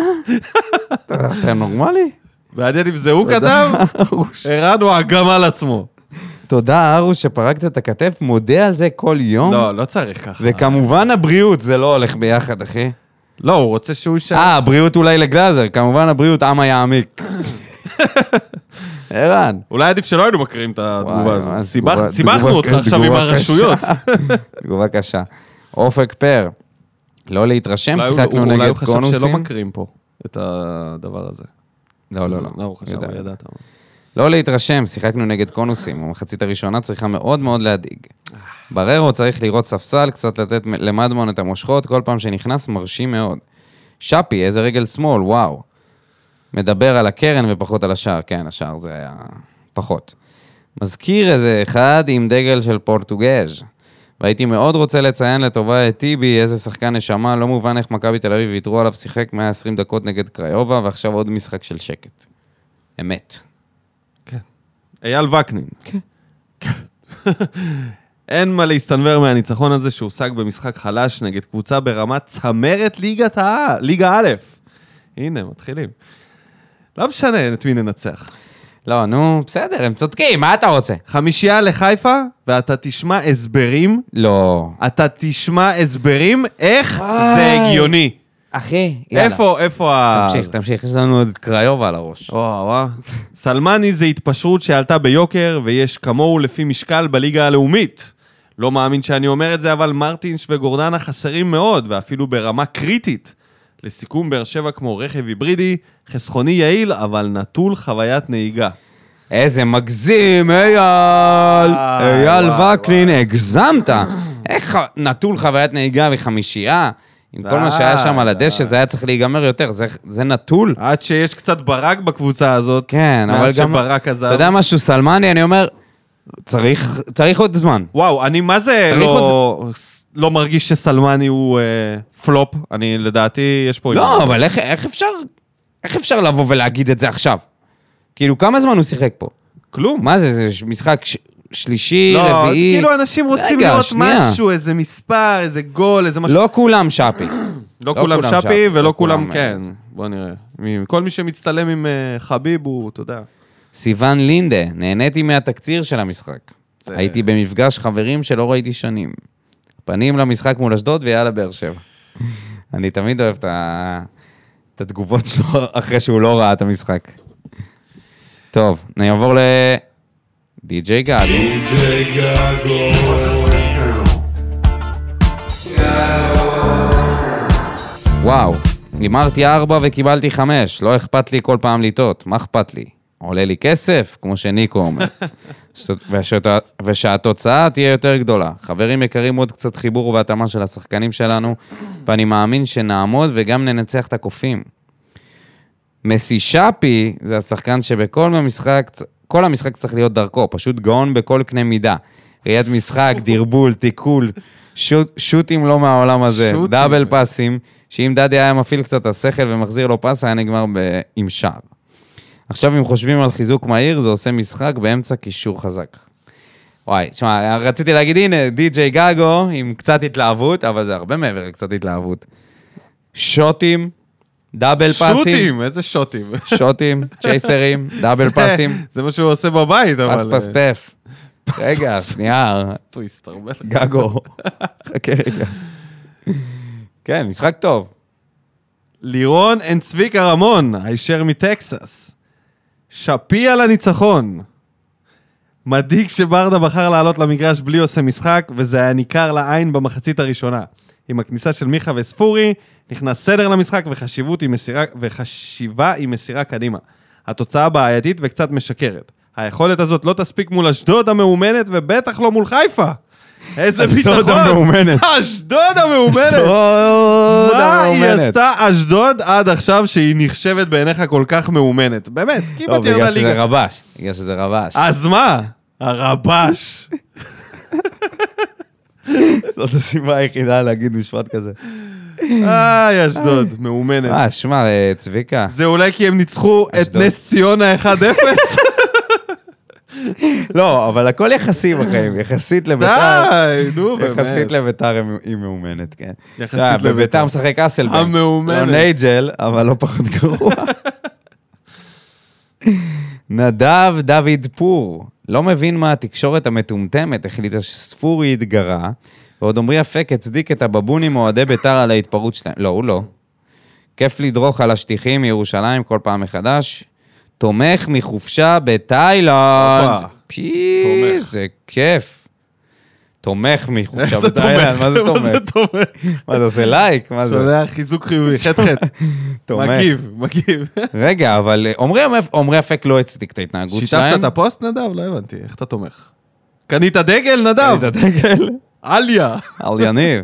[SPEAKER 2] אתה נורמלי?
[SPEAKER 1] מעניין אם זה הוא כתב, ערן הוא הגמל עצמו.
[SPEAKER 2] תודה, ארוש, שפרקת את הכתף, מודה על זה כל יום.
[SPEAKER 1] לא, לא צריך ככה.
[SPEAKER 2] וכמובן הבריאות, זה לא הולך ביחד, אחי.
[SPEAKER 1] לא, הוא רוצה שהוא יישאר.
[SPEAKER 2] אה, הבריאות אולי לגלאזר, כמובן הבריאות עמה יעמיק. ערן.
[SPEAKER 1] אולי עדיף שלא היינו מקריאים את התגובה
[SPEAKER 2] וואי,
[SPEAKER 1] הזאת.
[SPEAKER 2] ממש
[SPEAKER 1] סיבך-
[SPEAKER 2] תגובה-
[SPEAKER 1] סיבכנו
[SPEAKER 2] תגובה-
[SPEAKER 1] אותך עכשיו עם
[SPEAKER 2] תגובה קשה.
[SPEAKER 1] הרשויות.
[SPEAKER 2] תגובה קשה. אופק פר, לא להתרשם,
[SPEAKER 1] אולי הוא-
[SPEAKER 2] שיחקנו
[SPEAKER 1] הוא- אולי
[SPEAKER 2] נגד
[SPEAKER 1] הוא חשב שלא
[SPEAKER 2] קונוסים.
[SPEAKER 1] מקריאים פה את הדבר הזה.
[SPEAKER 2] לא, לא,
[SPEAKER 1] לא, הוא חשב,
[SPEAKER 2] יודע.
[SPEAKER 1] הוא ידעת.
[SPEAKER 2] לא להתרשם, שיחקנו נגד קונוסים, המחצית הראשונה צריכה מאוד מאוד להדאיג. בררו צריך לראות ספסל, קצת לתת מ- למדמון את המושכות, כל פעם שנכנס מרשים מאוד. שפי, איזה רגל שמאל, וואו. מדבר על הקרן ופחות על השער, כן, השער זה היה פחות. מזכיר איזה אחד עם דגל של פורטוגז'. והייתי מאוד רוצה לציין לטובה את טיבי, איזה שחקן נשמה, לא מובן איך מכבי תל אביב ויתרו עליו, שיחק 120 דקות נגד קריובה, ועכשיו עוד משחק של שקט. אמת.
[SPEAKER 1] אייל וקנין.
[SPEAKER 2] כן.
[SPEAKER 1] אין מה להסתנוור מהניצחון הזה שהושג במשחק חלש נגד קבוצה ברמת צמרת ליגת העל, ליגה א'. הנה, מתחילים. לא משנה את מי ננצח.
[SPEAKER 2] לא, נו, בסדר, הם צודקים, מה אתה רוצה?
[SPEAKER 1] חמישייה לחיפה, ואתה תשמע הסברים,
[SPEAKER 2] לא.
[SPEAKER 1] אתה תשמע הסברים איך זה
[SPEAKER 2] וואי.
[SPEAKER 1] הגיוני.
[SPEAKER 2] אחי,
[SPEAKER 1] איפה, איפה ה...
[SPEAKER 2] תמשיך, תמשיך, יש לנו עוד את קריובה על הראש.
[SPEAKER 1] וואו, וואו. סלמני זה התפשרות שעלתה ביוקר, ויש כמוהו לפי משקל בליגה הלאומית. לא מאמין שאני אומר את זה, אבל מרטינש וגורדנה חסרים מאוד, ואפילו ברמה קריטית. לסיכום, באר שבע כמו רכב היברידי, חסכוני יעיל, אבל נטול חוויית נהיגה.
[SPEAKER 2] איזה מגזים, אייל!
[SPEAKER 1] וואי,
[SPEAKER 2] אייל
[SPEAKER 1] אה, וואי,
[SPEAKER 2] וקנין, הגזמת! איך ח- נטול חוויית נהיגה מחמישייה? עם כל מה
[SPEAKER 1] אה,
[SPEAKER 2] שהיה שם על
[SPEAKER 1] די,
[SPEAKER 2] הדשא, זה היה צריך להיגמר יותר, זה- זה נטול.
[SPEAKER 1] עד שיש קצת ברק בקבוצה הזאת.
[SPEAKER 2] כן, אבל
[SPEAKER 1] אה, מאז
[SPEAKER 2] גם-
[SPEAKER 1] שברק עזב.
[SPEAKER 2] אתה יודע משהו, סלמני, אני אומר, צריך צריך עוד זמן.
[SPEAKER 1] וואו, אני מה זה
[SPEAKER 2] צריך
[SPEAKER 1] לא... לא מרגיש שסלמני הוא אה, פלופ, אני לדעתי, יש פה...
[SPEAKER 2] לא,
[SPEAKER 1] עניין.
[SPEAKER 2] אבל איך- איך אפשר איך אפשר לבוא ולהגיד את זה עכשיו? כאילו, כמה זמן הוא שיחק פה?
[SPEAKER 1] כלום.
[SPEAKER 2] מה זה, זה ש- משחק ש- שלישי,
[SPEAKER 1] לא,
[SPEAKER 2] רביעי?
[SPEAKER 1] כאילו אנשים רוצים
[SPEAKER 2] רגע,
[SPEAKER 1] לראות
[SPEAKER 2] שנייה.
[SPEAKER 1] משהו, איזה מספר, איזה גול, איזה משהו.
[SPEAKER 2] לא כולם שפי.
[SPEAKER 1] לא כולם שפי ולא כולם, כן.
[SPEAKER 2] אה,
[SPEAKER 1] בוא נראה. מי- כל מי שמצטלם עם אה, חביב הוא, אתה יודע.
[SPEAKER 2] סיוון לינדה, נהניתי מהתקציר של המשחק.
[SPEAKER 1] זה-
[SPEAKER 2] הייתי במפגש חברים שלא ראיתי שנים. פנים למשחק מול אשדוד ויאללה באר שבע. אני תמיד אוהב את ה- את התגובות שלו אחרי שהוא לא ראה את המשחק. טוב, אני אעבור ל... די.ג'יי גל. וואו, הימרתי ארבע וקיבלתי חמש, לא אכפת לי כל פעם לטעות, מה אכפת לי? עולה לי כסף, כמו שניקו אומר. ושאתה- ושהתוצאה תהיה יותר גדולה. חברים יקרים, עוד קצת חיבור והתאמה של השחקנים שלנו, ואני מאמין שנעמוד וגם ננצח את הקופים. מסי שפי זה השחקן שבכל המשחק, כל המשחק צריך להיות דרכו, פשוט גאון בכל קנה מידה. ראיית משחק, דרבול, תיקול, שוט- שוטים לא מהעולם הזה,
[SPEAKER 1] שוטים.
[SPEAKER 2] דאבל פאסים, שאם דדי היה מפעיל קצת את השכל ומחזיר לו פס, היה נגמר ב- עם שער. עכשיו, אם חושבים על חיזוק מהיר, זה עושה משחק באמצע קישור חזק. וואי, תשמע, רציתי להגיד, הנה, די.ג'יי גגו עם קצת התלהבות, אבל זה הרבה מעבר לקצת התלהבות. שוטים, דאבל פאסים.
[SPEAKER 1] שוטים, איזה שוטים.
[SPEAKER 2] שוטים, צ'ייסרים, דאבל פאסים,
[SPEAKER 1] זה מה שהוא עושה בבית, אבל... אה,
[SPEAKER 2] פס פס פף. רגע, שנייה,
[SPEAKER 1] טוויסט, הרבה.
[SPEAKER 2] גגו. חכה רגע. כן, משחק טוב.
[SPEAKER 1] לירון אנד צביקה רמון, הישר מטקסס. שפי על הניצחון. מדאיג שברדה בחר לעלות למגרש בלי עושה משחק, וזה היה ניכר לעין במחצית הראשונה. עם הכניסה של מיכה וספורי, נכנס סדר למשחק וחשיבות עם מסירה, וחשיבה עם מסירה קדימה. התוצאה בעייתית וקצת משקרת. היכולת הזאת לא תספיק מול אשדוד המאומנת, ובטח לא מול חיפה. איזה ביטחון!
[SPEAKER 2] אשדוד המאומנת.
[SPEAKER 1] אשדוד המאומנת!
[SPEAKER 2] אשדוד
[SPEAKER 1] מה היא
[SPEAKER 2] המאומנת.
[SPEAKER 1] עשתה אשדוד עד עכשיו שהיא נחשבת בעיניך כל כך מאומנת? באמת,
[SPEAKER 2] לא,
[SPEAKER 1] כמעט ירדה
[SPEAKER 2] בגלל שזה
[SPEAKER 1] ליגה.
[SPEAKER 2] רבש. בגלל שזה רבש.
[SPEAKER 1] אז מה? הרבש.
[SPEAKER 2] זאת הסיבה היחידה להגיד משפט כזה.
[SPEAKER 1] איי, אשדוד, מאומנת.
[SPEAKER 2] אה, שמע, אה, צביקה,
[SPEAKER 1] זה אולי כי הם ניצחו את
[SPEAKER 2] אשדוד.
[SPEAKER 1] נס ציונה 1-0?
[SPEAKER 2] לא, אבל הכל יחסי בחיים, יחסית לביתר.
[SPEAKER 1] די, נו
[SPEAKER 2] יחסית
[SPEAKER 1] באמת.
[SPEAKER 2] לביתר הם- היא מאומנת, כן.
[SPEAKER 1] יחסית
[SPEAKER 2] עכשיו,
[SPEAKER 1] לביתר.
[SPEAKER 2] בביתר משחק אסלבנק.
[SPEAKER 1] המאומנת.
[SPEAKER 2] לא נייג'ל, אבל לא פחות גרוע. נדב דוד פור, לא מבין מה התקשורת המטומטמת החליטה שספורי התגרה, ועוד עמרי אפק הצדיק את הבבונים אוהדי ביתר על ההתפרעות שלהם. לא, הוא לא. כיף לדרוך על השטיחים מירושלים כל פעם מחדש. תומך מחופשה בתאילנד.
[SPEAKER 1] הופה.
[SPEAKER 2] פי,
[SPEAKER 1] תומך.
[SPEAKER 2] זה כיף. תומך מחופשה
[SPEAKER 1] איך זה
[SPEAKER 2] בתאילנד,
[SPEAKER 1] תומך?
[SPEAKER 2] מה זה תומך?
[SPEAKER 1] תומך?
[SPEAKER 2] מה זה עושה לייק? מה זה?
[SPEAKER 1] שולח חיזוק חיובי, חטא חטא.
[SPEAKER 2] תומך.
[SPEAKER 1] מגיב, מגיב.
[SPEAKER 2] רגע, אבל אה, עמרי אפ- עמרי אפק לא הצדיק את ההתנהגות שלהם.
[SPEAKER 1] שיתפת את הפוסט, נדב? לא הבנתי, איך אתה תומך? קנית דגל, נדב?
[SPEAKER 2] את הדגל.
[SPEAKER 1] עליה.
[SPEAKER 2] על יניב.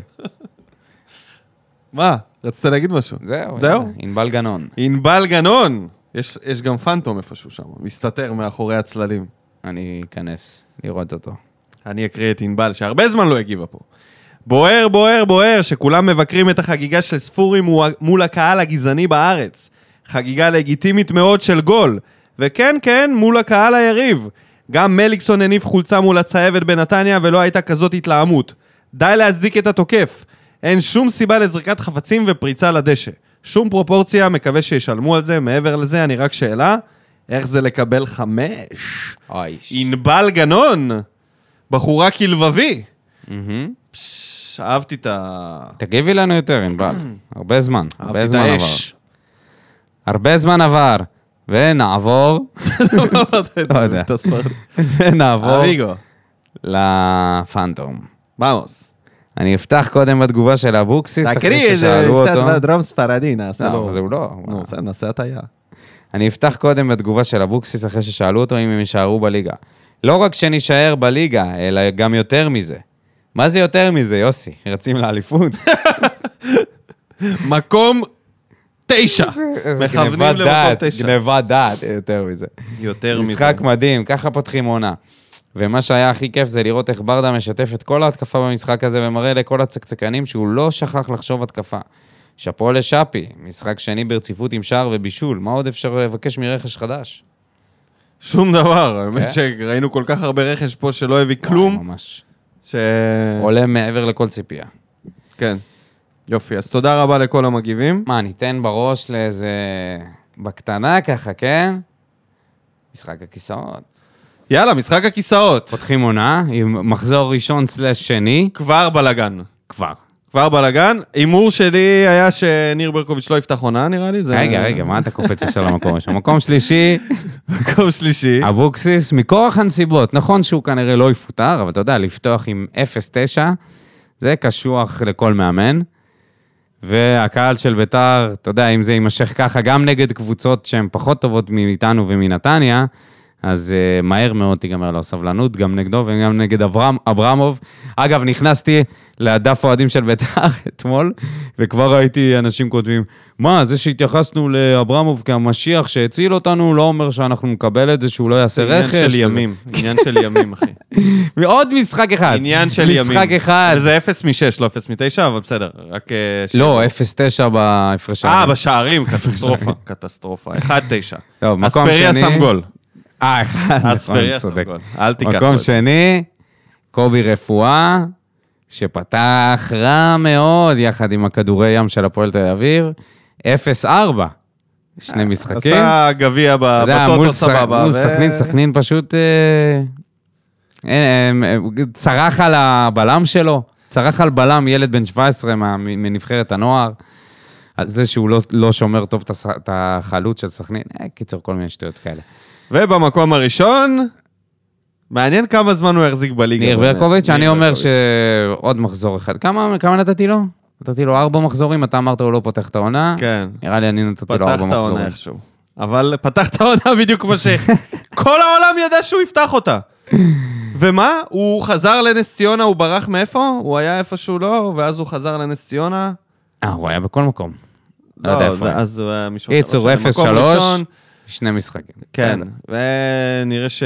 [SPEAKER 1] מה? רצית להגיד משהו?
[SPEAKER 2] זהו.
[SPEAKER 1] זהו?
[SPEAKER 2] יאללה, ענבל גנון.
[SPEAKER 1] ענבל גנון! יש, יש גם פנטום איפשהו שם, מסתתר מאחורי הצללים.
[SPEAKER 2] אני אכנס לראות אותו.
[SPEAKER 1] אני אקריא את ענבל, שהרבה זמן לא הגיבה פה. בוער, בוער, בוער, שכולם מבקרים את החגיגה של ספורי מו- מול הקהל הגזעני בארץ. חגיגה לגיטימית מאוד של גול. וכן, כן, מול הקהל היריב. גם מליקסון הניף חולצה מול הצהבת בנתניה ולא הייתה כזאת התלהמות. די להצדיק את התוקף. אין שום סיבה לזריקת חפצים ופריצה לדשא. שום פרופורציה, מקווה שישלמו על זה. מעבר לזה, אני רק שאלה, איך זה לקבל חמש?
[SPEAKER 2] אוי.
[SPEAKER 1] ענבל גנון, בחורה כלבבי.
[SPEAKER 2] מהמם.
[SPEAKER 1] פש, אהבתי את ה...
[SPEAKER 2] תגיבי לנו יותר, ענבל. הרבה זמן.
[SPEAKER 1] אהבתי
[SPEAKER 2] הרבה
[SPEAKER 1] את
[SPEAKER 2] זמן עבר.
[SPEAKER 1] האש.
[SPEAKER 2] הרבה זמן עבר. ונעבור, לא יודע.
[SPEAKER 1] את הספרדית.
[SPEAKER 2] ונעבור
[SPEAKER 1] אביגו.
[SPEAKER 2] לפנטום.
[SPEAKER 1] ואמוס.
[SPEAKER 2] אני אפתח קודם בתגובה של אבוקסיס, אחרי
[SPEAKER 1] תקריא איזה
[SPEAKER 2] ששאלו אותו.
[SPEAKER 1] קצת דרום ספרדי, נעשה
[SPEAKER 2] לא,
[SPEAKER 1] לו.
[SPEAKER 2] אבל זה הוא לא.
[SPEAKER 1] נו, בסדר, נעשה הטעיה.
[SPEAKER 2] אני אפתח קודם בתגובה של אבוקסיס אחרי ששאלו אותו אם הם יישארו בליגה. לא רק שנישאר בליגה, אלא גם יותר מזה. מה זה יותר מזה, יוסי? רצים לאליפות?
[SPEAKER 1] מקום תשע.
[SPEAKER 2] איזה
[SPEAKER 1] מכוונים
[SPEAKER 2] גניבת
[SPEAKER 1] למקום
[SPEAKER 2] דעת,
[SPEAKER 1] תשע.
[SPEAKER 2] גניבת דעת, אה, יותר מזה.
[SPEAKER 1] יותר מזה.
[SPEAKER 2] משחק מדהים, ככה פותחים עונה. ומה שהיה הכי כיף זה לראות איך ברדה משתף את כל ההתקפה במשחק הזה ומראה לכל הצקצקנים שהוא לא שכח לחשוב התקפה. שאפו לשאפי, משחק שני ברציפות עם שער ובישול, מה עוד אפשר לבקש מרכש חדש?
[SPEAKER 1] שום דבר, האמת
[SPEAKER 2] כן.
[SPEAKER 1] שראינו כל כך הרבה רכש פה שלא הביא כלום,
[SPEAKER 2] ממש.
[SPEAKER 1] ש...
[SPEAKER 2] עולה מעבר לכל ציפייה.
[SPEAKER 1] כן. יופי, אז תודה רבה לכל המגיבים.
[SPEAKER 2] מה, ניתן בראש לאיזה... בקטנה ככה, כן? משחק הכיסאות.
[SPEAKER 1] יאללה, משחק הכיסאות.
[SPEAKER 2] פותחים עונה עם מחזור ראשון סלש שני,
[SPEAKER 1] כבר בלאגן.
[SPEAKER 2] כבר.
[SPEAKER 1] כבר בלאגן. הימור שלי היה שניר ברקוביץ' לא יפתח עונה, נראה לי. זה-
[SPEAKER 2] רגע, רגע, מה אתה קופץ ישר למקום ראשון? מקום שלישי,
[SPEAKER 1] מקום שלישי.
[SPEAKER 2] אבוקסיס, מכורח הנסיבות. נכון שהוא כנראה לא יפוטר, אבל אתה יודע, לפתוח עם 0-9, זה קשוח לכל מאמן. והקהל של ביתר, אתה יודע, אם זה יימשך ככה, גם נגד קבוצות שהן פחות טובות מאיתנו ומנתניה, אז אה, מהר מאוד תיגמר לו הסבלנות, גם נגדו וגם נגד אברהם, אברמוב. אגב, נכנסתי לדף האוהדים של בית"ר אתמול, וכבר ראיתי אנשים כותבים, מה, זה שהתייחסנו לאברמוב כמשיח שהציל אותנו, לא אומר שאנחנו נקבל את זה, שהוא לא יעשה
[SPEAKER 1] זה
[SPEAKER 2] רכש.
[SPEAKER 1] עניין של
[SPEAKER 2] וזה."
[SPEAKER 1] ימים, עניין של ימים, אחי.
[SPEAKER 2] ועוד משחק אחד.
[SPEAKER 1] עניין של ימים.
[SPEAKER 2] משחק אחד.
[SPEAKER 1] זה 0 מ-6, לא 0 מ-9, אבל בסדר, רק... אה, ש-
[SPEAKER 2] לא, 0-9 בהפרש
[SPEAKER 1] אה,
[SPEAKER 2] שערים.
[SPEAKER 1] בשערים, קטסטרופה, קטסטרופה. 1-9.
[SPEAKER 2] טוב, מקום
[SPEAKER 1] אספריה
[SPEAKER 2] שני.
[SPEAKER 1] שם גול.
[SPEAKER 2] אה, אחד, נכון,
[SPEAKER 1] אספריה שם
[SPEAKER 2] צודק.
[SPEAKER 1] גול. אל תיקח. לו
[SPEAKER 2] מקום
[SPEAKER 1] את זה.
[SPEAKER 2] שני, קובי רפואה, שפתח רע מאוד יחד עם הכדורי ים של הפועל תל אביב, 0-4, שני משחקים.
[SPEAKER 1] אה, עשה גביע ב-
[SPEAKER 2] אתה יודע, מול
[SPEAKER 1] בטוטו
[SPEAKER 2] ס-
[SPEAKER 1] סבבה.
[SPEAKER 2] מול
[SPEAKER 1] ו-
[SPEAKER 2] סכנין, סכנין פשוט אה, אה, אה, צרח על הבלם שלו, צרח על בלם, ילד בן 17 מה- מנבחרת הנוער. על זה שהוא לא, לא שומר טוב את הס- את החלוץ של סכנין, אה, קיצר, כל מיני שטויות כאלה.
[SPEAKER 1] ובמקום הראשון, מעניין כמה זמן הוא יחזיק בליגה.
[SPEAKER 2] ניר
[SPEAKER 1] באמת.
[SPEAKER 2] ברקוביץ', אני
[SPEAKER 1] ניר
[SPEAKER 2] אומר
[SPEAKER 1] ברקוביץ'.
[SPEAKER 2] שעוד מחזור אחד. כמה כמה נתתי לו? נתתי לו ארבע מחזורים, אתה אמרת הוא לא פותח את העונה.
[SPEAKER 1] כן,
[SPEAKER 2] נראה לי אני נתתי לו
[SPEAKER 1] פתח
[SPEAKER 2] ארבע
[SPEAKER 1] את העונה
[SPEAKER 2] מחזורים.
[SPEAKER 1] איכשהו. אבל פתח את העונה בדיוק כמו ש... כל העולם ידע שהוא יפתח אותה. ומה? הוא חזר לנס ציונה, הוא ברח מאיפה? הוא היה איפשהו לא, ואז הוא חזר לנס ציונה.
[SPEAKER 2] אה, הוא היה בכל מקום. לא יודע איפה.
[SPEAKER 1] זה-
[SPEAKER 2] הוא.
[SPEAKER 1] אז הוא היה מישהו... אחר.
[SPEAKER 2] קיצור,
[SPEAKER 1] לא משנה, מקום
[SPEAKER 2] 0-3,
[SPEAKER 1] ראשון,
[SPEAKER 2] שני משחקים.
[SPEAKER 1] כן, ונראה ש...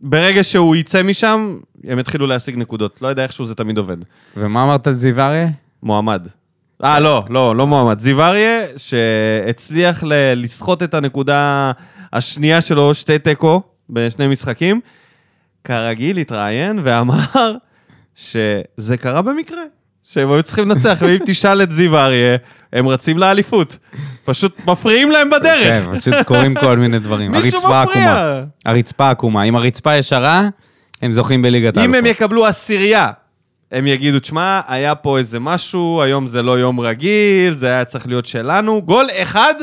[SPEAKER 1] ברגע שהוא יצא משם, הם יתחילו להשיג נקודות. לא יודע איכשהו זה תמיד עובד.
[SPEAKER 2] ומה אמרת על זיו אריה?
[SPEAKER 1] מועמד. אה, לא, לא, לא מועמד. זיו אריה, שהצליח ל- לסחוט את הנקודה השנייה שלו, שתי תיקו, בשני משחקים, כרגיל התראיין ואמר שזה קרה במקרה, שהם היו צריכים לנצח, ואם תשאל את זיו אריה, הם רצים לאליפות. פשוט מפריעים להם בדרך.
[SPEAKER 2] כן, פשוט קורים כל מיני דברים.
[SPEAKER 1] מישהו
[SPEAKER 2] הרצפה עקומה.
[SPEAKER 1] מפריע.
[SPEAKER 2] הרצפה עקומה. אם הרצפה ישרה, הם זוכים בליגת
[SPEAKER 1] אם הם
[SPEAKER 2] האלופות.
[SPEAKER 1] יקבלו עשירייה, הם יגידו, תשמע, היה פה איזה משהו, היום זה לא יום רגיל, זה היה צריך להיות שלנו. גול אחד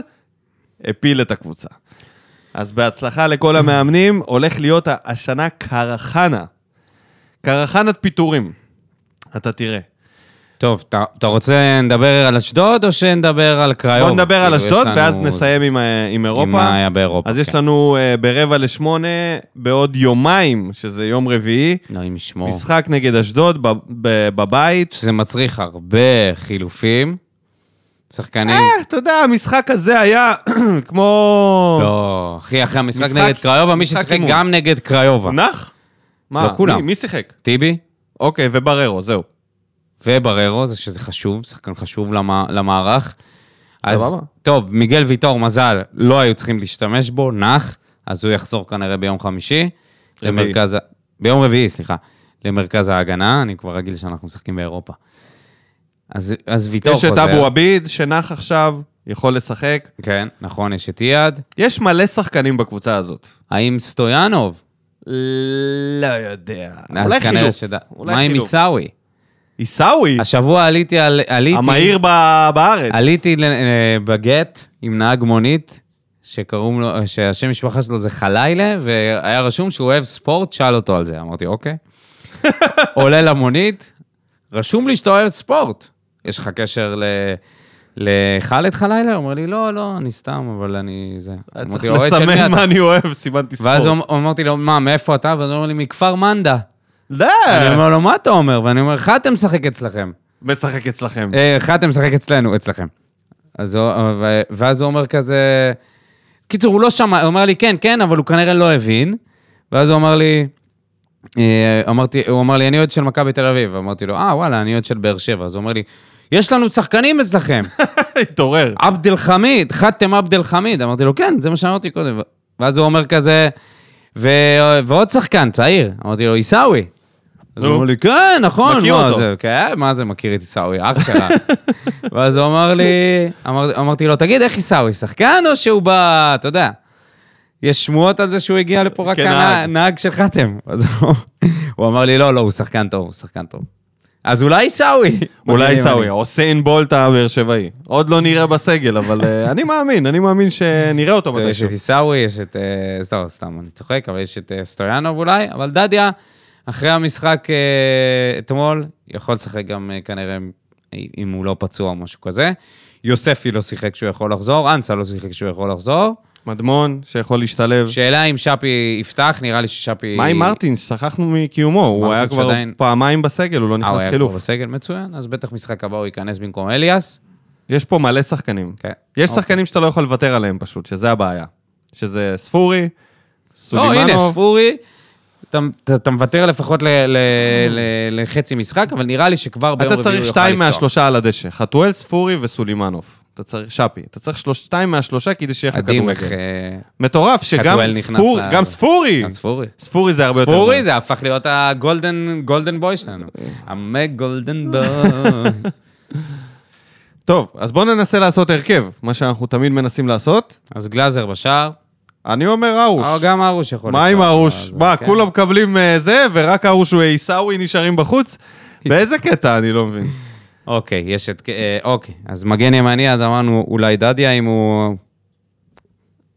[SPEAKER 1] הפיל את הקבוצה. אז בהצלחה לכל המאמנים, הולך להיות ה- השנה קרחנה. קרחנת פיטורים. אתה תראה.
[SPEAKER 2] טוב, אתה- אתה רוצה נדבר על אשדוד או שנדבר על קריוב?
[SPEAKER 1] בוא נדבר על
[SPEAKER 2] כאילו, יש
[SPEAKER 1] אשדוד,
[SPEAKER 2] לנו-
[SPEAKER 1] ואז נסיים עם, ה- עם
[SPEAKER 2] עם מה
[SPEAKER 1] אירופה.
[SPEAKER 2] היה באירופה.
[SPEAKER 1] אז יש
[SPEAKER 2] כן.
[SPEAKER 1] לנו אה, ברבע לשמונה, בעוד יומיים, שזה יום רביעי,
[SPEAKER 2] אלוהים ישמור.
[SPEAKER 1] משחק נגד אשדוד בב- ב- בבית.
[SPEAKER 2] שזה מצריך הרבה חילופים. שחקנים...
[SPEAKER 1] אה, אתה יודע, המשחק הזה היה כמו...
[SPEAKER 2] לא, אחי, אחרי המשחק
[SPEAKER 1] משחק-
[SPEAKER 2] נגד קריובה, מי
[SPEAKER 1] משחק
[SPEAKER 2] ששיחק
[SPEAKER 1] אימון.
[SPEAKER 2] גם נגד קריובה.
[SPEAKER 1] נח? מה?
[SPEAKER 2] לא, כולם.
[SPEAKER 1] מי- מי שיחק?
[SPEAKER 2] טיבי
[SPEAKER 1] אוקיי, ובררו, זהו.
[SPEAKER 2] ובררו, זה שזה חשוב, שחקן חשוב למע- למערך. אז
[SPEAKER 1] סבבה.
[SPEAKER 2] טוב, מיגל ויטור, מזל, לא היו צריכים להשתמש בו, נח, אז הוא יחזור כנראה ביום חמישי.
[SPEAKER 1] רביעי.
[SPEAKER 2] למרכז ה... ביום רביעי, סליחה. למרכז ההגנה, אני כבר רגיל שאנחנו משחקים באירופה. אז, אז ויטור
[SPEAKER 1] יש
[SPEAKER 2] חוזר.
[SPEAKER 1] את אבו עביד, שנח עכשיו, יכול לשחק.
[SPEAKER 2] כן, נכון, יש את אייד.
[SPEAKER 1] יש מלא שחקנים בקבוצה הזאת.
[SPEAKER 2] האם סטויאנוב?
[SPEAKER 1] לא יודע.
[SPEAKER 2] אז
[SPEAKER 1] אולי
[SPEAKER 2] כנראה
[SPEAKER 1] חילוף.
[SPEAKER 2] שד- מה
[SPEAKER 1] אולי
[SPEAKER 2] עם
[SPEAKER 1] חילוף.
[SPEAKER 2] עיסאווי?
[SPEAKER 1] עיסאווי,
[SPEAKER 2] השבוע עליתי על... עליתי...
[SPEAKER 1] המהיר ב- בארץ.
[SPEAKER 2] עליתי ל- אה, בגט עם נהג מונית, שקוראים לו, שהשם משפחה שלו זה חליילה, והיה רשום שהוא אוהב ספורט, שאל אותו על זה. אמרתי, אוקיי. עולה למונית, רשום לי שאתה אוהב ספורט. יש לך קשר ל... לחאלד חלילה? הוא אומר לי, לא, לא, אני סתם, אבל אני זה.
[SPEAKER 1] היה צריך
[SPEAKER 2] אמרתי לו, "אוהד של מי
[SPEAKER 1] לסמן
[SPEAKER 2] אתה?"
[SPEAKER 1] מה אני אוהב, סימנתי ספורט.
[SPEAKER 2] ואז הוא- אמ- אמרתי לו, מה, מאיפה אתה? ואז הוא אומר לי, מכפר מנדה.
[SPEAKER 1] לא,
[SPEAKER 2] אני אומר לו, מה אתה אומר? ואני אומר, חתם משחק אצלכם.
[SPEAKER 1] משחק אצלכם.
[SPEAKER 2] אה, חתם משחק אצלנו, אצלכם. אז הוא, ו- ואז הוא אומר כזה... קיצור, הוא לא שמע, הוא אומר לי, כן, כן, אבל הוא כנראה לא הבין. ואז הוא אמר לי, אה, אמרתי, הוא אמר לי, אני אוהד של מכבי תל אביב. אמרתי לו, אה, וואלה, אני אוהד של באר שבע. אז הוא אומר לי, יש לנו שחקנים אצלכם.
[SPEAKER 1] התעורר.
[SPEAKER 2] עבד אל חמיד, חתם עבד אל חמיד. אמרתי לו, כן, זה מה שאמרתי קודם. ואז הוא אומר כזה, ו... ועוד שחקן, צעיר. אמרתי לו, עיסאווי. אז הוא
[SPEAKER 1] נו.
[SPEAKER 2] אמר לי, כן, נכון.
[SPEAKER 1] מכיר
[SPEAKER 2] מה
[SPEAKER 1] אותו."
[SPEAKER 2] זה, כן, מה זה מכיר את עיסאווי, אח שלה. ואז הוא אמר לי, אמר, אמרתי לו, תגיד, איך עיסאווי, שחקן או שהוא בא, אתה יודע? יש שמועות על זה שהוא הגיע לפה רק
[SPEAKER 1] כנהג.
[SPEAKER 2] כנהג נהג של חתם. אז הוא- הוא אמר לי, לא, לא, הוא שחקן טוב, הוא שחקן טוב. אז אולי עיסאווי.
[SPEAKER 1] אולי עיסאווי, עוסיין בולט הבאר שבעי. עוד לא נראה בסגל, אבל אה, אני מאמין, אני מאמין שנראה אותו
[SPEAKER 2] זה, יש
[SPEAKER 1] מתישהו.
[SPEAKER 2] את עיסאווי, יש את... אה, סתם, סתם, אני צוחק, אבל יש את אה, סטויאנוב אולי, אבל דדיה, אחרי המשחק אה, אתמול, יכול לשחק גם אה, כנראה אם הוא לא פצוע או משהו כזה. יוספי לא שיחק כשהוא יכול לחזור, אנסה לא שיחק כשהוא יכול לחזור.
[SPEAKER 1] מדמון שיכול להשתלב.
[SPEAKER 2] שאלה אם שפי יפתח, נראה לי ששפי...
[SPEAKER 1] מה עם מרטינס? שכחנו מקיומו, הוא
[SPEAKER 2] מרטינס
[SPEAKER 1] היה כבר
[SPEAKER 2] שעדיין-
[SPEAKER 1] פעמיים בסגל, הוא לא
[SPEAKER 2] אה, הוא
[SPEAKER 1] נכנס
[SPEAKER 2] היה כבר
[SPEAKER 1] חילוף.
[SPEAKER 2] בסגל מצוין, אז בטח משחק הבא הוא ייכנס במקום אליאס.
[SPEAKER 1] יש פה מלא שחקנים.
[SPEAKER 2] כן.
[SPEAKER 1] יש
[SPEAKER 2] אוקיי.
[SPEAKER 1] שחקנים שאתה לא יכול לוותר עליהם פשוט, שזה הבעיה. שזה ספורי,
[SPEAKER 2] לא, הנה,
[SPEAKER 1] סולימנוב.
[SPEAKER 2] ספורי, אתה- אתה- אתה מוותר לפחות ל- ל- ל- לחצי משחק, אבל נראה לי שכבר ביום רביעי הוא יוכל
[SPEAKER 1] אתה
[SPEAKER 2] לפתוח.
[SPEAKER 1] צריך שתיים מהשלושה על הדשא. חתואל, ספורי וסולימנוב. אתה צריך, שפי, אתה צריך שלוש- שתיים מהשלושה כדי שיהיה לך
[SPEAKER 2] מדהים איך...
[SPEAKER 1] כדורגל.
[SPEAKER 2] אה,
[SPEAKER 1] מטורף, שגם
[SPEAKER 2] חתואל נכנס
[SPEAKER 1] ספור-
[SPEAKER 2] ל-
[SPEAKER 1] גם ספורי!
[SPEAKER 2] גם ספורי.
[SPEAKER 1] ספורי זה הרבה יותר...
[SPEAKER 2] ספורי זה הפך להיות הגולדן גולדן בוי שלנו.
[SPEAKER 1] אה.
[SPEAKER 2] המה גולדן בוי.
[SPEAKER 1] טוב, אז בואו ננסה לעשות הרכב, מה שאנחנו תמיד מנסים לעשות.
[SPEAKER 2] אז גלאזר בשער.
[SPEAKER 1] אני אומר ארוש.
[SPEAKER 2] או אה, גם ארוש יכול
[SPEAKER 1] מה עם
[SPEAKER 2] לפתוח,
[SPEAKER 1] ארוש?
[SPEAKER 2] אז,
[SPEAKER 1] מה,
[SPEAKER 2] כן.
[SPEAKER 1] כולם מקבלים אה, זה, ורק ארוש ועיסאווי נשארים בחוץ? באיזה קטע אני לא מבין.
[SPEAKER 2] אוקיי, יש את... אה, אוקיי, אז מגן ימני, אז אמרנו אולי דדיה, אם הוא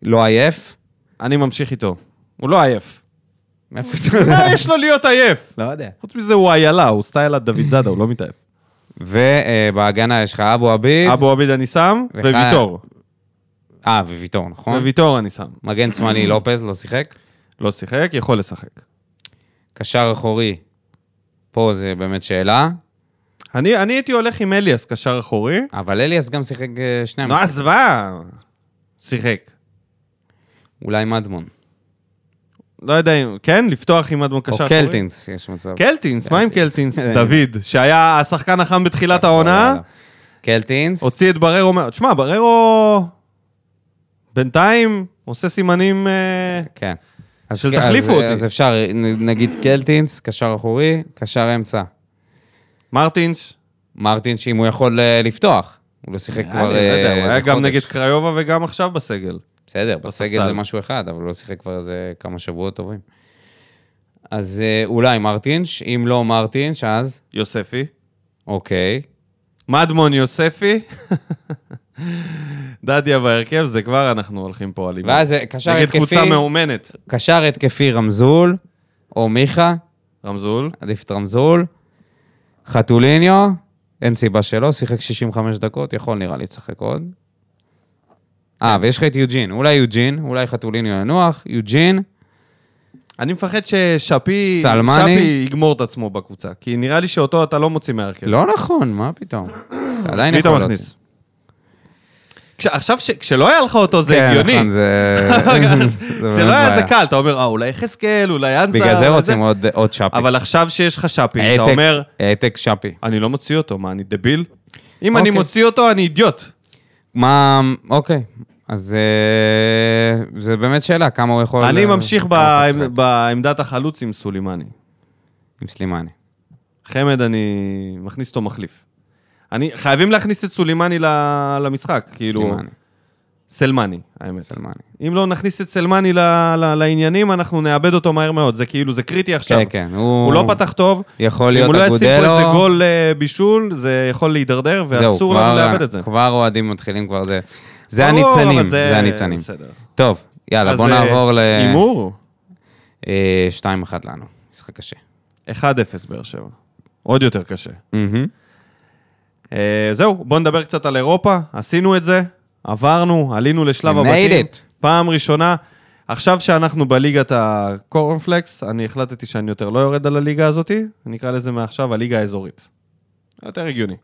[SPEAKER 2] לא עייף.
[SPEAKER 1] אני ממשיך איתו. הוא לא עייף.
[SPEAKER 2] מאיפה אתה יודע?
[SPEAKER 1] מה יש לו להיות עייף?
[SPEAKER 2] לא יודע.
[SPEAKER 1] חוץ מזה הוא איילה, הוא סטייל הדוד זאדה, הוא לא מתעייף.
[SPEAKER 2] ובהגנה אה, יש לך אבו עביד.
[SPEAKER 1] אבו עביד אני שם,
[SPEAKER 2] וח-
[SPEAKER 1] וויטור.
[SPEAKER 2] אה, וויטור, נכון?
[SPEAKER 1] וויטור אני שם.
[SPEAKER 2] מגן שמאלי לופז, לא שיחק.
[SPEAKER 1] לא שיחק, יכול לשחק.
[SPEAKER 2] קשר אחורי, פה זה באמת שאלה.
[SPEAKER 1] אני אני הייתי הולך עם אליאס, קשר אחורי.
[SPEAKER 2] אבל אליאס גם שיחק אה, שני
[SPEAKER 1] נו,
[SPEAKER 2] המשחקים.
[SPEAKER 1] אז מה? שיחק.
[SPEAKER 2] אולי מדמון.
[SPEAKER 1] לא יודע אם... כן? לפתוח עם אדמון קשר כן,
[SPEAKER 2] או
[SPEAKER 1] אחורי?
[SPEAKER 2] קלטינס, כן. יש מצב.
[SPEAKER 1] קלטינס, מה עם קלטינס?
[SPEAKER 4] אה.
[SPEAKER 1] דוד, שהיה השחקן החם בתחילת
[SPEAKER 2] נכון,
[SPEAKER 1] העונה.
[SPEAKER 2] לא, קלטינס.
[SPEAKER 1] הוציא את בררו, מה- תשמע, בררו בינתיים עושה סימנים... אה,
[SPEAKER 2] כן. אז
[SPEAKER 1] של
[SPEAKER 2] כן,
[SPEAKER 1] תחליפו
[SPEAKER 2] אז-
[SPEAKER 1] אותי.
[SPEAKER 2] אז אפשר, נ- נגיד קלטינס, קשר אחורי, קשר אמצע.
[SPEAKER 1] מרטינש,
[SPEAKER 2] מרטינש, אם הוא יכול אה, לפתוח. הוא לא שיחק
[SPEAKER 1] נראה
[SPEAKER 2] כבר...
[SPEAKER 1] לי, לא יודע,
[SPEAKER 2] אה,
[SPEAKER 1] הוא
[SPEAKER 2] איזה
[SPEAKER 1] היה גם
[SPEAKER 2] חודש.
[SPEAKER 1] נגד קריובה וגם עכשיו בסגל.
[SPEAKER 2] בסדר, בסגל
[SPEAKER 1] בספסל.
[SPEAKER 2] זה משהו אחד, אבל הוא לא שיחק כבר איזה כמה שבועות טובים. אז אה, אולי מרטינש, אם לא מרטינש, אז
[SPEAKER 1] יוספי.
[SPEAKER 2] אוקיי.
[SPEAKER 1] מדמון יוספי. דדיה בהרכב, זה כבר אנחנו הולכים פה על אימון.
[SPEAKER 2] ואז אה, קשר
[SPEAKER 1] נגד
[SPEAKER 2] התקפי,
[SPEAKER 1] קבוצה מאומנת.
[SPEAKER 2] קשר התקפי רמזול, או מיכה,
[SPEAKER 1] רמזול,
[SPEAKER 2] עדיף את רמזול, חתוליניו, אין סיבה שלא, שיחק 65 דקות, יכול נראה לי לשחק עוד.
[SPEAKER 1] כן.
[SPEAKER 2] אה, ויש לך את יוג'ין, אולי יוג'ין, אולי חתוליניו ינוח, יוג'ין,
[SPEAKER 1] אני מפחד ששפי
[SPEAKER 2] סלמני.
[SPEAKER 1] שפי יגמור את עצמו בקבוצה, כי נראה לי שאותו אתה לא מוציא מהרכב.
[SPEAKER 2] לא נכון, מה פתאום? אתה עדיין
[SPEAKER 1] מי אתה
[SPEAKER 2] יכול
[SPEAKER 1] מכניס?
[SPEAKER 2] להוציא.
[SPEAKER 1] כש- עכשיו, ש- כשלא היה לך אותו זה הגיוני.
[SPEAKER 2] כן, נכון, זה... באמת
[SPEAKER 1] כשלא היה
[SPEAKER 2] בעיה.
[SPEAKER 1] זה קל, אתה אומר, אה, אולי יחזקאל, אולי אנסה.
[SPEAKER 2] בגלל זה
[SPEAKER 1] אולי
[SPEAKER 2] רוצים עוד- עוד שפי.
[SPEAKER 1] אבל עכשיו שיש לך שפי, אתה
[SPEAKER 2] העתק-
[SPEAKER 1] אומר,
[SPEAKER 2] העתק שפי.
[SPEAKER 1] אני לא מוציא אותו, מה, אני דביל? אם אני
[SPEAKER 2] אוקיי.
[SPEAKER 1] מוציא אותו, אני אידיוט.
[SPEAKER 2] מה, אוקיי. אז אה, זה באמת שאלה, כמה הוא יכול...
[SPEAKER 1] אני
[SPEAKER 2] אה,
[SPEAKER 1] ממשיך
[SPEAKER 2] כמה הוא יכול
[SPEAKER 1] בעמ-
[SPEAKER 2] לשחק.
[SPEAKER 1] בעמדת החלוץ עם סולימני.
[SPEAKER 2] עם סלימני.
[SPEAKER 1] חמד, אני מכניס אותו מחליף. אני, חייבים להכניס את סולימני ל- למשחק, כאילו...
[SPEAKER 2] סלימני,
[SPEAKER 1] סלמני, האמת.
[SPEAKER 2] סלמני.
[SPEAKER 1] אם לא נכניס את סלמני ל- ל- לעניינים, אנחנו נאבד אותו מהר מאוד. זה כאילו, זה קריטי עכשיו.
[SPEAKER 2] כן, כן, הוא...
[SPEAKER 1] הוא לא פתח טוב.
[SPEAKER 2] יכול
[SPEAKER 1] אם
[SPEAKER 2] להיות
[SPEAKER 1] הוא לא ישים פה איזה
[SPEAKER 2] אגודלו.
[SPEAKER 1] גול אה, בישול, זה יכול להידרדר, ואסור
[SPEAKER 2] זהו,
[SPEAKER 1] לנו
[SPEAKER 2] כבר-
[SPEAKER 1] לאבד את זה.
[SPEAKER 2] כבר אוהדים מתחילים כבר זה. זה
[SPEAKER 1] ברור,
[SPEAKER 2] הניצנים,
[SPEAKER 1] אבל
[SPEAKER 2] זה הניצנים.
[SPEAKER 1] בסדר.
[SPEAKER 2] טוב, יאללה,
[SPEAKER 1] אז,
[SPEAKER 2] בוא
[SPEAKER 1] אה,
[SPEAKER 2] נעבור ל...
[SPEAKER 1] הימור?
[SPEAKER 2] אה, 2-1 לנו, משחק קשה.
[SPEAKER 1] 1-0 באר שבע. עוד יותר קשה. אה, זהו, בואו נדבר קצת על אירופה. עשינו את זה, עברנו, עלינו לשלב
[SPEAKER 2] We made
[SPEAKER 1] הבתים.
[SPEAKER 2] it.
[SPEAKER 1] פעם ראשונה. עכשיו שאנחנו בליגת הקורנפלקס, אני החלטתי שאני יותר לא יורד על הליגה הזאתי, נקרא לזה מעכשיו הליגה האזורית. יותר הגיוני.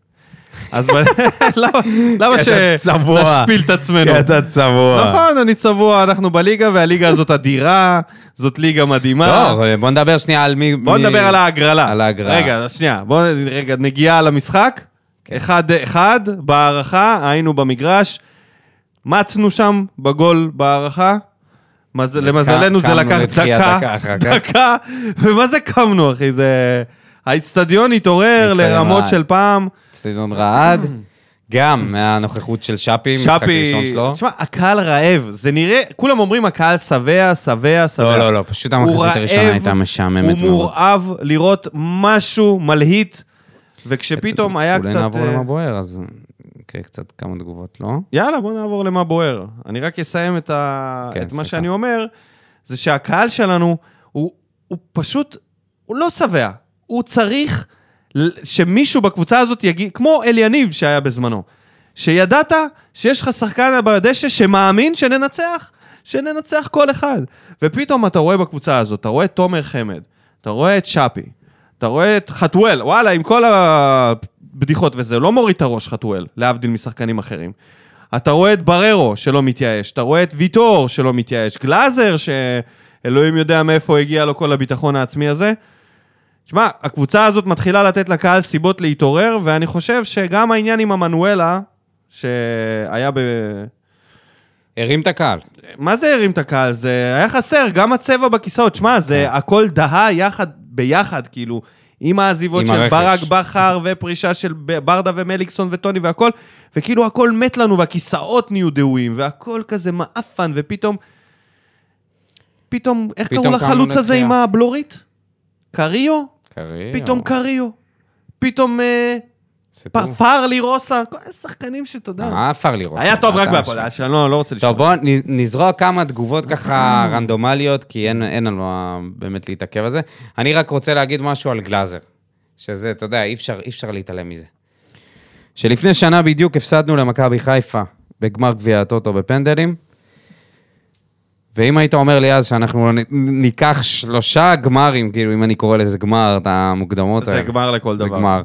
[SPEAKER 1] אז ב- למה- למה
[SPEAKER 4] אתה צבוע.
[SPEAKER 1] שנשפיל את עצמנו?
[SPEAKER 4] כי אתה צבוע.
[SPEAKER 1] נכון, אני צבוע, אנחנו בליגה, והליגה הזאת אדירה, זאת ליגה מדהימה.
[SPEAKER 2] לא, בוא נדבר שנייה על מי...
[SPEAKER 1] בואו
[SPEAKER 2] מי-
[SPEAKER 1] נדבר על ההגרלה.
[SPEAKER 2] על ההגרלה. כן.
[SPEAKER 1] רגע, שנייה, בואו רגע, נגיעה על המשחק. אחד, אחד, בהערכה, היינו במגרש, מתנו שם בגול בהערכה. מז... למזלנו זה
[SPEAKER 2] קמנו
[SPEAKER 1] לקח
[SPEAKER 2] לתחייה
[SPEAKER 1] דקה,
[SPEAKER 2] דקה אחר כך.
[SPEAKER 1] דקה, ומה זה קמנו, אחי? זה... האיצטדיון התעורר
[SPEAKER 2] האיצטדיון
[SPEAKER 1] לרמות
[SPEAKER 2] רעד.
[SPEAKER 1] של פעם.
[SPEAKER 2] אצטדיון רעד, גם מהנוכחות של שפי, משחק ראשון
[SPEAKER 1] שפי,
[SPEAKER 2] שלו.
[SPEAKER 1] תשמע, הקהל רעב, זה נראה, כולם אומרים הקהל שבע, שבע, שבע.
[SPEAKER 2] לא, לא, לא, פשוט
[SPEAKER 1] הוא
[SPEAKER 2] המחצית הראשונה
[SPEAKER 1] רעב,
[SPEAKER 2] הייתה משעממת
[SPEAKER 1] הוא
[SPEAKER 2] מאוד.
[SPEAKER 1] מורעב לראות משהו מלהיט, וכשפתאום היה קצת...
[SPEAKER 2] אולי נעבור
[SPEAKER 1] אה,
[SPEAKER 2] למה בוער, אז אוקיי, קצת כמה תגובות, לא?
[SPEAKER 1] יאללה, בוא נעבור למה בוער. אני רק אסיים את, ה...
[SPEAKER 2] כן,
[SPEAKER 1] את מה
[SPEAKER 2] סליחה.
[SPEAKER 1] שאני אומר, זה שהקהל שלנו, הוא, הוא פשוט, הוא לא שבע. הוא צריך ל- שמישהו בקבוצה הזאת יגיד, כמו אליניב שהיה בזמנו, שידעת שיש לך שחקן בדשא שמאמין שננצח, שננצח כל אחד. ופתאום אתה רואה בקבוצה הזאת, אתה רואה את תומר חמד, אתה רואה את שפי, אתה רואה את חתואל, וואלה, עם כל הבדיחות וזה, לא מוריד את הראש חתואל, להבדיל משחקנים אחרים. אתה רואה את בררו שלא מתייאש, אתה רואה את ויטור שלא מתייאש, גלאזר שאלוהים יודע מאיפה הגיע לו כל הביטחון העצמי הזה. שמע, הקבוצה הזאת מתחילה לתת לקהל סיבות להתעורר, ואני חושב שגם העניין עם עמנואלה, שהיה ב...
[SPEAKER 2] הרים את הקהל.
[SPEAKER 1] מה זה הרים את הקהל? זה היה חסר, גם הצבע בכיסאות. שמע, זה
[SPEAKER 2] כן.
[SPEAKER 1] הכל דהה יחד, ביחד, כאילו, עם העזיבות
[SPEAKER 2] עם
[SPEAKER 1] של
[SPEAKER 2] הרכש.
[SPEAKER 1] ברק בכר, ופרישה של ב- ברדה ומליקסון וטוני והכל, וכאילו הכל מת לנו, והכיסאות נהיו דהויים, והכל כזה מעפן, ופתאום... פתאום, איך
[SPEAKER 2] פתאום
[SPEAKER 1] קראו
[SPEAKER 2] קמנו
[SPEAKER 1] לחלוץ הזה
[SPEAKER 2] לתחייה.
[SPEAKER 1] עם הבלורית? קריו?
[SPEAKER 2] קריו.
[SPEAKER 1] פתאום קריו. פתאום אה, פ-
[SPEAKER 2] סטרוף.
[SPEAKER 1] פארלי רוסה, כל מיני שחקנים שאתה יודע.
[SPEAKER 2] אה, פרלי רוצה.
[SPEAKER 1] היה טוב רק
[SPEAKER 2] אתה
[SPEAKER 1] בהפועל,
[SPEAKER 2] אשם.
[SPEAKER 1] היה שאני לא לא רוצה לשמוע.
[SPEAKER 2] טוב, בואו נ- נזרוק כמה תגובות ככה
[SPEAKER 1] אה.
[SPEAKER 2] רנדומליות, כי אין, אין על מה באמת להתעכב על זה. אני רק רוצה להגיד משהו על גלאזר, שזה, אתה יודע, אי אפשר, אי אפשר להתעלם מזה. שלפני שנה בדיוק הפסדנו למכבי חיפה בגמר גביע הטוטו בפנדלים, ואם היית אומר לי אז שאנחנו נ- ניקח שלושה גמרים, כאילו, אם אני קורא לזה גמר, את המוקדמות
[SPEAKER 1] זה גמר לכל
[SPEAKER 2] זה
[SPEAKER 1] דבר.
[SPEAKER 2] גמר.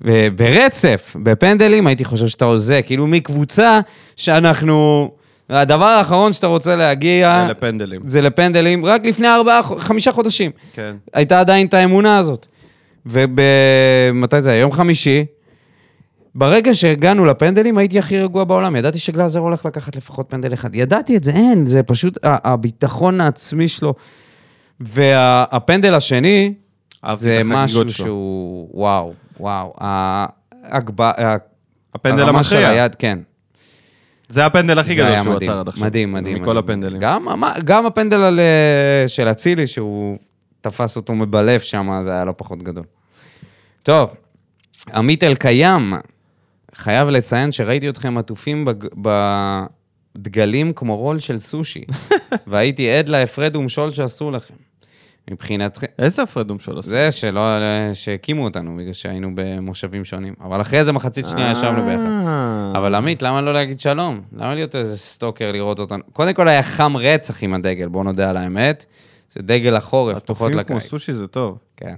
[SPEAKER 2] וברצף, בפנדלים, הייתי חושב שאתה הוזה, כאילו מקבוצה שאנחנו... הדבר האחרון שאתה רוצה להגיע...
[SPEAKER 1] אלה פנדלים.
[SPEAKER 2] אה, זה לפנדלים, רק לפני ארבעה, חמישה חודשים.
[SPEAKER 1] כן.
[SPEAKER 2] הייתה עדיין את האמונה הזאת. ובמתי זה היה? יום חמישי. ברגע שהגענו לפנדלים, הייתי הכי רגוע בעולם. ידעתי שגלאזר הולך לקחת לפחות פנדל אחד. ידעתי את זה, אין, זה פשוט ה- הביטחון העצמי שלו. והפנדל השני,
[SPEAKER 1] אהבתי
[SPEAKER 2] זה
[SPEAKER 1] את החגיגות
[SPEAKER 2] משהו
[SPEAKER 1] שלו.
[SPEAKER 2] שהוא, וואו, וואו. ההגב... ה-
[SPEAKER 1] הפנדל
[SPEAKER 2] הרמה של
[SPEAKER 1] המכריע.
[SPEAKER 2] היד, כן.
[SPEAKER 1] זה הפנדל הכי
[SPEAKER 2] זה
[SPEAKER 1] גדול
[SPEAKER 2] היה
[SPEAKER 1] שהוא
[SPEAKER 2] מדהים.
[SPEAKER 1] עצר עד עכשיו.
[SPEAKER 2] מדהים, מדהים.
[SPEAKER 1] מכל
[SPEAKER 2] מדהים.
[SPEAKER 1] הפנדלים.
[SPEAKER 2] גם, המ- גם הפנדל על, אה, של אצילי, שהוא תפס אותו מבלף שם, זה היה לא פחות גדול. טוב, עמית אלקיים, חייב לציין שראיתי אתכם עטופים בג... בדגלים כמו רול של סושי, והייתי עד להפרד ומשול שעשו לכם. מבחינתכם,
[SPEAKER 1] איזה הפרד ומשול עושה?
[SPEAKER 2] זה שלא, שהקימו אותנו בגלל שהיינו במושבים שונים. אבל אחרי זה מחצית שנייה ישבנו ביחד.
[SPEAKER 1] אה.
[SPEAKER 2] אבל עמית, למה לא להגיד שלום? למה להיות איזה סטוקר לראות אותנו? קודם כל היה חם רצח עם הדגל, בואו נודה על האמת. זה דגל החורף, פחות
[SPEAKER 1] עטופים כמו
[SPEAKER 2] לקיץ.
[SPEAKER 1] סושי זה טוב.
[SPEAKER 2] כן.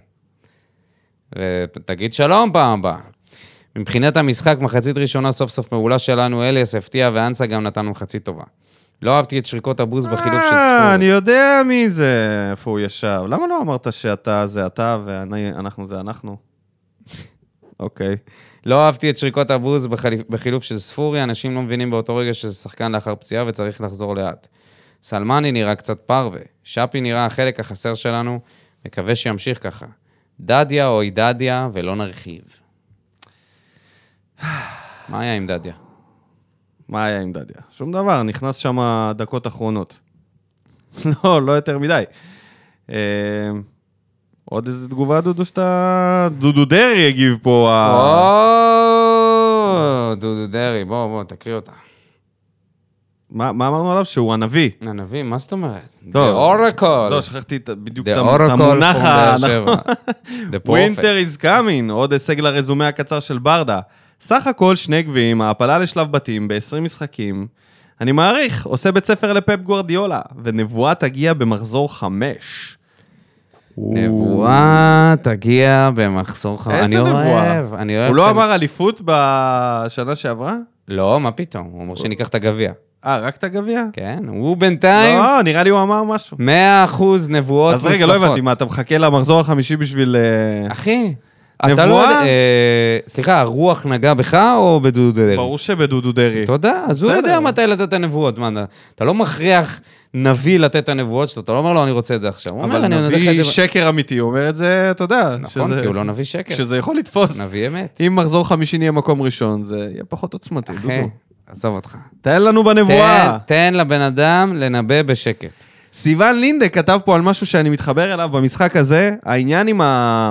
[SPEAKER 2] ותגיד שלום פעם הבאה. מבחינת המשחק, מחצית ראשונה סוף סוף מעולה שלנו, אליאס הפתיע ואנסה גם נתן מחצית טובה. לא אהבתי את שריקות הבוז בחילוף של
[SPEAKER 1] אה, אני
[SPEAKER 2] ספורי.
[SPEAKER 1] יודע מי זה, איפה הוא ישב. למה לא אמרת שאתה זה אתה ואנחנו זה אנחנו? אוקיי.
[SPEAKER 2] לא אהבתי את שריקות הבוז בחליפ- בחילוף של ספורי, אנשים לא מבינים באותו רגע שזה שחקן לאחר פציעה וצריך לחזור לאט. סלמני נראה קצת פרווה, שפי נראה החלק החסר שלנו, מקווה שימשיך ככה. דדיה אוי דדיה, ולא נרחיב. מה היה עם דדיה?
[SPEAKER 1] מה היה עם דדיה? שום דבר, נכנס שם דקות אחרונות. לא, לא יותר מדי. אה, עוד איזה תגובה, דודו, שאתה... דודו דרעי הגיב פה. ה-
[SPEAKER 2] או, דודו דרעי, בוא, בוא, תקריא אותה.
[SPEAKER 1] מה מה אמרנו עליו? שהוא הנביא.
[SPEAKER 2] הנביא, מה זאת אומרת? The
[SPEAKER 1] טוב.
[SPEAKER 2] Oracle.
[SPEAKER 1] לא, שכחתי את- בדיוק
[SPEAKER 2] The
[SPEAKER 1] את
[SPEAKER 2] Oracle
[SPEAKER 1] המונח נכון.
[SPEAKER 2] from באר שבע.
[SPEAKER 1] הנכון.
[SPEAKER 2] The Prophet.
[SPEAKER 1] Winter is coming, עוד הישג לרזומה הקצר של ברדה. סך הכל שני גביעים, העפלה לשלב בתים ב-20 משחקים. אני מעריך, עושה בית ספר לפפ גוורדיולה, ונבואה תגיע במחזור חמש.
[SPEAKER 2] נבואה תגיע במחסור חמור.
[SPEAKER 1] איזה
[SPEAKER 2] אני
[SPEAKER 1] נבואה?
[SPEAKER 2] אוהב, אני אוהב.
[SPEAKER 1] הוא
[SPEAKER 2] את
[SPEAKER 1] לא
[SPEAKER 2] ה-
[SPEAKER 1] אמר אליפות בשנה שעברה?
[SPEAKER 2] לא, מה פתאום? הוא אומר שניקח את הגביע.
[SPEAKER 1] אה, רק את הגביע?
[SPEAKER 2] כן, הוא בינתיים
[SPEAKER 1] לא, נראה לי הוא אמר משהו.
[SPEAKER 2] 100% נבואות
[SPEAKER 1] אז
[SPEAKER 2] מוצלחות.
[SPEAKER 1] רגע, לא הבנתי, מה, אתה מחכה למחזור החמישי בשביל... אה,
[SPEAKER 2] אחי,
[SPEAKER 1] נבואה?
[SPEAKER 2] אתה לא... יודע- אה, סליחה, הרוח נגע בך או בדודו דרעי?
[SPEAKER 1] ברור שבדודו דרעי.
[SPEAKER 2] תודה, אז הוא
[SPEAKER 1] בסדר.
[SPEAKER 2] יודע מתי לתת את הנבואות. מה, אתה- אתה לא מכריח נביא לתת את הנבואות שלו, אתה לא אומר לו, אני רוצה את זה עכשיו. הוא אומר,
[SPEAKER 1] אבל
[SPEAKER 2] אני נותן לך
[SPEAKER 1] נביא
[SPEAKER 2] את זה...
[SPEAKER 1] שקר אמיתי, הוא אומר את זה, אתה יודע.
[SPEAKER 2] נכון,
[SPEAKER 1] שזה-
[SPEAKER 2] כי הוא לא נביא שקר.
[SPEAKER 1] שזה יכול לתפוס.
[SPEAKER 2] נביא אמת.
[SPEAKER 1] אם מחזור חמישי נהיה מקום ראשון, זה יהיה פחות עוצמתי,
[SPEAKER 2] אחי,
[SPEAKER 1] דודו.
[SPEAKER 2] עזוב אותך.
[SPEAKER 1] תן לנו בנבואה.
[SPEAKER 2] תן- תן לבן אדם לנבא בשקט.
[SPEAKER 1] סיוון לינדה כתב פה על משהו שאני מתחבר אליו במשחק הזה. העניין עם ה-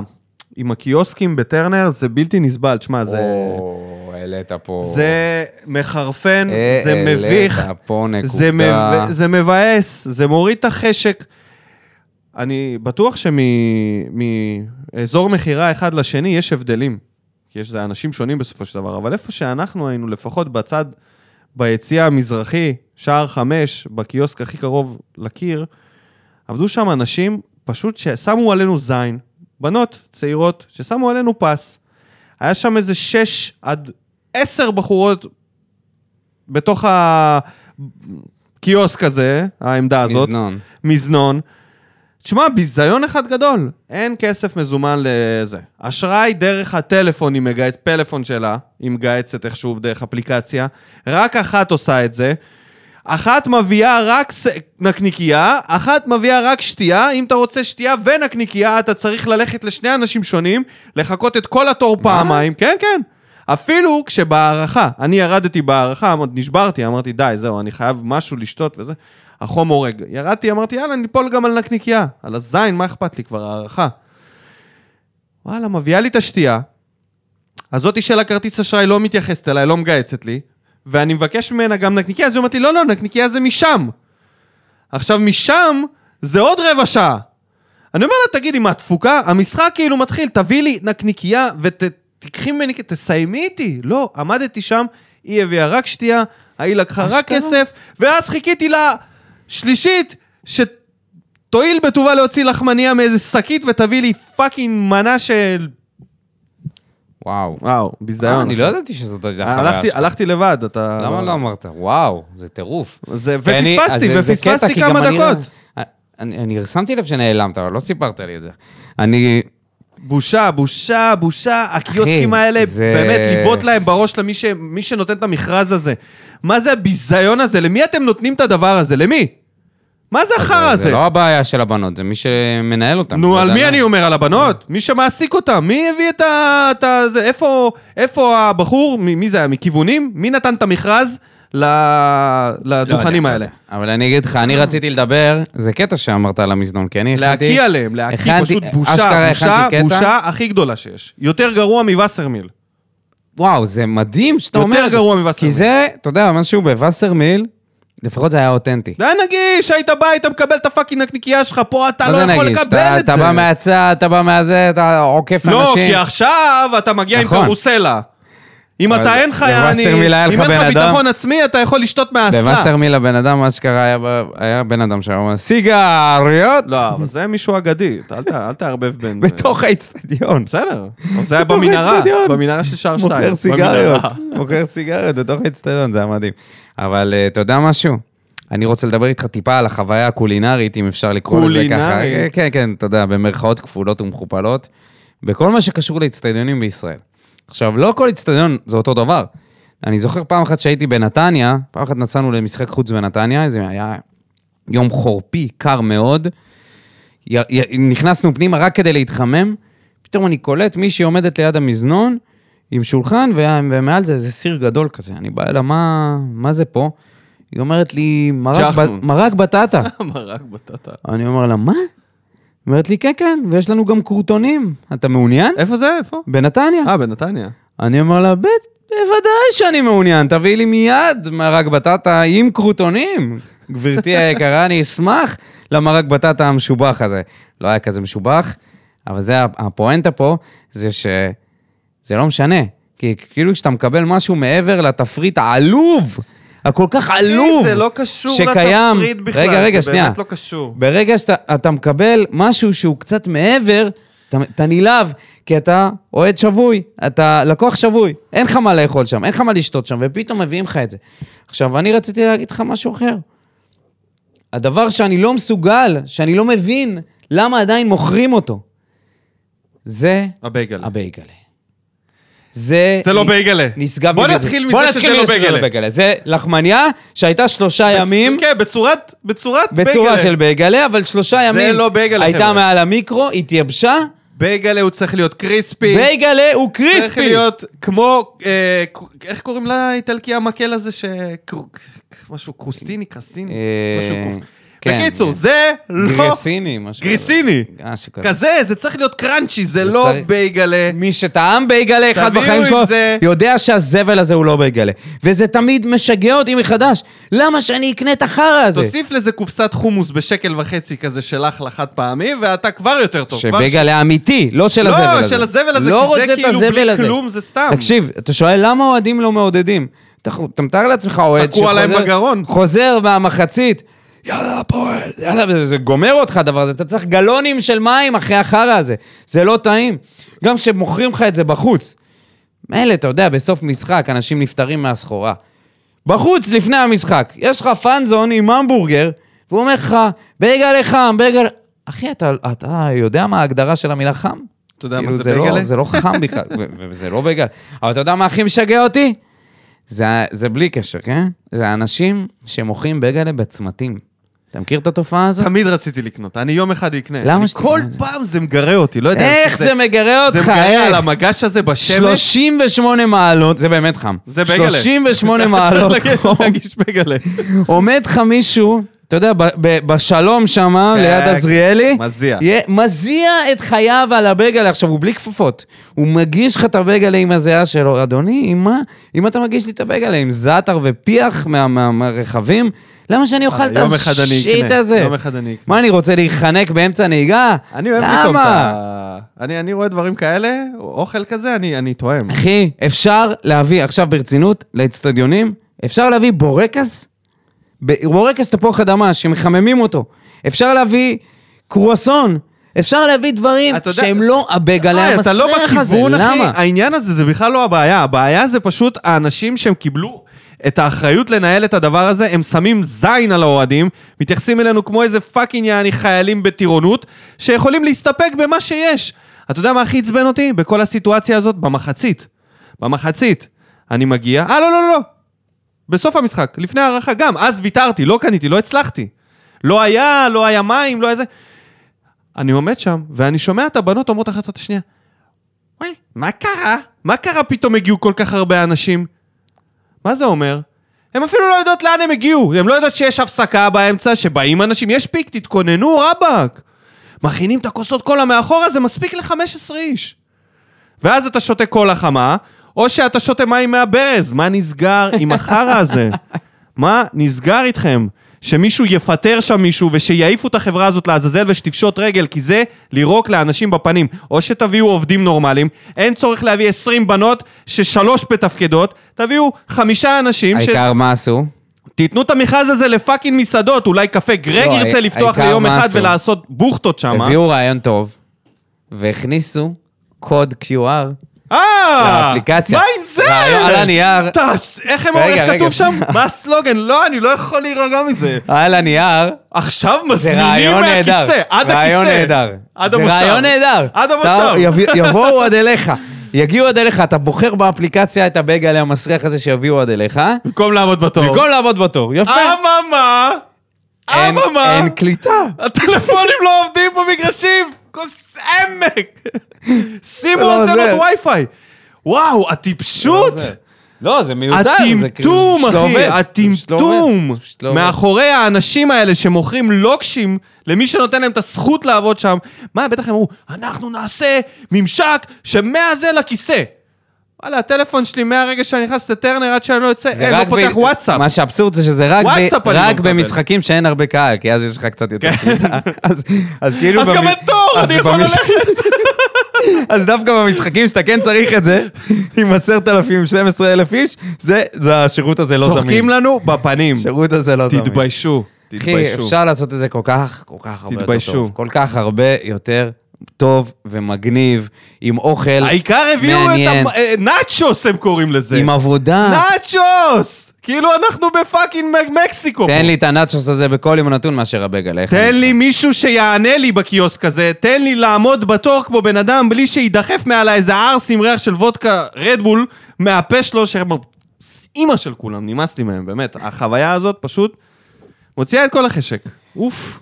[SPEAKER 1] עם הקיוסקים בטרנר זה בלתי נסבל. תשמע, זה...
[SPEAKER 2] או, העלית פה...
[SPEAKER 1] אה, זה מחרפן,
[SPEAKER 2] אה,
[SPEAKER 1] זה מביך,
[SPEAKER 2] העלית פה
[SPEAKER 1] זה, מב...
[SPEAKER 2] נקודה.
[SPEAKER 1] זה מבאס, זה מוריד את החשק. אני בטוח שמאזור מכירה אחד לשני יש הבדלים. כי יש, זה אנשים שונים בסופו של דבר, אבל איפה שאנחנו היינו, לפחות בצד, ביציע המזרחי, שער חמש, בקיוסק הכי קרוב לקיר, עבדו שם אנשים פשוט ששמו עלינו זין. בנות צעירות ששמו עלינו פס. היה שם איזה שש עד עשר בחורות בתוך הקיוסק הזה, העמדה הזאת.
[SPEAKER 2] מזנון.
[SPEAKER 1] מזנון. תשמע, ביזיון אחד גדול. אין כסף מזומן לזה. אשראי דרך הטלפון עם מגייצ... פלאפון שלה, היא מגייצת איכשהו דרך אפליקציה. רק אחת עושה את זה. אחת מביאה רק ס... נקניקייה, אחת מביאה רק שתייה. אם אתה רוצה שתייה ונקניקייה, אתה צריך ללכת לשני אנשים שונים, לחכות את כל התור פעמיים. כן, כן. אפילו כשבהערכה, אני ירדתי בהערכה, עוד נשברתי, אמרתי, די, זהו, אני חייב משהו לשתות וזה. החום הורג. ירדתי, אמרתי, יאללה, ניפול גם על נקניקייה. על הזין, מה אכפת לי כבר, הערכה. וואלה, מביאה לי את השתייה. הזאתי של הכרטיס אשראי לא מתייחסת אליי, לא מגייצת לי. ואני מבקש ממנה גם נקניקייה, אז היא אומרת לי, לא, לא, נקניקייה זה משם. עכשיו, משם זה עוד רבע שעה. אני אומר לה, תגידי, מה, תפוקה? המשחק כאילו מתחיל, תביא לי נקניקייה ותקחי ממני, תסיימי איתי. לא, עמדתי שם, היא הביאה רק שתייה, ההיא לקחה רק
[SPEAKER 2] אשכרה?
[SPEAKER 1] כסף, ואז חיכיתי לה שלישית, שתואיל בטובה להוציא לחמניה מאיזה שקית ותביא לי פאקינג מנה של...
[SPEAKER 2] וואו.
[SPEAKER 1] וואו,
[SPEAKER 2] אה,
[SPEAKER 1] ביזיון.
[SPEAKER 2] אני לא ידעתי שזאת הייתה חוויה
[SPEAKER 1] נכון. אה, הלכתי,
[SPEAKER 2] שלך.
[SPEAKER 1] הלכתי לבד, אתה...
[SPEAKER 2] למה לא אמרת? וואו, זה טירוף.
[SPEAKER 1] זה,
[SPEAKER 2] אני- אז
[SPEAKER 1] ופספסתי,
[SPEAKER 2] זה- זה קטע,
[SPEAKER 1] ופספסתי
[SPEAKER 2] כי גם
[SPEAKER 1] כמה
[SPEAKER 2] אני- לא- אה,
[SPEAKER 1] דקות.
[SPEAKER 2] אני אני שמתי לב שנעלמת, אבל לא סיפרת לי את זה. אני...
[SPEAKER 1] בושה, בושה, בושה. הקיוסקים האלה,
[SPEAKER 2] זה-
[SPEAKER 1] באמת, לבעוט להם בראש למי ש... מי שנותן את המכרז הזה. מה זה הביזיון הזה? למי אתם נותנים את הדבר הזה? למי? מה זה החרא הזה?
[SPEAKER 2] זה לא הבעיה של הבנות, זה מי שמנהל אותן.
[SPEAKER 1] נו,
[SPEAKER 2] לא
[SPEAKER 1] על
[SPEAKER 2] יודע
[SPEAKER 1] מי
[SPEAKER 2] למה.
[SPEAKER 1] אני אומר? על הבנות? מי שמעסיק אותם? מי הביא את ה... את ה... זה- איפה- איפה הבחור? מ- מי זה היה? מכיוונים? מי נתן את המכרז ל-
[SPEAKER 2] לא יודע,
[SPEAKER 1] לדוכנים
[SPEAKER 2] לא
[SPEAKER 1] האלה?
[SPEAKER 2] יודע. אבל אני אגיד לך, אני רציתי לדבר, זה קטע שאמרת על המזנון, כי אני הכנתי...
[SPEAKER 1] להקיא עליהם, להקיא
[SPEAKER 2] הכנתי- אה,
[SPEAKER 1] פשוט בושה,
[SPEAKER 2] אשכרה
[SPEAKER 1] בושה,
[SPEAKER 2] הכנתי קטע.
[SPEAKER 1] בושה הכי גדולה שיש. יותר גרוע מווסרמיל.
[SPEAKER 2] וואו, זה מדהים שאתה
[SPEAKER 1] יותר
[SPEAKER 2] אומר... את זה.
[SPEAKER 1] גרוע מווסרמיל.
[SPEAKER 2] כי זה, אתה יודע, משהו בווסרמיל, לפחות זה היה אותנטי.
[SPEAKER 1] זה היה נגיש, היית בא, היית מקבל את הפאקינג נקניקייה שלך, פה אתה
[SPEAKER 2] מה
[SPEAKER 1] לא
[SPEAKER 2] זה
[SPEAKER 1] יכול
[SPEAKER 2] נגיש?
[SPEAKER 1] לקבל
[SPEAKER 2] אתה-
[SPEAKER 1] את זה.
[SPEAKER 2] אתה בא מהצד, אתה בא מהזה, אתה עוקף אנשים.
[SPEAKER 1] לא, כי עכשיו אתה מגיע עם
[SPEAKER 2] נכון.
[SPEAKER 1] קרוסלה. אם
[SPEAKER 2] אבל
[SPEAKER 1] אתה אין לך, יעני,
[SPEAKER 2] בווסרמיל היה לך
[SPEAKER 1] אם אין לך
[SPEAKER 2] בן אדם-
[SPEAKER 1] ביטחון עצמי, אתה יכול לשתות מהאסלה.
[SPEAKER 2] בווסרמיל הבן אדם, אשכרה, היה ב- היה בן אדם שהיה אומר, סיגריות!
[SPEAKER 1] לא, אבל זה מישהו אגדי, אתה- אל ת- אל תערבב בין...
[SPEAKER 2] בתוך האיצטדיון.
[SPEAKER 1] בסדר, אבל זה היה
[SPEAKER 2] בתוך
[SPEAKER 1] במנהרה,
[SPEAKER 2] האצטדיון.
[SPEAKER 1] במנהרה של שער שתיים.
[SPEAKER 2] מוכר סיגריות,
[SPEAKER 1] במנהרה.
[SPEAKER 2] מוכר סיגריות בתוך האצטדיון, זה היה מדהים. אבל אה, אתה יודע משהו? אני רוצה לדבר איתך טיפה על החוויה הקולינרית, אם אפשר לקרוא לזה ככה.
[SPEAKER 1] קולינרית.
[SPEAKER 2] כן, כן, אתה יודע, במרכאות כפולות ומכופלות, בכל מה שקשור לאצטדיונים בישראל. עכשיו, לא כל אצטדיון זה אותו דבר. אני זוכר פעם אחת שהייתי בנתניה, פעם אחת נסענו למשחק חוץ בנתניה, זה היה יום חורפי, קר מאוד. י- י- נכנסנו פנימה רק כדי להתחמם, פתאום אני קולט מישהי עומדת ליד המזנון עם שולחן, ו- ומעל זה איזה סיר גדול כזה. אני בא אליה, מה, מה זה פה? היא אומרת לי, מרק,
[SPEAKER 1] ג'חנון."
[SPEAKER 2] ב- מרק בטטה.
[SPEAKER 1] מרק בטטה.
[SPEAKER 2] אני אומר לה, מה? היא אומרת לי, כן, כן, ויש לנו גם כורתונים. אתה מעוניין?
[SPEAKER 1] איפה זה? איפה?
[SPEAKER 2] בנתניה.
[SPEAKER 1] אה, בנתניה.
[SPEAKER 2] אני אומר לה, בט, בוודאי שאני מעוניין, תביאי לי מיד מרק בטטה עם קרוטונים. גברתי היקרה, אני אשמח למרק בטטה המשובח הזה. לא היה כזה משובח, אבל זה הפואנטה פה, זה ש... זה לא משנה. כי כאילו כשאתה מקבל משהו מעבר לתפריט העלוב, הכל כך עלוב,
[SPEAKER 1] זה לא קשור
[SPEAKER 2] שקיים-
[SPEAKER 1] לתפריט בכלל.
[SPEAKER 2] רגע, רגע,
[SPEAKER 1] זה
[SPEAKER 2] שנייה.
[SPEAKER 1] באמת לא קשור.
[SPEAKER 2] ברגע שאתה אתה מקבל משהו שהוא קצת מעבר, אתה, אתה נלהב, כי אתה אוהד שבוי, אתה לקוח שבוי, אין לך מה לאכול שם, אין לך מה לשתות שם, ופתאום מביאים לך את זה. עכשיו, אני רציתי להגיד לך משהו אחר. הדבר שאני לא מסוגל, שאני לא מבין למה עדיין מוכרים אותו, זה
[SPEAKER 1] הבייגלה.
[SPEAKER 2] הבייגלה. זה...
[SPEAKER 1] זה לא בייגלה.
[SPEAKER 2] נשגב
[SPEAKER 1] בוא
[SPEAKER 2] מבגלה.
[SPEAKER 1] נתחיל
[SPEAKER 2] בוא
[SPEAKER 1] מזה שזה
[SPEAKER 2] נתחיל
[SPEAKER 1] לא
[SPEAKER 2] מזה
[SPEAKER 1] בייגלה.
[SPEAKER 2] זה לחמניה שהייתה שלושה ימים.
[SPEAKER 1] כן, בצורת, בצורת בייגלה.
[SPEAKER 2] בצורה של בייגלה, אבל שלושה ימים
[SPEAKER 1] לא בייגלה,
[SPEAKER 2] הייתה
[SPEAKER 1] חבר'ה.
[SPEAKER 2] מעל המיקרו, התייבשה,
[SPEAKER 1] בייגלה הוא צריך להיות קריספי.
[SPEAKER 2] בייגלה הוא קריספי.
[SPEAKER 1] צריך להיות כמו, אה, ק- איך קוראים לאיטלקי המקל הזה ש... קרו- משהו קרוסטיני, קרסטיני,
[SPEAKER 2] אה,
[SPEAKER 1] משהו קוף.
[SPEAKER 2] כן.
[SPEAKER 1] בקיצור, זה לא...
[SPEAKER 2] גריסיני, משהו.
[SPEAKER 1] גריסיני.
[SPEAKER 2] כזה. אה, משהו כזה.
[SPEAKER 1] כזה, זה צריך להיות קראנצ'י, זה לא
[SPEAKER 2] אוקיי. צריך-
[SPEAKER 1] בייגלה.
[SPEAKER 2] מי שטעם בייגלה אחד
[SPEAKER 1] תביאו
[SPEAKER 2] בחיים
[SPEAKER 1] את
[SPEAKER 2] שלו,
[SPEAKER 1] זה.
[SPEAKER 2] יודע שהזבל הזה הוא לא בייגלה. וזה תמיד משגע אותי מחדש. למה שאני אקנה את החרא הזה?
[SPEAKER 1] תוסיף לזה קופסת חומוס בשקל וחצי כזה שלך לחד פעמי, ואתה כבר יותר טוב. כבר ש-
[SPEAKER 2] שבייגלה אמיתי, לא של הזבל הזה.
[SPEAKER 1] לא, של הזבל הזה,
[SPEAKER 2] לא
[SPEAKER 1] כי
[SPEAKER 2] רוצה
[SPEAKER 1] זה
[SPEAKER 2] את
[SPEAKER 1] כאילו
[SPEAKER 2] הזבל
[SPEAKER 1] בלי
[SPEAKER 2] הזה.
[SPEAKER 1] כלום, זה סתם.
[SPEAKER 2] תקשיב, אתה שואל למה אוהדים לא מעודדים. אתה אתה מתאר לעצמך אוהד
[SPEAKER 1] תקוע להם בגרון.
[SPEAKER 2] חוזר מהמחצית, יאללה הפועל, יאללה, וזה- זה גומר אותך הדבר הזה, אתה צריך גלונים של מים אחרי החרא הזה, זה לא טעים. גם כשמוכרים לך את זה בחוץ. מילא, אתה יודע, בסוף משחק אנשים נפטרים מהסחורה. בחוץ, לפני המשחק, יש לך פאנזון עם המבורגר, והוא אומר לך, בייגלה חם, בייגלה... אחי, אתה, אתה יודע מה ההגדרה של המילה חם?
[SPEAKER 1] אתה יודע מה
[SPEAKER 2] כאילו,
[SPEAKER 1] זה
[SPEAKER 2] זה לא-
[SPEAKER 1] בייגלה?
[SPEAKER 2] זה לא חם בכלל, ו- ו- וזה לא בגלל. אבל אתה יודע מה הכי משגע אותי? זה, זה בלי קשר, כן? זה אנשים שמוכרים בגלה בצמתים. אתה מכיר את התופעה הזאת?
[SPEAKER 1] תמיד רציתי לקנות, אני יום אחד אקנה.
[SPEAKER 2] למה
[SPEAKER 1] אני
[SPEAKER 2] שתקנה
[SPEAKER 1] כל
[SPEAKER 2] את זה?
[SPEAKER 1] פעם זה מגרה אותי, לא יודע.
[SPEAKER 2] איך זה מגרה אותך?
[SPEAKER 1] זה מגרה על
[SPEAKER 2] איך?
[SPEAKER 1] המגש הזה בשמש.
[SPEAKER 2] 38 מעלות, זה באמת חם.
[SPEAKER 1] זה בייגלה.
[SPEAKER 2] 38 מעלות
[SPEAKER 1] אתה צריך
[SPEAKER 2] חום.
[SPEAKER 1] להגיש בגלה.
[SPEAKER 2] עומד לך מישהו, אתה יודע, ב- ב- בשלום שם,
[SPEAKER 1] כן,
[SPEAKER 2] ליד עזריאלי,
[SPEAKER 1] מזיע.
[SPEAKER 2] יהיה- מזיע את חייו על הבגלה. עכשיו, הוא בלי כפפות. הוא מגיש לך את הבגלה עם הזיעה שלו. אדוני, עם מה? אם אתה מגיש לי את הבגלה עם זעתר ופיח מה- מה- מהרכבים, למה שאני אוכל את
[SPEAKER 1] יום אחד אני
[SPEAKER 2] השיט
[SPEAKER 1] אקנה,
[SPEAKER 2] הזה?
[SPEAKER 1] יום אחד אני אקנה.
[SPEAKER 2] מה, אני רוצה להיחנק באמצע נהיגה?
[SPEAKER 1] אני אוהב
[SPEAKER 2] למה?
[SPEAKER 1] פתאום את ה... אני אני רואה דברים כאלה, אוכל כזה, אני אני תואם.
[SPEAKER 2] אחי, אפשר להביא, עכשיו ברצינות, לאצטדיונים, אפשר להביא בורקס, ב- בורקס תפוח אדמה, שמחממים אותו. אפשר להביא קרואסון, אפשר להביא דברים
[SPEAKER 1] אתה יודע-
[SPEAKER 2] שהם לא הבגלה
[SPEAKER 1] איי,
[SPEAKER 2] המסריח הזה,
[SPEAKER 1] אתה לא בכיוון, אחי.
[SPEAKER 2] למה?
[SPEAKER 1] העניין הזה זה בכלל לא הבעיה. הבעיה זה פשוט האנשים שהם קיבלו את האחריות לנהל את הדבר הזה, הם שמים זין על האוהדים, מתייחסים אלינו כמו איזה פאקינג יעני חיילים בטירונות, שיכולים להסתפק במה שיש. אתה יודע מה הכי עצבן אותי? בכל הסיטואציה הזאת, במחצית. במחצית. אני מגיע, אה, לא, לא, לא. בסוף המשחק, לפני ההערכה גם, אז ויתרתי, לא קניתי, לא הצלחתי. לא היה, לא היה מים, לא היה זה. אני עומד שם, ואני שומע את הבנות אומרות אחת את השנייה, וואי, מה קרה? מה קרה פתאום הגיעו כל כך הרבה אנשים? מה זה אומר? הן אפילו לא יודעות לאן הם הגיעו, הן לא יודעות שיש הפסקה באמצע, שבאים אנשים, יש פיק, תתכוננו, רבאק. מכינים את הכוסות קולה מאחורה, זה מספיק ל-15 איש. ואז אתה שותה קולה חמה, או שאתה שותה מים מהברז. מה נסגר עם החרא הזה? מה נסגר איתכם? שמישהו יפטר שם מישהו ושיעיפו את החברה הזאת לעזאזל ושתפשוט רגל, כי זה לירוק לאנשים בפנים. או שתביאו עובדים נורמליים, אין צורך להביא 20 בנות ששלוש מתפקדות, תביאו חמישה אנשים ש...
[SPEAKER 2] העיקר מה עשו?
[SPEAKER 1] תיתנו את המכרז הזה לפאקינג מסעדות, אולי קפה גרג
[SPEAKER 2] לא,
[SPEAKER 1] ירצה
[SPEAKER 2] הע-
[SPEAKER 1] לפתוח
[SPEAKER 2] העיקר
[SPEAKER 1] ליום
[SPEAKER 2] מה
[SPEAKER 1] אחד
[SPEAKER 2] עשו?
[SPEAKER 1] ולעשות בוכטות שם.
[SPEAKER 2] הביאו רעיון טוב, והכניסו קוד QR.
[SPEAKER 1] אה,
[SPEAKER 2] לאפליקציה.
[SPEAKER 1] מה עם זה?
[SPEAKER 2] רעיון על הנייר.
[SPEAKER 1] טס, איך הם
[SPEAKER 2] רגע,
[SPEAKER 1] אומרים, איך
[SPEAKER 2] רגע.
[SPEAKER 1] כתוב שם? מה הסלוגן? לא, אני לא יכול להירגע מזה.
[SPEAKER 2] על הנייר,
[SPEAKER 1] עכשיו
[SPEAKER 2] זה
[SPEAKER 1] מזמינים
[SPEAKER 2] רעיון נהדר.
[SPEAKER 1] מהכיסא, עד הכיסא.
[SPEAKER 2] רעיון נהדר.
[SPEAKER 1] עד
[SPEAKER 2] זה
[SPEAKER 1] המושב.
[SPEAKER 2] רעיון נהדר.
[SPEAKER 1] עד
[SPEAKER 2] אתה-
[SPEAKER 1] המושב.
[SPEAKER 2] יביא- יבואו עד אליך. יגיעו עד אליך, אתה בוחר באפליקציה את הבייגלה המסריח הזה שיביאו עד אליך,
[SPEAKER 1] במקום לעמוד בתור.
[SPEAKER 2] במקום לעבוד בתור. יפה.
[SPEAKER 1] אממה, אמ-
[SPEAKER 2] אין-
[SPEAKER 1] אממה,
[SPEAKER 2] אין קליטה.
[SPEAKER 1] הטלפונים לא עובדים במגרשים. כוס עמק. שימו
[SPEAKER 2] לא
[SPEAKER 1] אנטנות
[SPEAKER 2] עוזר.
[SPEAKER 1] וי-פיי. וואו, הטיפשות.
[SPEAKER 2] לא, זה מיותר. זה כאילו-
[SPEAKER 1] הטמטום,
[SPEAKER 2] פשוט לא
[SPEAKER 1] אחי,
[SPEAKER 2] עובד. פשוט לא עובד.
[SPEAKER 1] הטמטום.
[SPEAKER 2] זה פשוט לא עובד.
[SPEAKER 1] מאחורי האנשים האלה שמוכרים לוקשים למי שנותן להם את הזכות לעבוד שם, מה, בטח הם אמרו, אנחנו נעשה ממשק שמהזה לכיסא. וואלה, הטלפון שלי מהרגע שאני נכנס לטרנר עד שאני לא יוצא,
[SPEAKER 2] זה
[SPEAKER 1] אין, לא
[SPEAKER 2] רק
[SPEAKER 1] פותח
[SPEAKER 2] ב-
[SPEAKER 1] וואטסאפ.
[SPEAKER 2] מה שהאבסורד זה שזה רק, ב-
[SPEAKER 1] וואטסאפ אני לא
[SPEAKER 2] רק
[SPEAKER 1] מקבל. כן.
[SPEAKER 2] במשחקים שאין הרבה קהל, כי אז יש לך קצת יותר קליטה. אז- אז כאילו...
[SPEAKER 1] אז
[SPEAKER 2] במ-
[SPEAKER 1] גם אין תור,
[SPEAKER 2] אז
[SPEAKER 1] אני יכול
[SPEAKER 2] במש-
[SPEAKER 1] ללכת.
[SPEAKER 2] אז דווקא במשחקים שאתה כן צריך את זה, עם 10,000, 12,000 איש, זה, זה השירות הזה לא זמין.
[SPEAKER 1] צוחקים לנו בפנים.
[SPEAKER 2] השירות הזה לא זמין.
[SPEAKER 1] תתביישו,
[SPEAKER 2] אחי,
[SPEAKER 1] תתביישו.
[SPEAKER 2] אפשר לעשות את זה כל כך, כל כך הרבה יותר
[SPEAKER 1] תתביישו.
[SPEAKER 2] טוב. כל כך הרבה יותר טוב ומגניב, עם אוכל
[SPEAKER 1] העיקר הביאו את
[SPEAKER 2] מעניין,
[SPEAKER 1] ה... אה, נאצ'וס הם קוראים לזה.
[SPEAKER 2] עם עבודה.
[SPEAKER 1] נאצ'וס! כאילו אנחנו בפאקינג מקסיקו. פה.
[SPEAKER 2] תן לי את הנאצ'וס הזה בכל יום נתון מאשר הבגלה. איך
[SPEAKER 1] תן
[SPEAKER 2] אני-
[SPEAKER 1] לי מישהו שיענה לי בקיוסק הזה, תן לי לעמוד בתור כמו בן אדם בלי שיידחף מעלי איזה ערס עם ריח של וודקה רדבול מהפה שלו, שהם אימא של כולם, נמאס לי מהם, באמת. החוויה הזאת פשוט מוציאה את כל החשק. אוף.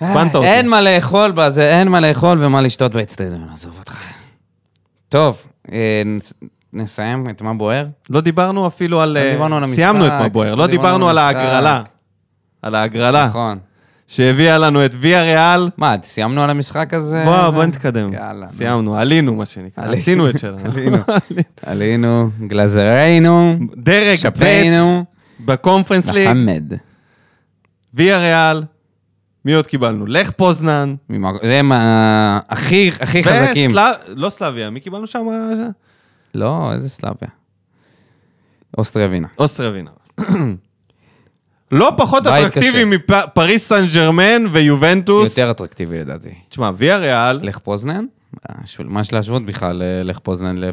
[SPEAKER 1] בנת אותי.
[SPEAKER 2] אה, אין מה לאכול בזה, אין מה לאכול ומה לשתות באצטדיון, עזוב אותך. טוב, אה, נס- נסיים את מה בוער?
[SPEAKER 1] לא דיברנו אפילו על...
[SPEAKER 2] לא
[SPEAKER 1] אה,
[SPEAKER 2] דיברנו על המשחק,
[SPEAKER 1] סיימנו את מה בוער,
[SPEAKER 2] לא
[SPEAKER 1] לא
[SPEAKER 2] דיברנו
[SPEAKER 1] דיברנו
[SPEAKER 2] על
[SPEAKER 1] על
[SPEAKER 2] המשחק.
[SPEAKER 1] ההגרלה. על ההגרלה
[SPEAKER 2] נכון.
[SPEAKER 1] שהביאה לנו את ויה ריאל.
[SPEAKER 2] מה, סיימנו על המשחק הזה?
[SPEAKER 1] בוא, בוא נתקדם.
[SPEAKER 2] יאללה, נו.
[SPEAKER 1] סיימנו, עלינו מה שנקרא,
[SPEAKER 2] עלינו.
[SPEAKER 1] עשינו את שלנו.
[SPEAKER 2] עלינו, גלזרנו,
[SPEAKER 1] דרג ב'
[SPEAKER 2] שפינו, נכון.
[SPEAKER 1] בקונפרנס ליג.
[SPEAKER 2] מוחמד.
[SPEAKER 1] ויה ריאל, מי עוד קיבלנו? לך פוזנן.
[SPEAKER 2] ממק- זה מה- הכי הכי חזקים.
[SPEAKER 1] וסלא- לא סלאביה, מי קיבלנו שם?
[SPEAKER 2] לא, איזה סלאביה. אוסטריה ווינה.
[SPEAKER 1] אוסטריה ווינה. לא פחות
[SPEAKER 2] בית
[SPEAKER 1] אטרקטיבי
[SPEAKER 2] קשה.
[SPEAKER 1] מפריס סן ג'רמן ויובנטוס.
[SPEAKER 2] יותר אטרקטיבי לדעתי.
[SPEAKER 1] תשמע, ויה ריאל,
[SPEAKER 2] לך פוזנן? אה, שו- מה יש להשוות בכלל אה, לך פוזנן ל-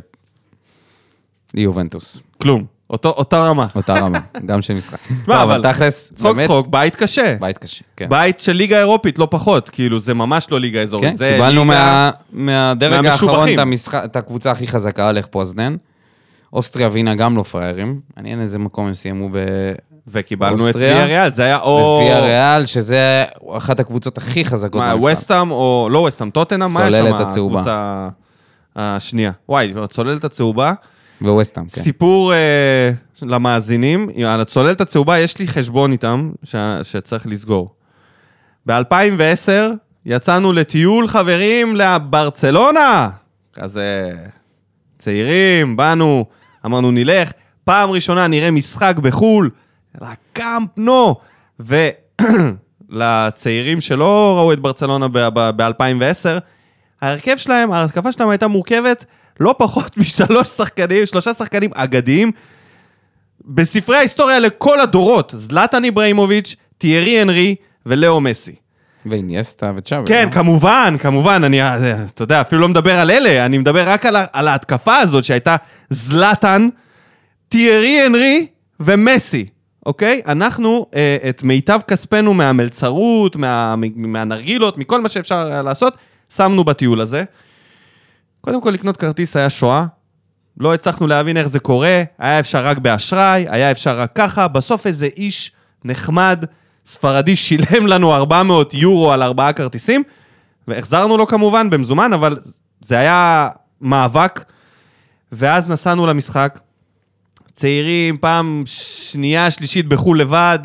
[SPEAKER 2] ליובנטוס?
[SPEAKER 1] כלום. אותו- אותה רמה.
[SPEAKER 2] אותה רמה, גם של משחק.
[SPEAKER 1] מה,
[SPEAKER 2] לא,
[SPEAKER 1] אבל-
[SPEAKER 2] אבל תכלס,
[SPEAKER 1] צחוק
[SPEAKER 2] באמת,
[SPEAKER 1] צחוק, בית קשה.
[SPEAKER 2] בית קשה, כן.
[SPEAKER 1] בית של ליגה אירופית, לא פחות. כאילו, זה ממש לא ליגה אזורית.
[SPEAKER 2] כן,
[SPEAKER 1] זה
[SPEAKER 2] קיבלנו
[SPEAKER 1] ליגה-
[SPEAKER 2] מה- מהדרג האחרון
[SPEAKER 1] מהמשובחים.
[SPEAKER 2] את המשחק- את הקבוצה הכי חזקה, לך פוזנן. אוסטריה ווינה גם לא פראיירים. מעניין איזה מקום הם סיימו ב...
[SPEAKER 1] וקיבלנו את
[SPEAKER 2] אוסטריה.
[SPEAKER 1] ויה ריאל, זה היה או...
[SPEAKER 2] בוויה ריאל, שזה אחת הקבוצות הכי חזקות
[SPEAKER 1] מה, ווסטאם או... לא ווסטאם, טוטנאם, מה יש שם?
[SPEAKER 2] צוללת הצהובה.
[SPEAKER 1] הקבוצה השנייה. וואי, הצוללת הצהובה.
[SPEAKER 2] וווסטאם, כן.
[SPEAKER 1] סיפור אה, למאזינים, על הצוללת הצהובה יש לי חשבון איתם ש... שצריך לסגור. ב-2010 יצאנו לטיול חברים לברצלונה! כזה צעירים, באנו, אמרנו נלך, פעם ראשונה נראה משחק בחו"ל, לקאמפ נו! ולצעירים שלא ראו את ברצלונה ב-2010, ההרכב שלהם, ההתקפה שלהם הייתה מורכבת לא פחות משלוש שחקנים, שלושה שחקנים אגדיים. בספרי ההיסטוריה לכל הדורות, זלאטן איברהימוביץ', טיירי אנרי ולאו מסי.
[SPEAKER 2] ואיניאסטה וצ'אבי.
[SPEAKER 1] כן,
[SPEAKER 2] לא?
[SPEAKER 1] כמובן, כמובן, אני, אה, אתה יודע, אפילו לא מדבר על אלה, אני מדבר רק על, ה- על ההתקפה הזאת שהייתה זלאטן, טיירי אנרי ומסי, אוקיי? אנחנו אה, את מיטב כספנו מהמלצרות, מה, מ- מהנרגילות, מכל מה שאפשר היה לעשות, שמנו בטיול הזה. קודם כל, לקנות כרטיס היה שואה. לא הצלחנו להבין איך זה קורה, היה אפשר רק באשראי, היה אפשר רק ככה, בסוף איזה איש נחמד, ספרדי, שילם לנו 400 יורו על ארבעה כרטיסים, והחזרנו לו כמובן במזומן, אבל זה היה מאבק. ואז נסענו למשחק, צעירים, פעם שנייה, שלישית בחו"ל לבד,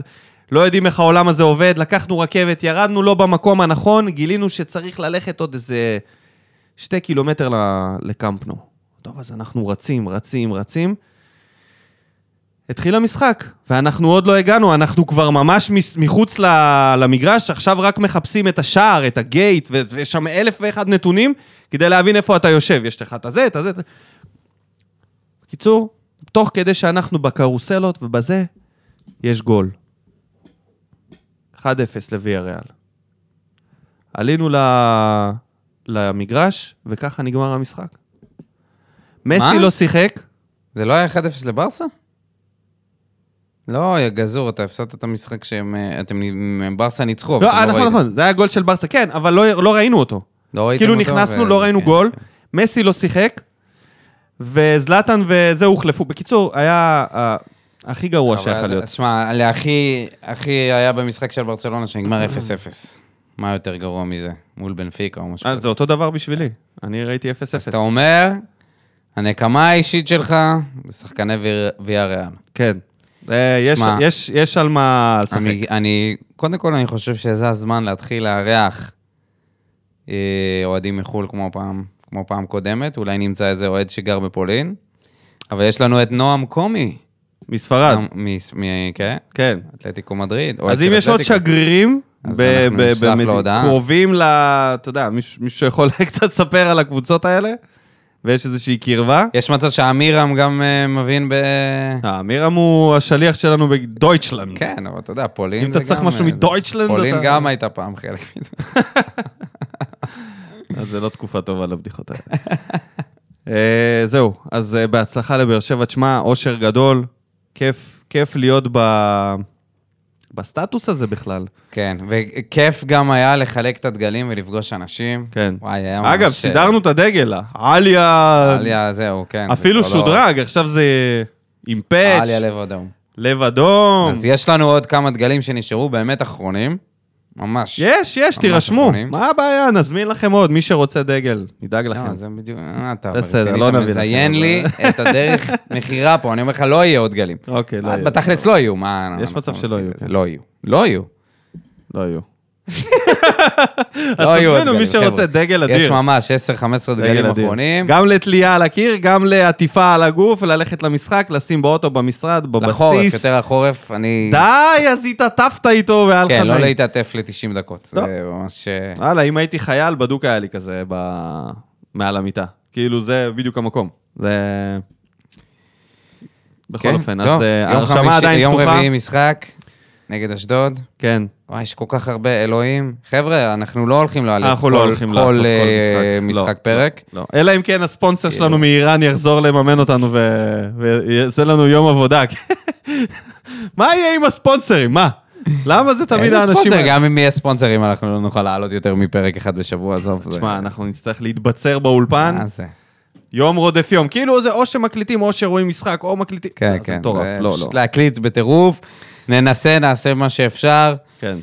[SPEAKER 1] לא יודעים איך העולם הזה עובד, לקחנו רכבת, ירדנו לא במקום הנכון, גילינו שצריך ללכת עוד איזה שתי קילומטר ל- לקמפנו. טוב, אז אנחנו רצים, רצים, רצים. התחיל המשחק, ואנחנו עוד לא הגענו, אנחנו כבר ממש מס- מחוץ ל- למגרש, עכשיו רק מחפשים את השער, את הגייט, ו- ויש שם אלף ואחד נתונים כדי להבין איפה אתה יושב. יש לך את הזה, את הזה. את- בקיצור, תוך כדי שאנחנו בקרוסלות ובזה, יש גול. 1-0 לוויה ריאל. עלינו ל... למגרש, וככה נגמר המשחק. מסי לא שיחק,
[SPEAKER 2] זה לא היה 1-0 לברסה? לא, יא גזור, אתה הפסדת את המשחק שהם... אה, אתם... הם- ברסה ניצחו, אבל
[SPEAKER 1] לא,
[SPEAKER 2] אתם
[SPEAKER 1] אה, נכון,
[SPEAKER 2] ראיתם.
[SPEAKER 1] נכון, זה היה גול של ברסה, כן, אבל לא, לא ראינו אותו.
[SPEAKER 2] לא ראיתם
[SPEAKER 1] כאילו
[SPEAKER 2] אותו,
[SPEAKER 1] נכנסנו,
[SPEAKER 2] ו-
[SPEAKER 1] לא ראינו
[SPEAKER 2] כן,
[SPEAKER 1] גול,
[SPEAKER 2] כן.
[SPEAKER 1] מסי לא שיחק, וזלאטן וזה הוחלפו. בקיצור, היה אה, הכי גרוע
[SPEAKER 2] אבל
[SPEAKER 1] שיכול
[SPEAKER 2] אז-
[SPEAKER 1] להיות.
[SPEAKER 2] אז שמע, להכי... הכי היה במשחק של ברצלונה שנגמר 0-0. מה יותר גרוע מזה? מול בנפיקה או משהו
[SPEAKER 1] אה,
[SPEAKER 2] כזה.
[SPEAKER 1] זה אותו דבר בשבילי, אני ראיתי 0-0.
[SPEAKER 2] אתה אומר, הנקמה האישית שלך, בשחקני ויה ריאל.
[SPEAKER 1] כן. אה, יש-
[SPEAKER 2] שמע.
[SPEAKER 1] יש- יש על מה לשחק.
[SPEAKER 2] אני, אני, קודם כל, אני חושב שזה הזמן להתחיל לארח אה, אוהדים מחו"ל כמו פעם, כמו פעם קודמת. אולי נמצא איזה אוהד שגר בפולין. אבל יש לנו את נועם קומי.
[SPEAKER 1] מספרד,
[SPEAKER 2] נועם- מ- מ- כן,
[SPEAKER 1] כן.
[SPEAKER 2] אתלטיקו מדריד. אוהד
[SPEAKER 1] אז
[SPEAKER 2] של
[SPEAKER 1] אם יש עוד
[SPEAKER 2] אתלטיקו.
[SPEAKER 1] שגרירים,
[SPEAKER 2] אז
[SPEAKER 1] ב-
[SPEAKER 2] אנחנו
[SPEAKER 1] ב-
[SPEAKER 2] נשלח
[SPEAKER 1] במד-
[SPEAKER 2] לו הודעה.
[SPEAKER 1] קרובים ל... אתה יודע, מישהו מישהו שיכול קצת לספר על הקבוצות האלה, ויש איזושהי קרבה.
[SPEAKER 2] יש מצב שאמירם גם אה, מבין ב...
[SPEAKER 1] אה, אמירם הוא השליח שלנו בדויטשלנד.
[SPEAKER 2] כן, אבל אתה יודע, פולין
[SPEAKER 1] אם אתה
[SPEAKER 2] זה
[SPEAKER 1] צריך
[SPEAKER 2] גם,
[SPEAKER 1] משהו
[SPEAKER 2] אה,
[SPEAKER 1] מדויטשלנד,
[SPEAKER 2] פולין
[SPEAKER 1] אתה-
[SPEAKER 2] גם הייתה פעם חלק מזה.
[SPEAKER 1] אז זה לא תקופה טובה לבדיחות האלה. אה, זהו, אז אה, בהצלחה לבאר שבע. תשמע, אושר גדול, כיף, כיף להיות ב... בסטטוס הזה בכלל.
[SPEAKER 2] כן, וכיף גם היה לחלק את הדגלים ולפגוש אנשים.
[SPEAKER 1] כן.
[SPEAKER 2] וואי, היה ממש... אה,
[SPEAKER 1] אגב, סידרנו את הדגל, עליה,
[SPEAKER 2] עליה, זהו, כן. זה
[SPEAKER 1] אפילו
[SPEAKER 2] כבר לא-
[SPEAKER 1] שודרג, עכשיו זה עם פאץ',
[SPEAKER 2] עליה לב אדום.
[SPEAKER 1] לב אדום.
[SPEAKER 2] אז יש לנו עוד כמה דגלים שנשארו באמת אחרונים. ממש.
[SPEAKER 1] יש, יש,
[SPEAKER 2] ממש
[SPEAKER 1] תירשמו.
[SPEAKER 2] אחרונים.
[SPEAKER 1] מה הבעיה? נזמין לכם עוד, מי שרוצה דגל, נדאג לכם.
[SPEAKER 2] לא, זה בדיוק... אה, אתה
[SPEAKER 1] בסדר,
[SPEAKER 2] רציני,
[SPEAKER 1] לא
[SPEAKER 2] אתה
[SPEAKER 1] נביא
[SPEAKER 2] מזיין
[SPEAKER 1] לכם,
[SPEAKER 2] לי את הדרך מכירה פה, אני אומר לך, לא יהיה עוד דגלים.
[SPEAKER 1] אוקיי, לא יהיו.
[SPEAKER 2] בתכלס לא יהיו, מה...
[SPEAKER 1] יש מצב
[SPEAKER 2] אנחנו-
[SPEAKER 1] שלא יהיו, כן.
[SPEAKER 2] לא יהיו. לא יהיו.
[SPEAKER 1] לא יהיו.
[SPEAKER 2] לא יהיו
[SPEAKER 1] תזמינו מי
[SPEAKER 2] הדגלים,
[SPEAKER 1] שרוצה,
[SPEAKER 2] חבר'ה.
[SPEAKER 1] דגל
[SPEAKER 2] יש
[SPEAKER 1] אדיר.
[SPEAKER 2] ממש 10-15 דגלים
[SPEAKER 1] אדיר.
[SPEAKER 2] אחרונים.
[SPEAKER 1] גם לתלייה על הקיר, גם לעטיפה על הגוף, ללכת למשחק, לשים באוטו, במשרד, בבסיס.
[SPEAKER 2] לחורף, יותר לחורף, אני...
[SPEAKER 1] די, אז התעטפת איתו והיה לך
[SPEAKER 2] כן, לא
[SPEAKER 1] נעים.
[SPEAKER 2] להתעטף ל-90 דקות.
[SPEAKER 1] טוב.
[SPEAKER 2] זה ממש... אה,
[SPEAKER 1] וואלה, אם הייתי חייל, בדוק היה לי כזה ב... מעל המיטה. כאילו, זה בדיוק המקום. זה... בכל אופן,
[SPEAKER 2] כן. טוב,
[SPEAKER 1] אז אה,
[SPEAKER 2] יום
[SPEAKER 1] ההרשמה
[SPEAKER 2] חמישי-
[SPEAKER 1] עדיין
[SPEAKER 2] יום
[SPEAKER 1] פתוחה.
[SPEAKER 2] רביעי משחק נגד אשדוד.
[SPEAKER 1] כן.
[SPEAKER 2] וואי, יש כל כך הרבה אלוהים. חבר'ה, אנחנו לא הולכים להעלות
[SPEAKER 1] אנחנו
[SPEAKER 2] כל,
[SPEAKER 1] לא הולכים
[SPEAKER 2] כל,
[SPEAKER 1] לעשות כל
[SPEAKER 2] אה,
[SPEAKER 1] משחק.
[SPEAKER 2] משחק
[SPEAKER 1] לא,
[SPEAKER 2] פרק.
[SPEAKER 1] לא. אלא אם כן הספונסר
[SPEAKER 2] כאילו.
[SPEAKER 1] שלנו מאיראן יחזור לממן אותנו ו- ויעשה לנו יום עבודה. מה יהיה עם הספונסרים? מה? למה זה תמיד
[SPEAKER 2] אין
[SPEAKER 1] האנשים...
[SPEAKER 2] ספונסר,
[SPEAKER 1] האלה?
[SPEAKER 2] גם אם יהיה ספונסרים, אנחנו לא נוכל לעלות יותר מפרק אחד בשבוע, עזוב. זה-
[SPEAKER 1] תשמע, אנחנו נצטרך להתבצר באולפן,
[SPEAKER 2] מה זה?
[SPEAKER 1] יום רודף יום. כאילו זה או שמקליטים או שרואים משחק, או מקליטים...
[SPEAKER 2] כן,
[SPEAKER 1] זה
[SPEAKER 2] כן.
[SPEAKER 1] מטורף,
[SPEAKER 2] זה
[SPEAKER 1] לא, לא.
[SPEAKER 2] פשוט להקליט בטירוף, ננסה, נעשה מה שאפשר.
[SPEAKER 1] כן.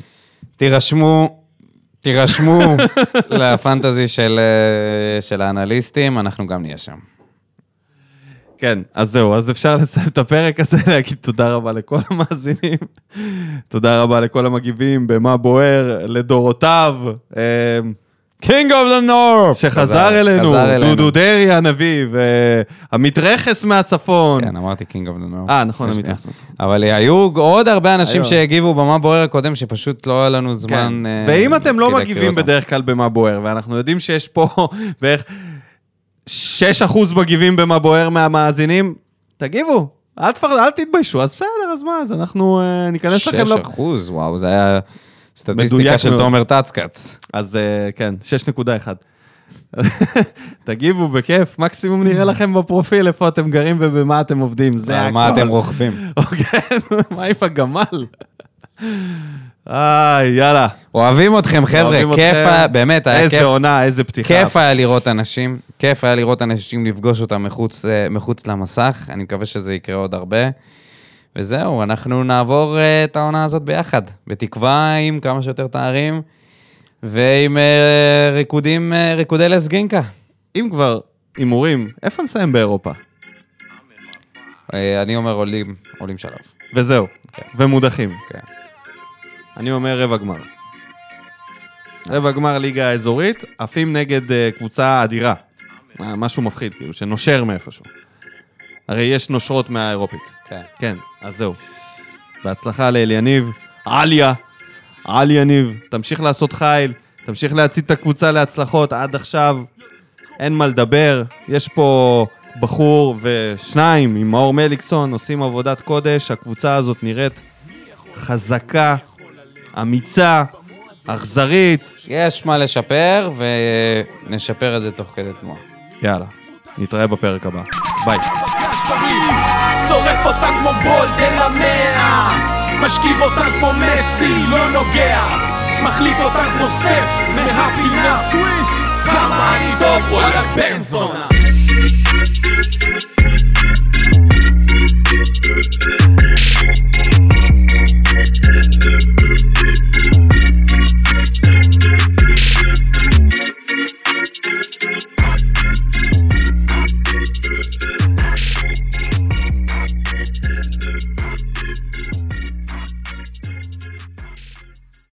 [SPEAKER 2] תירשמו, תירשמו לפנטזי של, אה, של האנליסטים, אנחנו גם נהיה שם.
[SPEAKER 1] כן, אז זהו, אז אפשר לסיים את הפרק הזה, להגיד תודה רבה לכל המאזינים, תודה רבה לכל המגיבים, במה בוער, לדורותיו, אה,
[SPEAKER 2] King of the North!
[SPEAKER 1] שחזר אלינו,
[SPEAKER 2] חזר אלינו.
[SPEAKER 1] דודו דרעי הנביא, ועמית רכס מהצפון.
[SPEAKER 2] כן, אמרתי King of the North.
[SPEAKER 1] אה, נכון, עמית
[SPEAKER 2] שנייה.
[SPEAKER 1] רכס מהצפון.
[SPEAKER 2] אבל אה, היו עוד הרבה אנשים
[SPEAKER 1] היו.
[SPEAKER 2] שהגיבו במה בוער הקודם, שפשוט לא היה לנו זמן...
[SPEAKER 1] כן.
[SPEAKER 2] אה,
[SPEAKER 1] ואם אתם לא
[SPEAKER 2] להקריא
[SPEAKER 1] מגיבים
[SPEAKER 2] אותם.
[SPEAKER 1] בדרך כלל במה בוער, ואנחנו יודעים שיש פה בערך 6% מגיבים במה בוער מהמאזינים, תגיבו, אל תפר- אל תתביישו, אז בסדר, אז מה, אז אנחנו אה, ניכנס לכם... לפ-
[SPEAKER 2] 6 אחוז, וואו, זה היה סטטיסטיקה
[SPEAKER 1] מדויק
[SPEAKER 2] של
[SPEAKER 1] מאוד.
[SPEAKER 2] תומר טאצקץ.
[SPEAKER 1] אז אה, כן, 6.1. תגיבו, בכיף, מקסימום נראה לכם בפרופיל איפה אתם גרים ובמה אתם עובדים, זה
[SPEAKER 2] על
[SPEAKER 1] הכל.
[SPEAKER 2] אה, מה אתם רוכבים.
[SPEAKER 1] אוקיי, מה עם הגמל? איי, יאללה.
[SPEAKER 2] אוהבים אתכם, חבר'ה,
[SPEAKER 1] אוהבים
[SPEAKER 2] כיף
[SPEAKER 1] אתכם.
[SPEAKER 2] היה, באמת, היה
[SPEAKER 1] איזה
[SPEAKER 2] כיף.
[SPEAKER 1] עונה, איזה פתיחה.
[SPEAKER 2] כיף היה לראות אנשים, כיף היה לראות אנשים, לפגוש אותם מחוץ, אה, מחוץ למסך, אני מקווה שזה יקרה עוד הרבה. וזהו, אנחנו נעבור אה, את העונה הזאת ביחד, בתקווה עם כמה שיותר תארים ועם אה, ריקודים, אה, ריקודי לס גינקה.
[SPEAKER 1] אם כבר הימורים, איפה נסיים באירופה?
[SPEAKER 2] אה, אני אומר עולים, עולים שלב.
[SPEAKER 1] וזהו, ומודחים.
[SPEAKER 2] כן.
[SPEAKER 1] אני אומר רבע גמר. רבע גמר ליגה האזורית, עפים נגד אה, קבוצה אדירה. אה, משהו מפחיד, כאילו, שנושר מאיפשהו. הרי יש נושרות מהאירופית.
[SPEAKER 2] כן.
[SPEAKER 1] כן, אז זהו. בהצלחה לאל יניב, עליה, על יניב, תמשיך לעשות חיל, תמשיך להצית את הקבוצה להצלחות, עד עכשיו אין מה לדבר, יש פה בחור ושניים עם מאור מליקסון, עושים עבודת קודש, הקבוצה הזאת נראית חזקה, אמיצה, אכזרית,
[SPEAKER 2] יש מה לשפר, ונשפר את זה תוך כדי תנועה.
[SPEAKER 1] יאללה, נתראה בפרק הבא, ביי.
[SPEAKER 3] שברים שורף אותה כמו בולד אל המאה משכיב אותה כמו מסי, לא נוגע מחליט אותה כמו סטף מהפינה סוויש כמה אני טוב, וואלה בן זונה